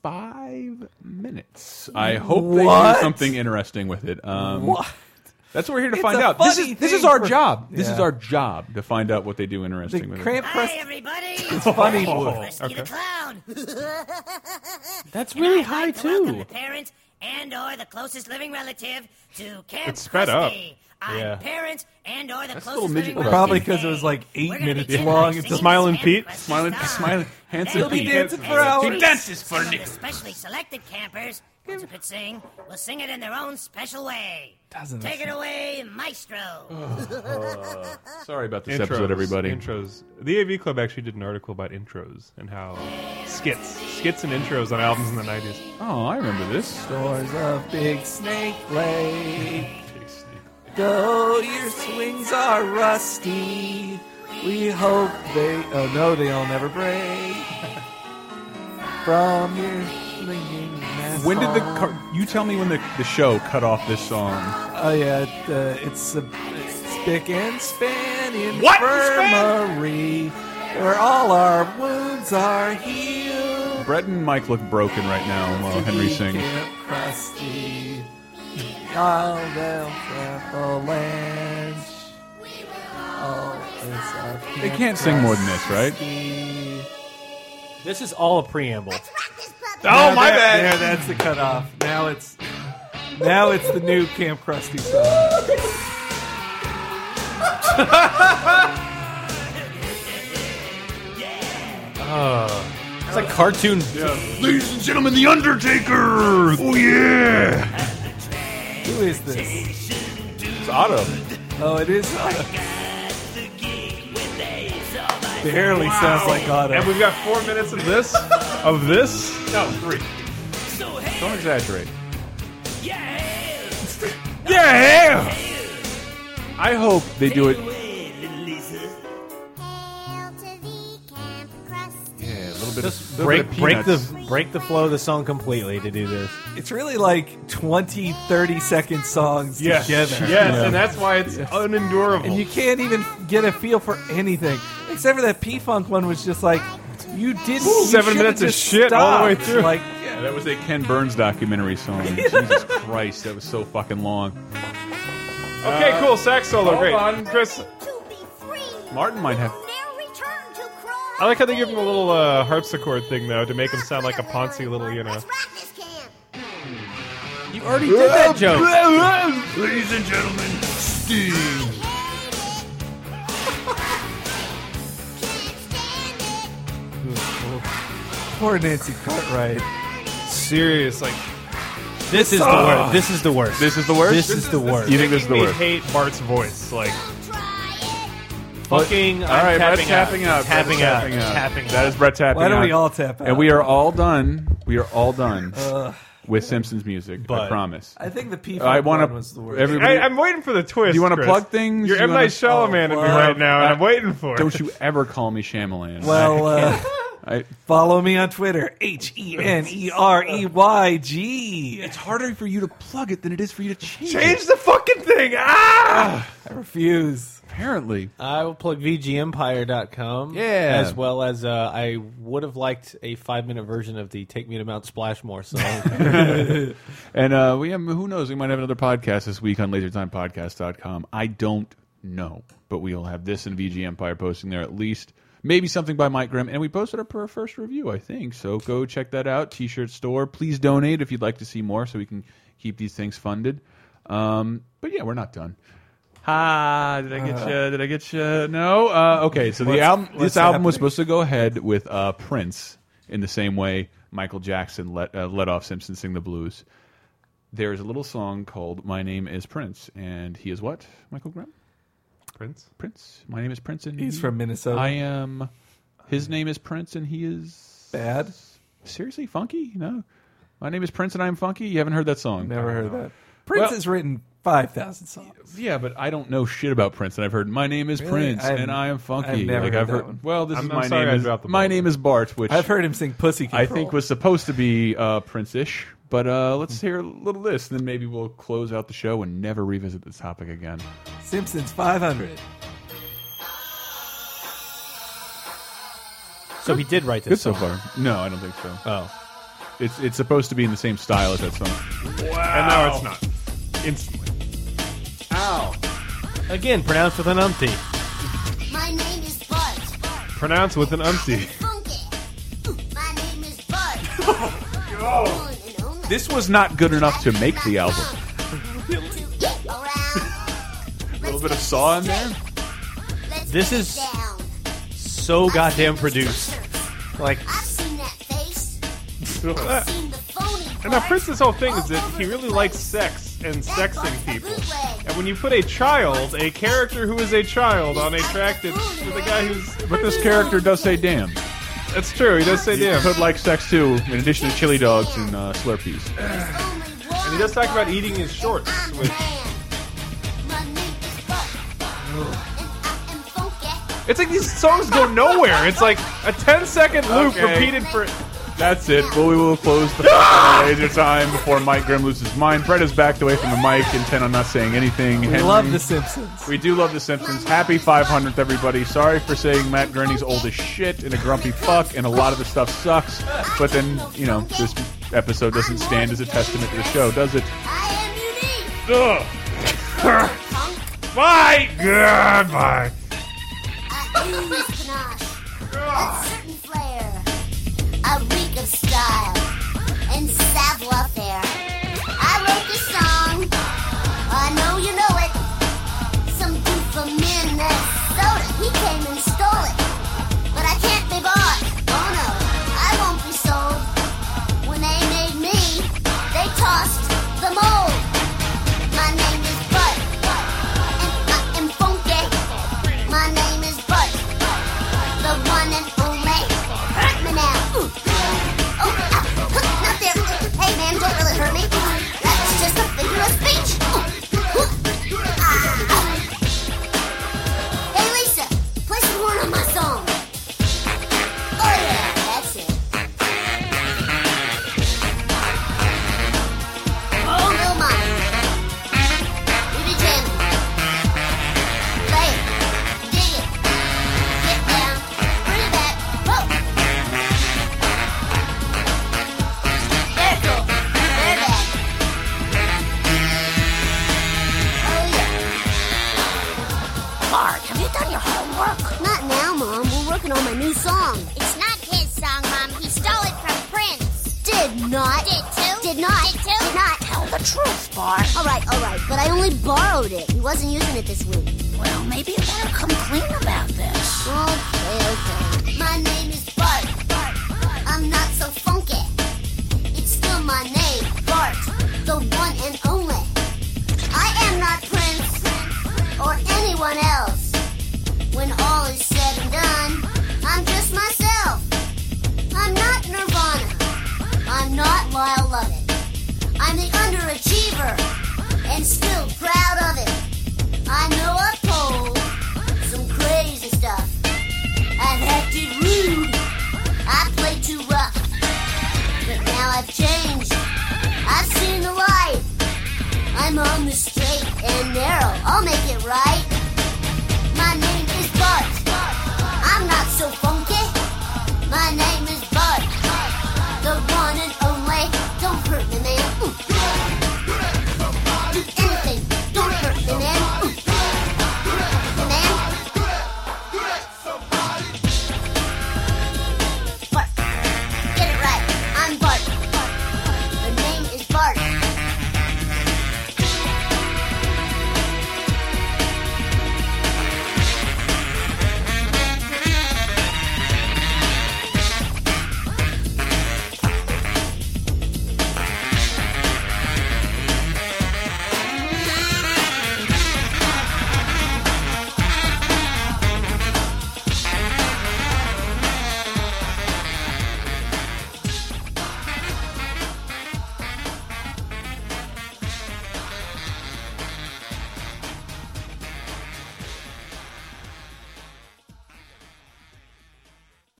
Speaker 2: five minutes. I hope they
Speaker 1: What?
Speaker 2: do something interesting with it. Um,
Speaker 1: What?
Speaker 2: That's what we're here to
Speaker 1: It's
Speaker 2: find
Speaker 1: a
Speaker 2: out. This
Speaker 1: funny
Speaker 2: is this
Speaker 1: thing
Speaker 2: is our
Speaker 1: for-
Speaker 2: job. This
Speaker 1: Yeah.
Speaker 2: is our job to find out what they do
Speaker 1: The
Speaker 2: interesting with
Speaker 1: Camp
Speaker 2: it.
Speaker 1: Krusty.
Speaker 8: everybody.
Speaker 1: It's funny.
Speaker 2: Oh, okay.
Speaker 4: That's really high
Speaker 8: The
Speaker 4: too.
Speaker 8: parent and or the closest living relative to Camp
Speaker 4: It's sped up.
Speaker 8: Krusty. I'm
Speaker 4: Yeah.
Speaker 8: parent and or the
Speaker 2: That's a little
Speaker 8: closest
Speaker 2: midget
Speaker 8: living relative.
Speaker 2: Krusty.
Speaker 1: Probably because it was like eight minutes long. It's
Speaker 3: Smiling Pete.
Speaker 2: Smiling, smiling, handsome
Speaker 1: He'll be
Speaker 2: Pete.
Speaker 1: dancing for hours.
Speaker 2: He dances for
Speaker 8: Some of the
Speaker 2: Nick.
Speaker 8: specially selected campers who could sing will sing it in their own special way.
Speaker 1: Doesn't
Speaker 8: Take it away, maestro.
Speaker 2: Sorry about this
Speaker 3: intros,
Speaker 2: episode, everybody.
Speaker 3: Intros. The AV Club actually did an article about intros and how skits, skits and intros on albums in the '90s.
Speaker 2: Oh, I remember this.
Speaker 1: Doors of Big Snake Lake. Though your swings are rusty, we hope they. Oh no, they'll never break. From your swinging mask
Speaker 2: When did the
Speaker 1: on.
Speaker 2: car you tell me when the, the show cut off this song?
Speaker 1: Oh yeah, it, uh, it's a spick and span
Speaker 2: What?
Speaker 1: infirmary where all our wounds are healed.
Speaker 2: Brett and Mike look broken right now while Oh, Henry
Speaker 1: Be
Speaker 2: sings.
Speaker 1: Camp Krusty, all the avalanche. Oh, it's our
Speaker 2: They
Speaker 1: Camp
Speaker 2: can't sing more than this, right?
Speaker 1: Krusty.
Speaker 4: This is all a preamble.
Speaker 7: Oh!
Speaker 1: Now that- Yeah, that's the cutoff. Now it's now it's the new Camp Krusty song.
Speaker 4: It's like cartoon.
Speaker 2: Ladies and gentlemen, The Undertaker! Oh, yeah!
Speaker 1: Who is this?
Speaker 2: It's Otto.
Speaker 1: Oh, it is. Barely sounds like uh,
Speaker 3: And
Speaker 1: Otto.
Speaker 3: we've got four minutes of this, of this.
Speaker 2: No, three. Don't exaggerate.
Speaker 3: Yeah.
Speaker 2: I hope they do it. Yeah, a little bit
Speaker 4: Just
Speaker 2: of,
Speaker 4: break break
Speaker 2: the.
Speaker 4: the break the flow of the song completely to do this.
Speaker 1: It's really like 20, 30 second songs
Speaker 3: Yes.
Speaker 1: together.
Speaker 3: Yes, and that's why it's unendurable.
Speaker 1: And you can't even get a feel for anything. Except for that P Funk one was just like, you didn't. you
Speaker 3: Seven
Speaker 1: should've
Speaker 3: minutes of
Speaker 1: just
Speaker 3: shit all the way
Speaker 1: stopped.
Speaker 3: through.
Speaker 1: Like,
Speaker 2: Yeah, that was a Ken Burns documentary song. Jesus Christ, that was so fucking long.
Speaker 3: okay, cool. Sax solo,
Speaker 2: hold
Speaker 3: great.
Speaker 2: on.
Speaker 3: Chris,
Speaker 2: Martin might have.
Speaker 3: I like how they give him a little uh, harpsichord thing though to make him sound like a Ponzi little, you know.
Speaker 7: Let's rock this camp.
Speaker 4: You already did that joke.
Speaker 14: Ladies and gentlemen, Steve.
Speaker 1: Poor Nancy Cartwright.
Speaker 3: Serious, like
Speaker 4: This is the worst. This is the worst.
Speaker 2: This is the worst.
Speaker 4: This, is, the worst.
Speaker 3: making me hate Bart's voice, like
Speaker 4: Fucking.
Speaker 2: All right,
Speaker 4: I'm
Speaker 2: Brett
Speaker 4: tapping
Speaker 2: tapping
Speaker 4: out.
Speaker 2: out.
Speaker 4: Tapping
Speaker 2: Brett's
Speaker 4: out.
Speaker 2: tapping out.
Speaker 4: Tapping
Speaker 2: That
Speaker 4: out.
Speaker 2: is Brett tapping
Speaker 1: Why don't
Speaker 2: out.
Speaker 1: we all tap out?
Speaker 2: And we are all done. We are all done
Speaker 1: Ugh.
Speaker 2: with Simpsons music. I
Speaker 1: But-
Speaker 2: promise.
Speaker 1: I think the P5
Speaker 2: I wanna-
Speaker 1: one was the worst.
Speaker 2: Everybody,
Speaker 3: I, am waiting for the twist.
Speaker 2: Do you wanna
Speaker 3: Chris.
Speaker 2: plug things?
Speaker 3: You're
Speaker 2: Do you
Speaker 3: M
Speaker 2: wanna- Oh,
Speaker 3: Night Shyamalan at me right now, and I'm waiting for it.
Speaker 2: Don't you ever call me Shyamalan.
Speaker 1: Well, uh,
Speaker 2: I,
Speaker 1: follow me on Twitter. H E N E R E Y G.
Speaker 2: it's harder for you to plug it than it is for you to change.
Speaker 3: Change
Speaker 2: it.
Speaker 3: the fucking thing. Ah!
Speaker 1: I refuse.
Speaker 2: Apparently,
Speaker 4: I will plug VGEmpire.com.
Speaker 2: Yeah.
Speaker 4: As well as uh, I would have liked a five minute version of the Take Me to Mount Splashmore song.
Speaker 2: and uh, we have, who knows? We might have another podcast this week on LaserTimePodcast.com. I don't know, but we will have this and VG Empire posting there at least. Maybe something by Mike Grimm, and we posted our per- first review, I think. So go check that out. T-shirt store. Please donate if you'd like to see more, so we can keep these things funded. Um, but yeah, we're not done. Ha! Did I get you? Did I get you? No. Uh, okay. So
Speaker 1: Uh.
Speaker 2: the
Speaker 1: What's-
Speaker 2: album.
Speaker 1: what's
Speaker 2: This album was
Speaker 1: happening?
Speaker 2: supposed to go ahead with uh, Prince in the same way Michael Jackson let uh, let off Simpson sing the blues. There is a little song called "My Name Is Prince," and he is what? Michael Graham.
Speaker 3: Prince.
Speaker 2: Prince. My name is Prince, and
Speaker 1: He's from Minnesota.
Speaker 2: I am. His name is Prince, and he is
Speaker 1: Bad.
Speaker 2: seriously funky. No, my name is Prince, and I am funky. You haven't heard that song?
Speaker 1: Never heard that. Prince
Speaker 2: Well-
Speaker 1: has written 5,000 songs.
Speaker 2: Yeah, but I don't know shit about Prince, and I've heard my name is
Speaker 1: Really?
Speaker 2: Prince,
Speaker 1: I've-
Speaker 2: and I am funky.
Speaker 1: I've never
Speaker 2: like
Speaker 1: heard
Speaker 2: I've
Speaker 1: that
Speaker 2: heard.
Speaker 1: one.
Speaker 2: Well, this
Speaker 3: I'm-
Speaker 2: is
Speaker 3: I'm
Speaker 2: my
Speaker 3: sorry I
Speaker 2: name
Speaker 3: dropped the
Speaker 2: is my
Speaker 3: ball.
Speaker 2: name is Bart, which
Speaker 1: I've heard him sing Pussy Control.
Speaker 2: I think was supposed to be uh, Prince-ish. But uh,
Speaker 1: Hmm.
Speaker 2: let's hear a little of this, and then maybe we'll close out the show and never revisit this topic again.
Speaker 1: Simpsons 500.
Speaker 4: so he did write
Speaker 2: Good
Speaker 4: this
Speaker 2: so
Speaker 4: song.
Speaker 2: far. No, I don't think so.
Speaker 4: Oh.
Speaker 2: It's it's supposed to be in the same style as that song.
Speaker 3: And now it's not. Instantly.
Speaker 4: Again, pronounced with an umpty.
Speaker 7: My name is Bud.
Speaker 3: Pronounce with an umpty.
Speaker 7: Funky. Ooh, My name is Bud. One and only.
Speaker 2: This was not good enough to make the album.
Speaker 7: To get around.
Speaker 2: A little bit of saw in there.
Speaker 7: Let's
Speaker 4: This
Speaker 7: get
Speaker 4: is-
Speaker 7: down.
Speaker 4: So goddamn produced. Like,
Speaker 7: I've seen that face.
Speaker 2: Uh,
Speaker 7: I've seen the phony
Speaker 3: And now
Speaker 7: part.
Speaker 3: Prince's whole thing is that
Speaker 7: All
Speaker 3: he
Speaker 7: over
Speaker 3: really
Speaker 7: the
Speaker 3: likes
Speaker 7: place.
Speaker 3: sex and
Speaker 7: That
Speaker 3: sexing
Speaker 7: part's a
Speaker 3: people.
Speaker 7: bootleg.
Speaker 3: And when you put a child, a character who is a child, on a track that with a guy who's
Speaker 2: But this character does say "damn."
Speaker 3: that's true. He does say
Speaker 2: Yeah,
Speaker 3: damn,
Speaker 2: Hood likes sex too, in addition to chili dogs and uh, Slurpees.
Speaker 3: and he does talk about eating his shorts.
Speaker 7: I'm
Speaker 3: With,
Speaker 7: man. My name is Bud. And I am funky.
Speaker 3: it's like these songs go nowhere. It's like a 10 second loop
Speaker 2: Okay.
Speaker 3: repeated for.
Speaker 2: That's it. Well, we will close the fucking laser time before Mike Grimm loses his mind. Brett is backed away from the mic, intent on not saying anything.
Speaker 1: We love The Simpsons.
Speaker 2: We do love The Simpsons. Happy 500th, everybody. Sorry for saying Matt Gurney's old as shit and a grumpy fuck, and a lot of the stuff sucks. But then, you know, this episode doesn't stand as a testament to the show, does it?
Speaker 7: I am unique.
Speaker 3: Ugh.
Speaker 7: Punk.
Speaker 3: Bye. Goodbye.
Speaker 7: I ooze panache. A certain flair. A reek of style. And savoir faire. I wrote this song. I know you know it. Some dude from Minnesota. He came and stole it. But I can't be bought. Oh no. I won't be sold. When they made me, they tossed the mold. My name is Bud. And I am funky. My name is Bud. The one and only. Hurt me now. Ooh. Oh, ah, huh, not there. Hey man, don't really hurt me. That's just a figure of speech. Ooh. Ooh. Ah. Hey Lisa, play some horn on my song. Oh yeah, that's it. Oh no, my. We be jamming. Play it, dig it, get down, bring it back. Whoa. Very cool, very bad. Oh yeah. Bart, have you done your homework? Not now, Mom. We're working on my new song.
Speaker 5: It's not his song, Mom. He stole it from Prince.
Speaker 7: Did not.
Speaker 5: Did too.
Speaker 7: Did not.
Speaker 5: Did too.
Speaker 7: Did not. Tell the
Speaker 8: far.
Speaker 7: All right, all right, but I only borrowed it. He wasn't using it this week.
Speaker 8: Well, maybe you want to come clean about this.
Speaker 7: Okay, okay. My name is Bart. Bart. I'm not so funky. It's still my name, Bart, the one and only. I am not Prince or anyone else. When all is said and done, I'm just myself. I'm not Nirvana. I'm not Lyle Lovett. I'm the underachiever and still proud of it. I know I pulled some crazy stuff. I've acted rude. I played too rough. But now I've changed. I've seen the light. I'm on the straight and narrow. I'll make it right. My name is Bart. I'm not so funky. My name